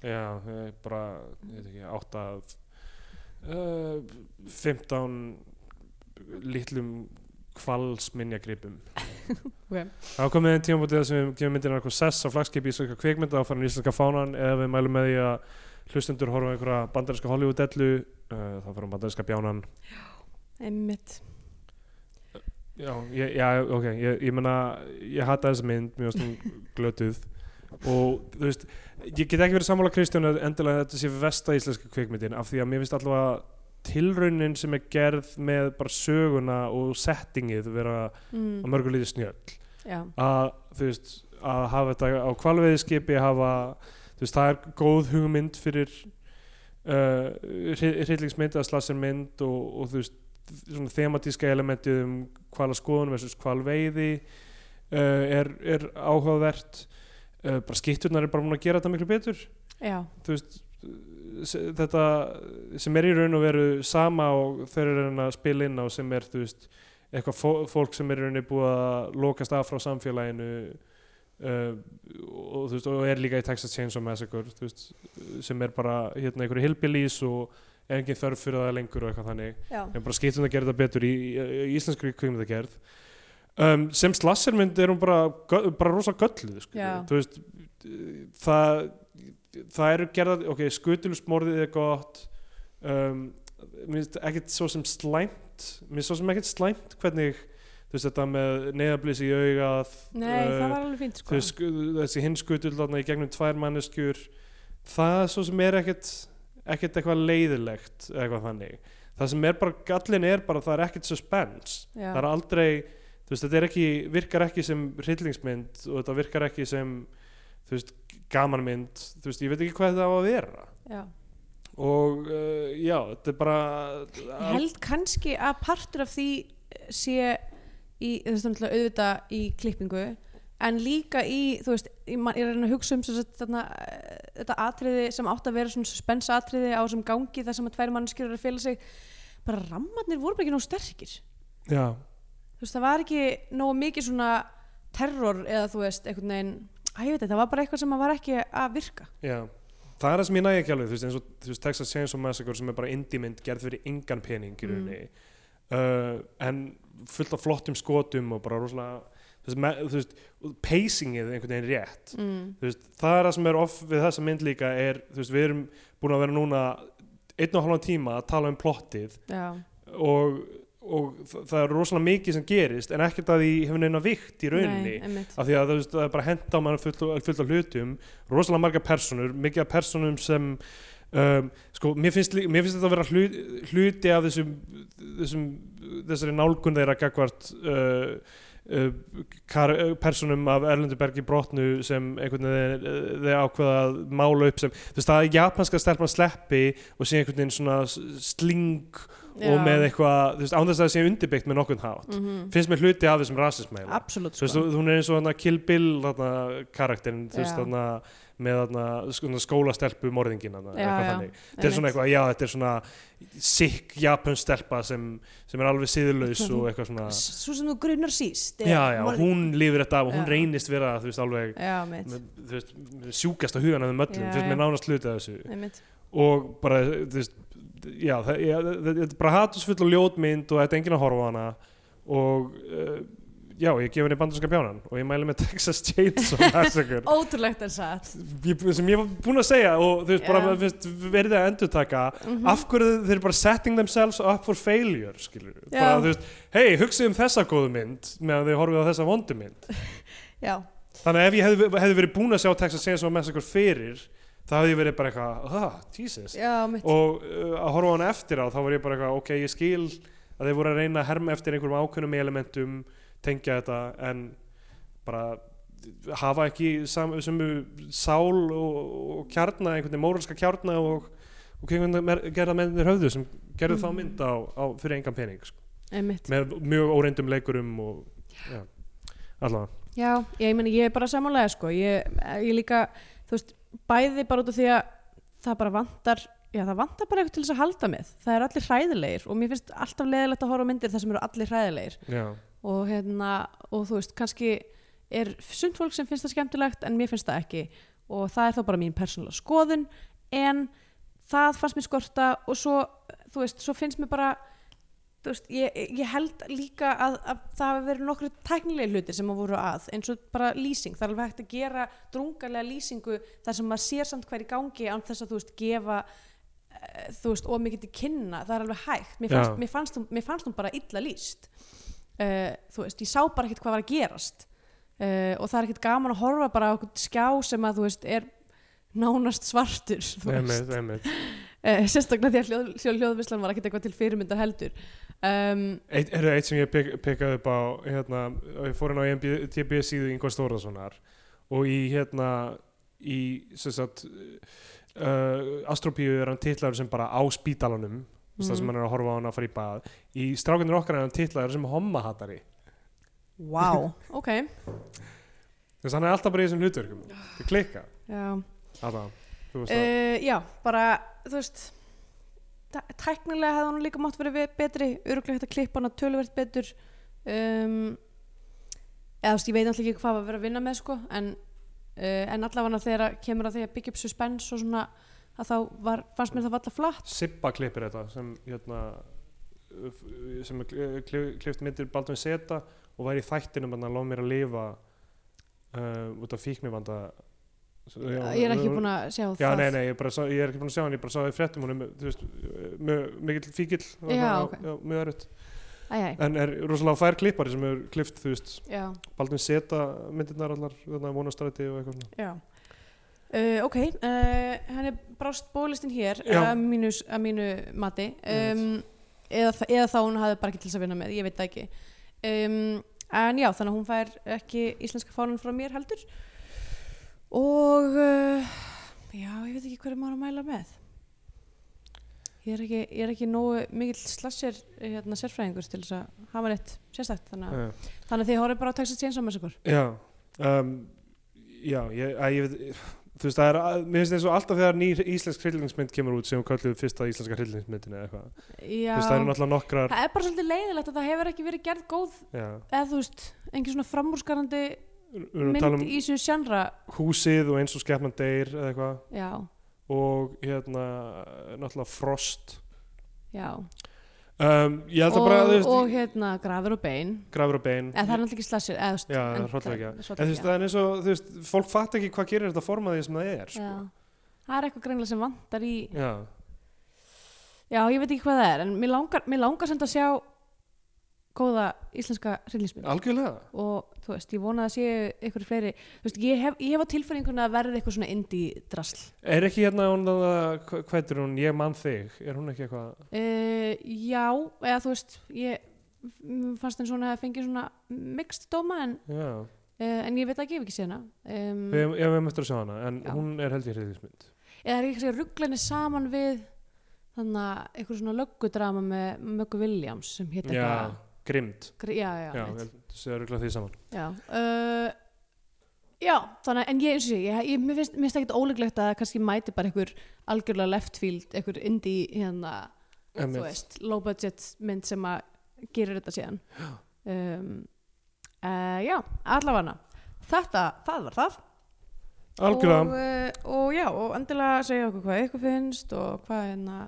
S2: Já, eh, bara, ég veit ekki, 8 af uh, 15 litlum kvalsminjagripum.
S3: Ok.
S2: Það er komið einn tímabútið þar sem við gefum myndina eitthvað sess á flagskipi í íslenska kvikmynda og farin í íslenska fánan eða við mælum með því að hlustendur horfa á einhverja bandarinska Hollywood-dellu, uh, þá farum bandarinska bjánan.
S3: einmitt
S2: Já, ég, já ok, ég, ég meina, ég hata þessa mynd, mjög stund glötuð og þú veist, ég get ekki verið sammála Kristján að endilega þetta sé versta íslenska kvikmyndin af því að mér finnst allavega tilraunin sem er gerð með bara söguna og settingið vera að
S3: mm,
S2: mörgu lítið snjöll
S3: já,
S2: að þú veist, að hafa þetta á kvalveiðiskipi, hafa þú veist, það er góð hugmynd fyrir uh, hryllingsmynd eða slassermynd og, og þú veist, svona thematíska elementi um hvala skoðun versus hvalveiði uh, er, er áhugavert uh, bara skitturnar er bara múin að gera þetta miklu betur
S3: já,
S2: þú veist se- þetta sem er í raun og veru sama og þeir eru að reyna að spila inn á sem er þú veist eitthvað fó- fólk sem er í rauninni búið að lokast af frá samfélaginu uh, og þú veist og er líka í Texas Chainsaw Massacre þú veist sem er bara hérna einhverju hilbilís og er engin þörf fyrir það lengur og eitthvað þannig
S3: já.
S2: en bara skiptum að gera þetta betur í, í, í íslenskri kvikmyndagerð um, sem slassermynd er hún bara, gö- bara rosa gölluð sko.
S3: Já.
S2: þú veist það, það eru gerða ok, skutulusmorðið er gott um, mér finnst ekkert svo sem slæmt mér finnst svo sem ekkert slæmt hvernig þú veist þetta með neðablýs í augað
S3: nei,
S2: uh,
S3: það var alveg fínt
S2: þau
S3: sko
S2: sku, þessi hinn skutul þarna í gegnum tvær manneskjur það svo sem er ekkert ekkert eitthvað leiðilegt eða eitthvað þannig það sem er bara, gallin er bara það er ekkert suspense,
S3: Já.
S2: það er aldrei þú veist, þetta er ekki, virkar ekki sem hryllingsmynd og þetta virkar ekki sem þú veist, gamanmynd þú veist, ég veit ekki hvað þetta á að vera
S3: já.
S2: og uh, já, þetta er bara
S3: ég held kannski að partur af því eh, sé í, þess að auðvitað í klippingu en líka í, þú veist ég, man, ég er að reyna að hugsa um sem sagt, þarna, eh, þetta atriði sem átt að vera svona suspensatriði á þessum gangi þar sem að tveir mannskjur eru að fela sig bara rammarnir voru bara ekki nóg sterkir
S2: já,
S3: þú veist, það var ekki nóg mikið svona terror eða þú veist, einhvern veginn að ég veit ekki, það var bara eitthvað sem að var ekki að virka
S2: já það er það sem ég næg ekki alveg þú veist, eins og þú veist, Texas Chainsaw Massacre sem er bara indie-mynd gerð fyrir engan pening í
S3: Mm.
S2: rauninni uh, en fullt af flottum skotum og bara rosalega þú veist, me, þú veist pacingið einhvern veginn rétt
S3: mm.
S2: þú veist, það er það sem er off við þessa mynd líka er, þú veist, við erum búin að vera núna einn og halvan tíma að tala um plottið
S3: já,
S2: og, og þa- það er rosalega mikið sem gerist en ekkert að því hefur neina vikt í rauninni
S3: nei, einmitt
S2: af því að þú veist, það er bara henda á mann fullt, fullt af hlutum, rosalega marga personur mikið af personum sem um, sko, mér finnst, lí- mér finnst þetta að vera hlut, hluti af þessum, þessum þessari nálgun þeirra gagvart uh, uh, kar, uh, personum af Erlendubergi brotnu sem einhvern veginn uh, þeir ákveða að mála upp sem, þú veist, það er japanska stelpan sleppi og sé einhvern veginn svona s- sling
S3: já.
S2: og með eitthvað, þú veist, án þess að það sé undirbyggt með nokkurn hátt,
S3: Mhm.
S2: finnst mér hluti af þessum rasismæla
S3: absolutt
S2: Þú
S3: sko
S2: veist, þú- hún er eins og hann Kill Bill hana, karakterin, þú veist,
S3: Já.
S2: hana, með hana, skona, skólastelpu morðingin hana,
S3: Já,
S2: eitthvað
S3: já,
S2: þannig. Þetta er svona
S3: einmitt.
S2: eitthvað, já, þetta er svona sikk japun stelpa sem, sem er alveg síðurlaus og eitthvað svona
S3: S- svo sem þú grunar síst
S2: Já, já, hún lífur þetta af og hún
S3: Já.
S2: reynist vera, þú veist, alveg
S3: já, mitt,
S2: með, þú veist, sjúkast á hugan af þeim öllum,
S3: Já,
S2: fyrst
S3: já.
S2: með nánast hluta þessu
S3: einmitt
S2: og bara, þú veist já, það, já, það- þetta er bara hatusfull og ljótmynd og þetta er enginn að horfa á hana og uh, já, ég gef henni bandarska bjánan og ég mæli með Texas Chainsaw Massacre
S3: ótrúlegt en satt
S2: ég, sem ég var búinn að segja og þú veist bara
S3: Já. Mhm.
S2: þú veist, verið að endurtaka af hverju þeir eru bara setting themselves up for failure skilur,
S3: Já.
S2: bara þú veist, hei, hugsið um þessa góðu mynd meðan þið horfið á þessa vondu mynd
S3: já,
S2: þannig að ef ég hefði, hefði verið búinn að sjá Texas Chainsaw Massacre fyrir það hefði ég verið bara eitthvað, ah, Jesus
S3: já, mitt
S2: og uh, að horfa á hann eftir á þá var ég bara eitthvað, ok, ég skil að þeir voru að reyna að herma eftir einhverjum ákveðnum elementum, tengja þetta en bara hafa ekki sam, sumu sál og, og kjarna einhvern veginn móralska kjarna og, og einhvern veginn mer- gerða mennir höfðu sem gerðu
S3: Mm.
S2: þá mynd á, á fyrir engan pening sko.
S3: einmitt
S2: með mjög óreindum leikurum og já, allavega
S3: Já, ég meina, ég er bara samanlega sko, ég, ég líka, þú veist, bæði bara út af því að það bara vantar, já það vantar bara eitthvað til þess að halda með, það er allir hræðilegir og mér finnst alltaf leðilegt að horfa á myndir þar sem eru allir hræðilegir
S2: já,
S3: og hérna, og þú veist, kannski er sumt fólk sem finnst það skemmtilegt en mér finnst það ekki og það er þá bara mín persónulega skoðun en það fannst mér skorta og svo, þú veist, svo finnst mér bara þú veist, ég, ég held líka að, að það hafi verið nokkru tæknilega hlutir sem að voru að, eins og bara lýsing það er alveg hægt að gera drungalega lýsingu þar sem maður sér samt hver í gangi án þess að þú veist, gefa eh, þú veist, of mikið til kynna, það er alveg hægt
S2: Já.
S3: mér fannst, mér fannst, hún- mér fannst hún bara illa lýst uh, þú veist, ég sá bara ekkert hvað var að gerast uh, og það er ekkert gaman að horfa bara á okkur skjá sem að þú veist, er nánast svartur þú veist
S2: einmitt, einmitt
S3: uh, sérstaklega því að hljóð, hljóð, hljóðvislan var ekkert eitthvað til fyrirmyndar heldur um,
S2: Eitt, er eitt sem ég pek- pekkaði upp á hérna, og ég fór hérna á IMDb síðu Ingvar Stórðarssonar og í hérna í sem sagt uh, Astropíu er hann titlaður sem bara á spítalanum mm. það sem hann er að horfa á hann að fara í bað í strákunir okkar er hann titlaður sem hommahattari
S3: wow ok,
S2: þess að hann er alltaf bara í þessum hlutverkum það klikka
S3: já
S2: Alla, þú veist það
S3: uh, já, bara þú veist tæ- tæknilega hefði hún líka mátt verið ve- betri öruglega hægt að klippa hana töluvert betur um, eða þú veist, ég veit alltaf ekki hvað var að vera að vinna með sko, en, uh, en allavega þegar að- kemur að því að byggja upp suspense og svona að þá var, fannst mér það valla flatt
S2: Sippa klippir þetta sem hérna f- sem er kli- kli- klift myndir Baldvin Seta og var í þættinum hann að lág mér að lifa uh, út af fíknivanda
S3: ég er ekki búin að sjá
S2: Já,
S3: það
S2: nei, nei, ég, bara, sá, ég er ekki búin að sjá hann, ég bara sá það í fréttum hún er, með- þú veist, mjög mikill fíkil
S3: Já, ok.
S2: já, mjög erut
S3: Æ, æ,
S2: en er rosalega fær klippari sem hefur klift, þú veist,
S3: já.
S2: Baldvin Seta myndirnar allar, þarna vonastræti og eitthvað svona
S3: Já. Uh, ok, uh, hann er brást bólistin hér
S2: Já.
S3: að mínu, að mínu mati um, eða, þa- eða þá hún hafði bara ekki til þess að vinna með, ég veit það ekki um, en já, þannig að hún fær ekki íslenska fánan frá mér heldur og uh, já, ég veit ekki hverju maður á að mæla með ég er ekki, ég er ekki nógu mikill slassir hérna, sérfræðingur til þess að hafa rétt sérstakt þannig,
S2: Já.
S3: að þannig að þið horfið bara á Texas Chainsaw Massacre
S2: Já, um, já ég, að, ég veit, þú veist, það er, að, mér finnst eins og alltaf þegar nýr íslensk hryllingsmynd kemur út sem við kallum fyrsta íslenska hryllingsmyndin eða eitthvað,
S3: Já.
S2: þú veist, það eru náttúrulega nokkrar,
S3: Það er bara svolítið leiðilegt að það hefur ekki verið gerð góð
S2: já,
S3: eða þú veist, engin svona framúrskarandi
S2: við erum að
S3: mynd
S2: tala um
S3: í þessu sjönra
S2: húsið og eins og skefnan deyr eða eitthvað,
S3: Já,
S2: og hérna náttúrulega frost
S3: já
S2: um, ég held
S3: og,
S2: að bara, þú veist,
S3: og hérna grafur og bein
S2: grafur og bein
S3: en það er náttúrulega ekki slassir eða, þú veist,
S2: Já,
S3: en-
S2: það er hrollvekja.
S3: það er
S2: en þú veist, það er eins og, þú veist, fólk fatt ekki hvað gerir þetta formaði sem það er sko.
S3: já. það er eitthvað greinlega sem vantar í
S2: já,
S3: já, ég veit ekki hvað það er en mér langar, mér langar samt að sjá góða íslenska hryllingsmynd
S2: algjörlega
S3: og þú veist, ég vona að séu ykkur fleiri þú veist, ég hef, ég hef á tilfinningunni að verða eitthvað svona indie drasl
S2: er ekki hérna hún, þarna- hva- hvað heitir hún, ég mann þig er hún ekki eitthvað
S3: Uh, já, eða þú veist ég m- fannst eins og hún hefði fengið svona mixt dóma en,
S2: Já,
S3: uh, en ég veit ekki, ég hef ekki séð hana um,
S2: við ég hefum eftir að sjá hana en
S3: Já.
S2: hún er held ég hriðismynd
S3: eða er ég kannski að ruggla henni saman við þannig að eitthvað svona löggudrama með Möggu Williams sem hétt
S2: Já,
S3: eitthvað
S2: grimmt
S3: Gr- já, já,
S2: Já,
S3: já,
S2: ég held þessu er auðvitað því saman
S3: já. Uh, já þannig að en ég eins og sé, ég, ég mér finnst, mér finnst ekkit óleglegt að kannski mæti bara einhver algjörlega left field, einhver indie hérna, þú
S2: Einmitt.
S3: veist, low budget mynd sem að gerir þetta síðan um, uh, já, allavega þetta, það var það og,
S2: Algjörlega,
S3: uh, og já, og endilega segja okkur hvað ykkur finnst og hvað hérna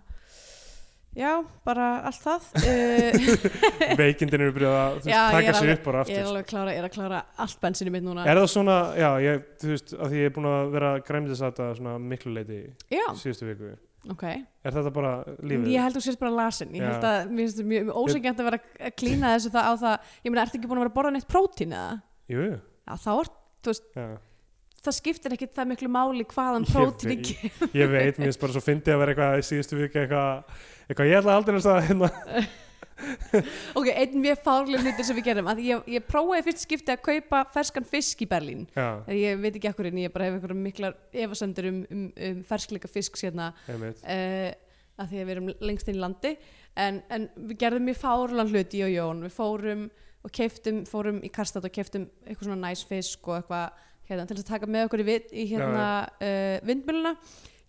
S3: já, bara allt það uh,
S2: veikindin eru byrjað að þú veist,
S3: Já, ég er
S2: taka sér
S3: alveg-
S2: upp bara
S3: ég er
S2: aftur
S3: alveg að klára, ég er að klára allt bensinu mitt núna
S2: Er það svona, já, ég, þú veist, að því ég er búin að vera græmdis að þetta svona miklu leiti
S3: já,
S2: síðustu viku.
S3: ok
S2: Er þetta bara lífið?
S3: ég held þú sést bara lasin ég
S2: Já.
S3: held að, mér finnst þetta mjög mjög ósækjant að vera að klína þessu það á það ég meina, ertu ekki búin að vera að borða neitt prótín eða?
S2: Jú,
S3: Já, þá er,
S2: já.
S3: það skiptir ekki það miklu máli hvaðan
S2: Ég
S3: prótín
S2: veit-
S3: ekki
S2: Ég veit, mér finnst bara svo fyndið að vera eitthvað í síðustu viku eitthvað, eitthvað ég ætla aldrei að það hérna.
S3: Ok, einn mjög fárlega hlutur sem við gerum að ég, ég prófaði fyrst skipti að kaupa ferskan fisk í Berlín
S2: Já,
S3: Eða ég veit ekki akkur en ég bara hef einhverjum miklar efasendur um, um, um ferskleika hérna. fisk sérna
S2: einmitt.
S3: uh, að því að við erum lengst inn í landi en, en við gerðum mjög fárlega hlut ég og Jón, við fórum og keiftum fórum í kastat og keiftum eitthvað svona næs fisk og eitthvað hérna, til þess að taka með okkur í, vit, í hérna uh, vindmjöluna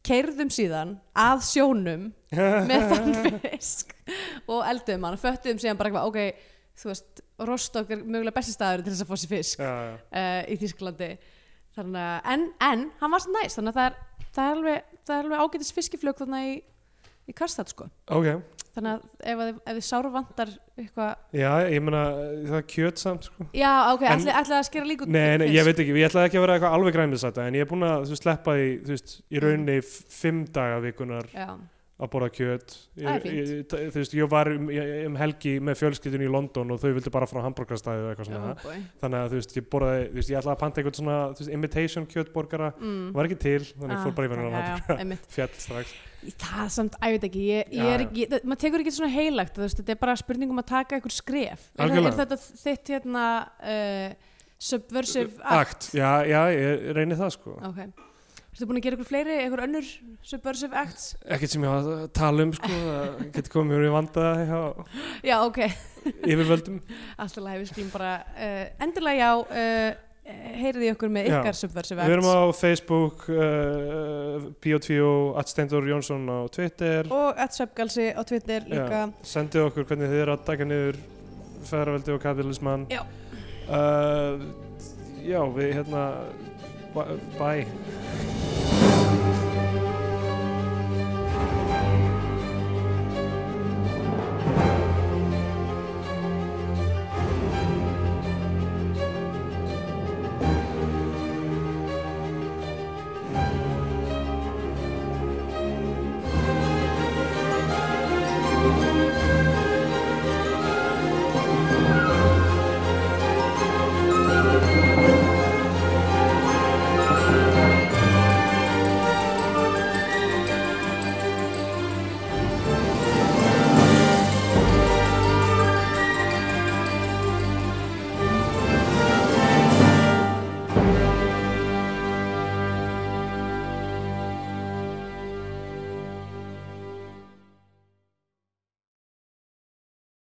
S3: keirðum síðan að sjónum með þann fisk og eldum hann og föttum síðan bara eitthvað ok, þú veist, Rostock er mögulega besti staður til þess að fá sér fisk
S2: Já, já.
S3: uh, í Þýskalandi þannig að, en, en, hann var svo næst þannig að það er, það er alveg, það er alveg ágætis fiskiflög þannig í, í Karstad sko,
S2: Ok,
S3: þannig að ef, að þið- ef þið sáru vantar eitthvað,
S2: já, ég meina, það er kjöt samt, sko.
S3: já, ok,
S2: En-
S3: ætli, ætli að skera líka út
S2: Nei, nei,
S3: fisk?
S2: ég veit ekki, ég ætlaði ekki að vera eitthvað alveg græmis að þetta, en ég er búin að, þú veist, sleppa í, þú veist,
S3: Mm.
S2: í rauninni f- fimm daga vikunar
S3: Já,
S2: að borða kjöt ég,
S3: Það er fínt.
S2: ég, ég, þú veist, ég var um, ég, um helgi með fjölskyldinu í London og þau vildi bara frá hambúrgarstæði og eitthvað
S3: já, oh
S2: svona
S3: boy.
S2: þannig að þú veist, ég borðaði, þú veist, ég ætlaði að panta eitthvað svona þú veist, imitation kjötborgara
S3: Mm.
S2: var ekki til, þannig ég fór bara í
S3: Ah,
S2: verðan
S3: já, já,
S2: hambúrgar
S3: einmitt.
S2: fjall strax
S3: Það samt, að ég veit ekki, ég, ég
S2: Já,
S3: er
S2: já.
S3: ekki, það, maður tekur ekki svona heilagt, þú veist, þetta er bara spurning um að taka einhver skref. Er, það- er
S2: Algjörlega.
S3: þetta þitt hérna uh, subversive act?
S2: akt, já, já, ég reyni það sko
S3: Ok. Ertu búin að gera einhver fleiri, einhver önnur subversive acts?
S2: ekkert sem ég hafa að tala um sko það getur komið mjög í vanda hjá
S3: Já, ok,
S2: yfirvöldum
S3: alltaf leið, við skulum bara, uh, endilega já, uh, heyriði okkur með
S2: Já.
S3: ykkar subversive
S2: við erum
S3: acts.
S2: á Facebook uh, Bio2, Atstendur Jónsson á Twitter
S3: Og at subgalsi á Twitter líka.
S2: Já, sendið okkur hvernig þið eru að taka niður feðraveldi og Eh, kapitalismann
S3: Já.
S2: uh, já, við hérna bæ, bæ.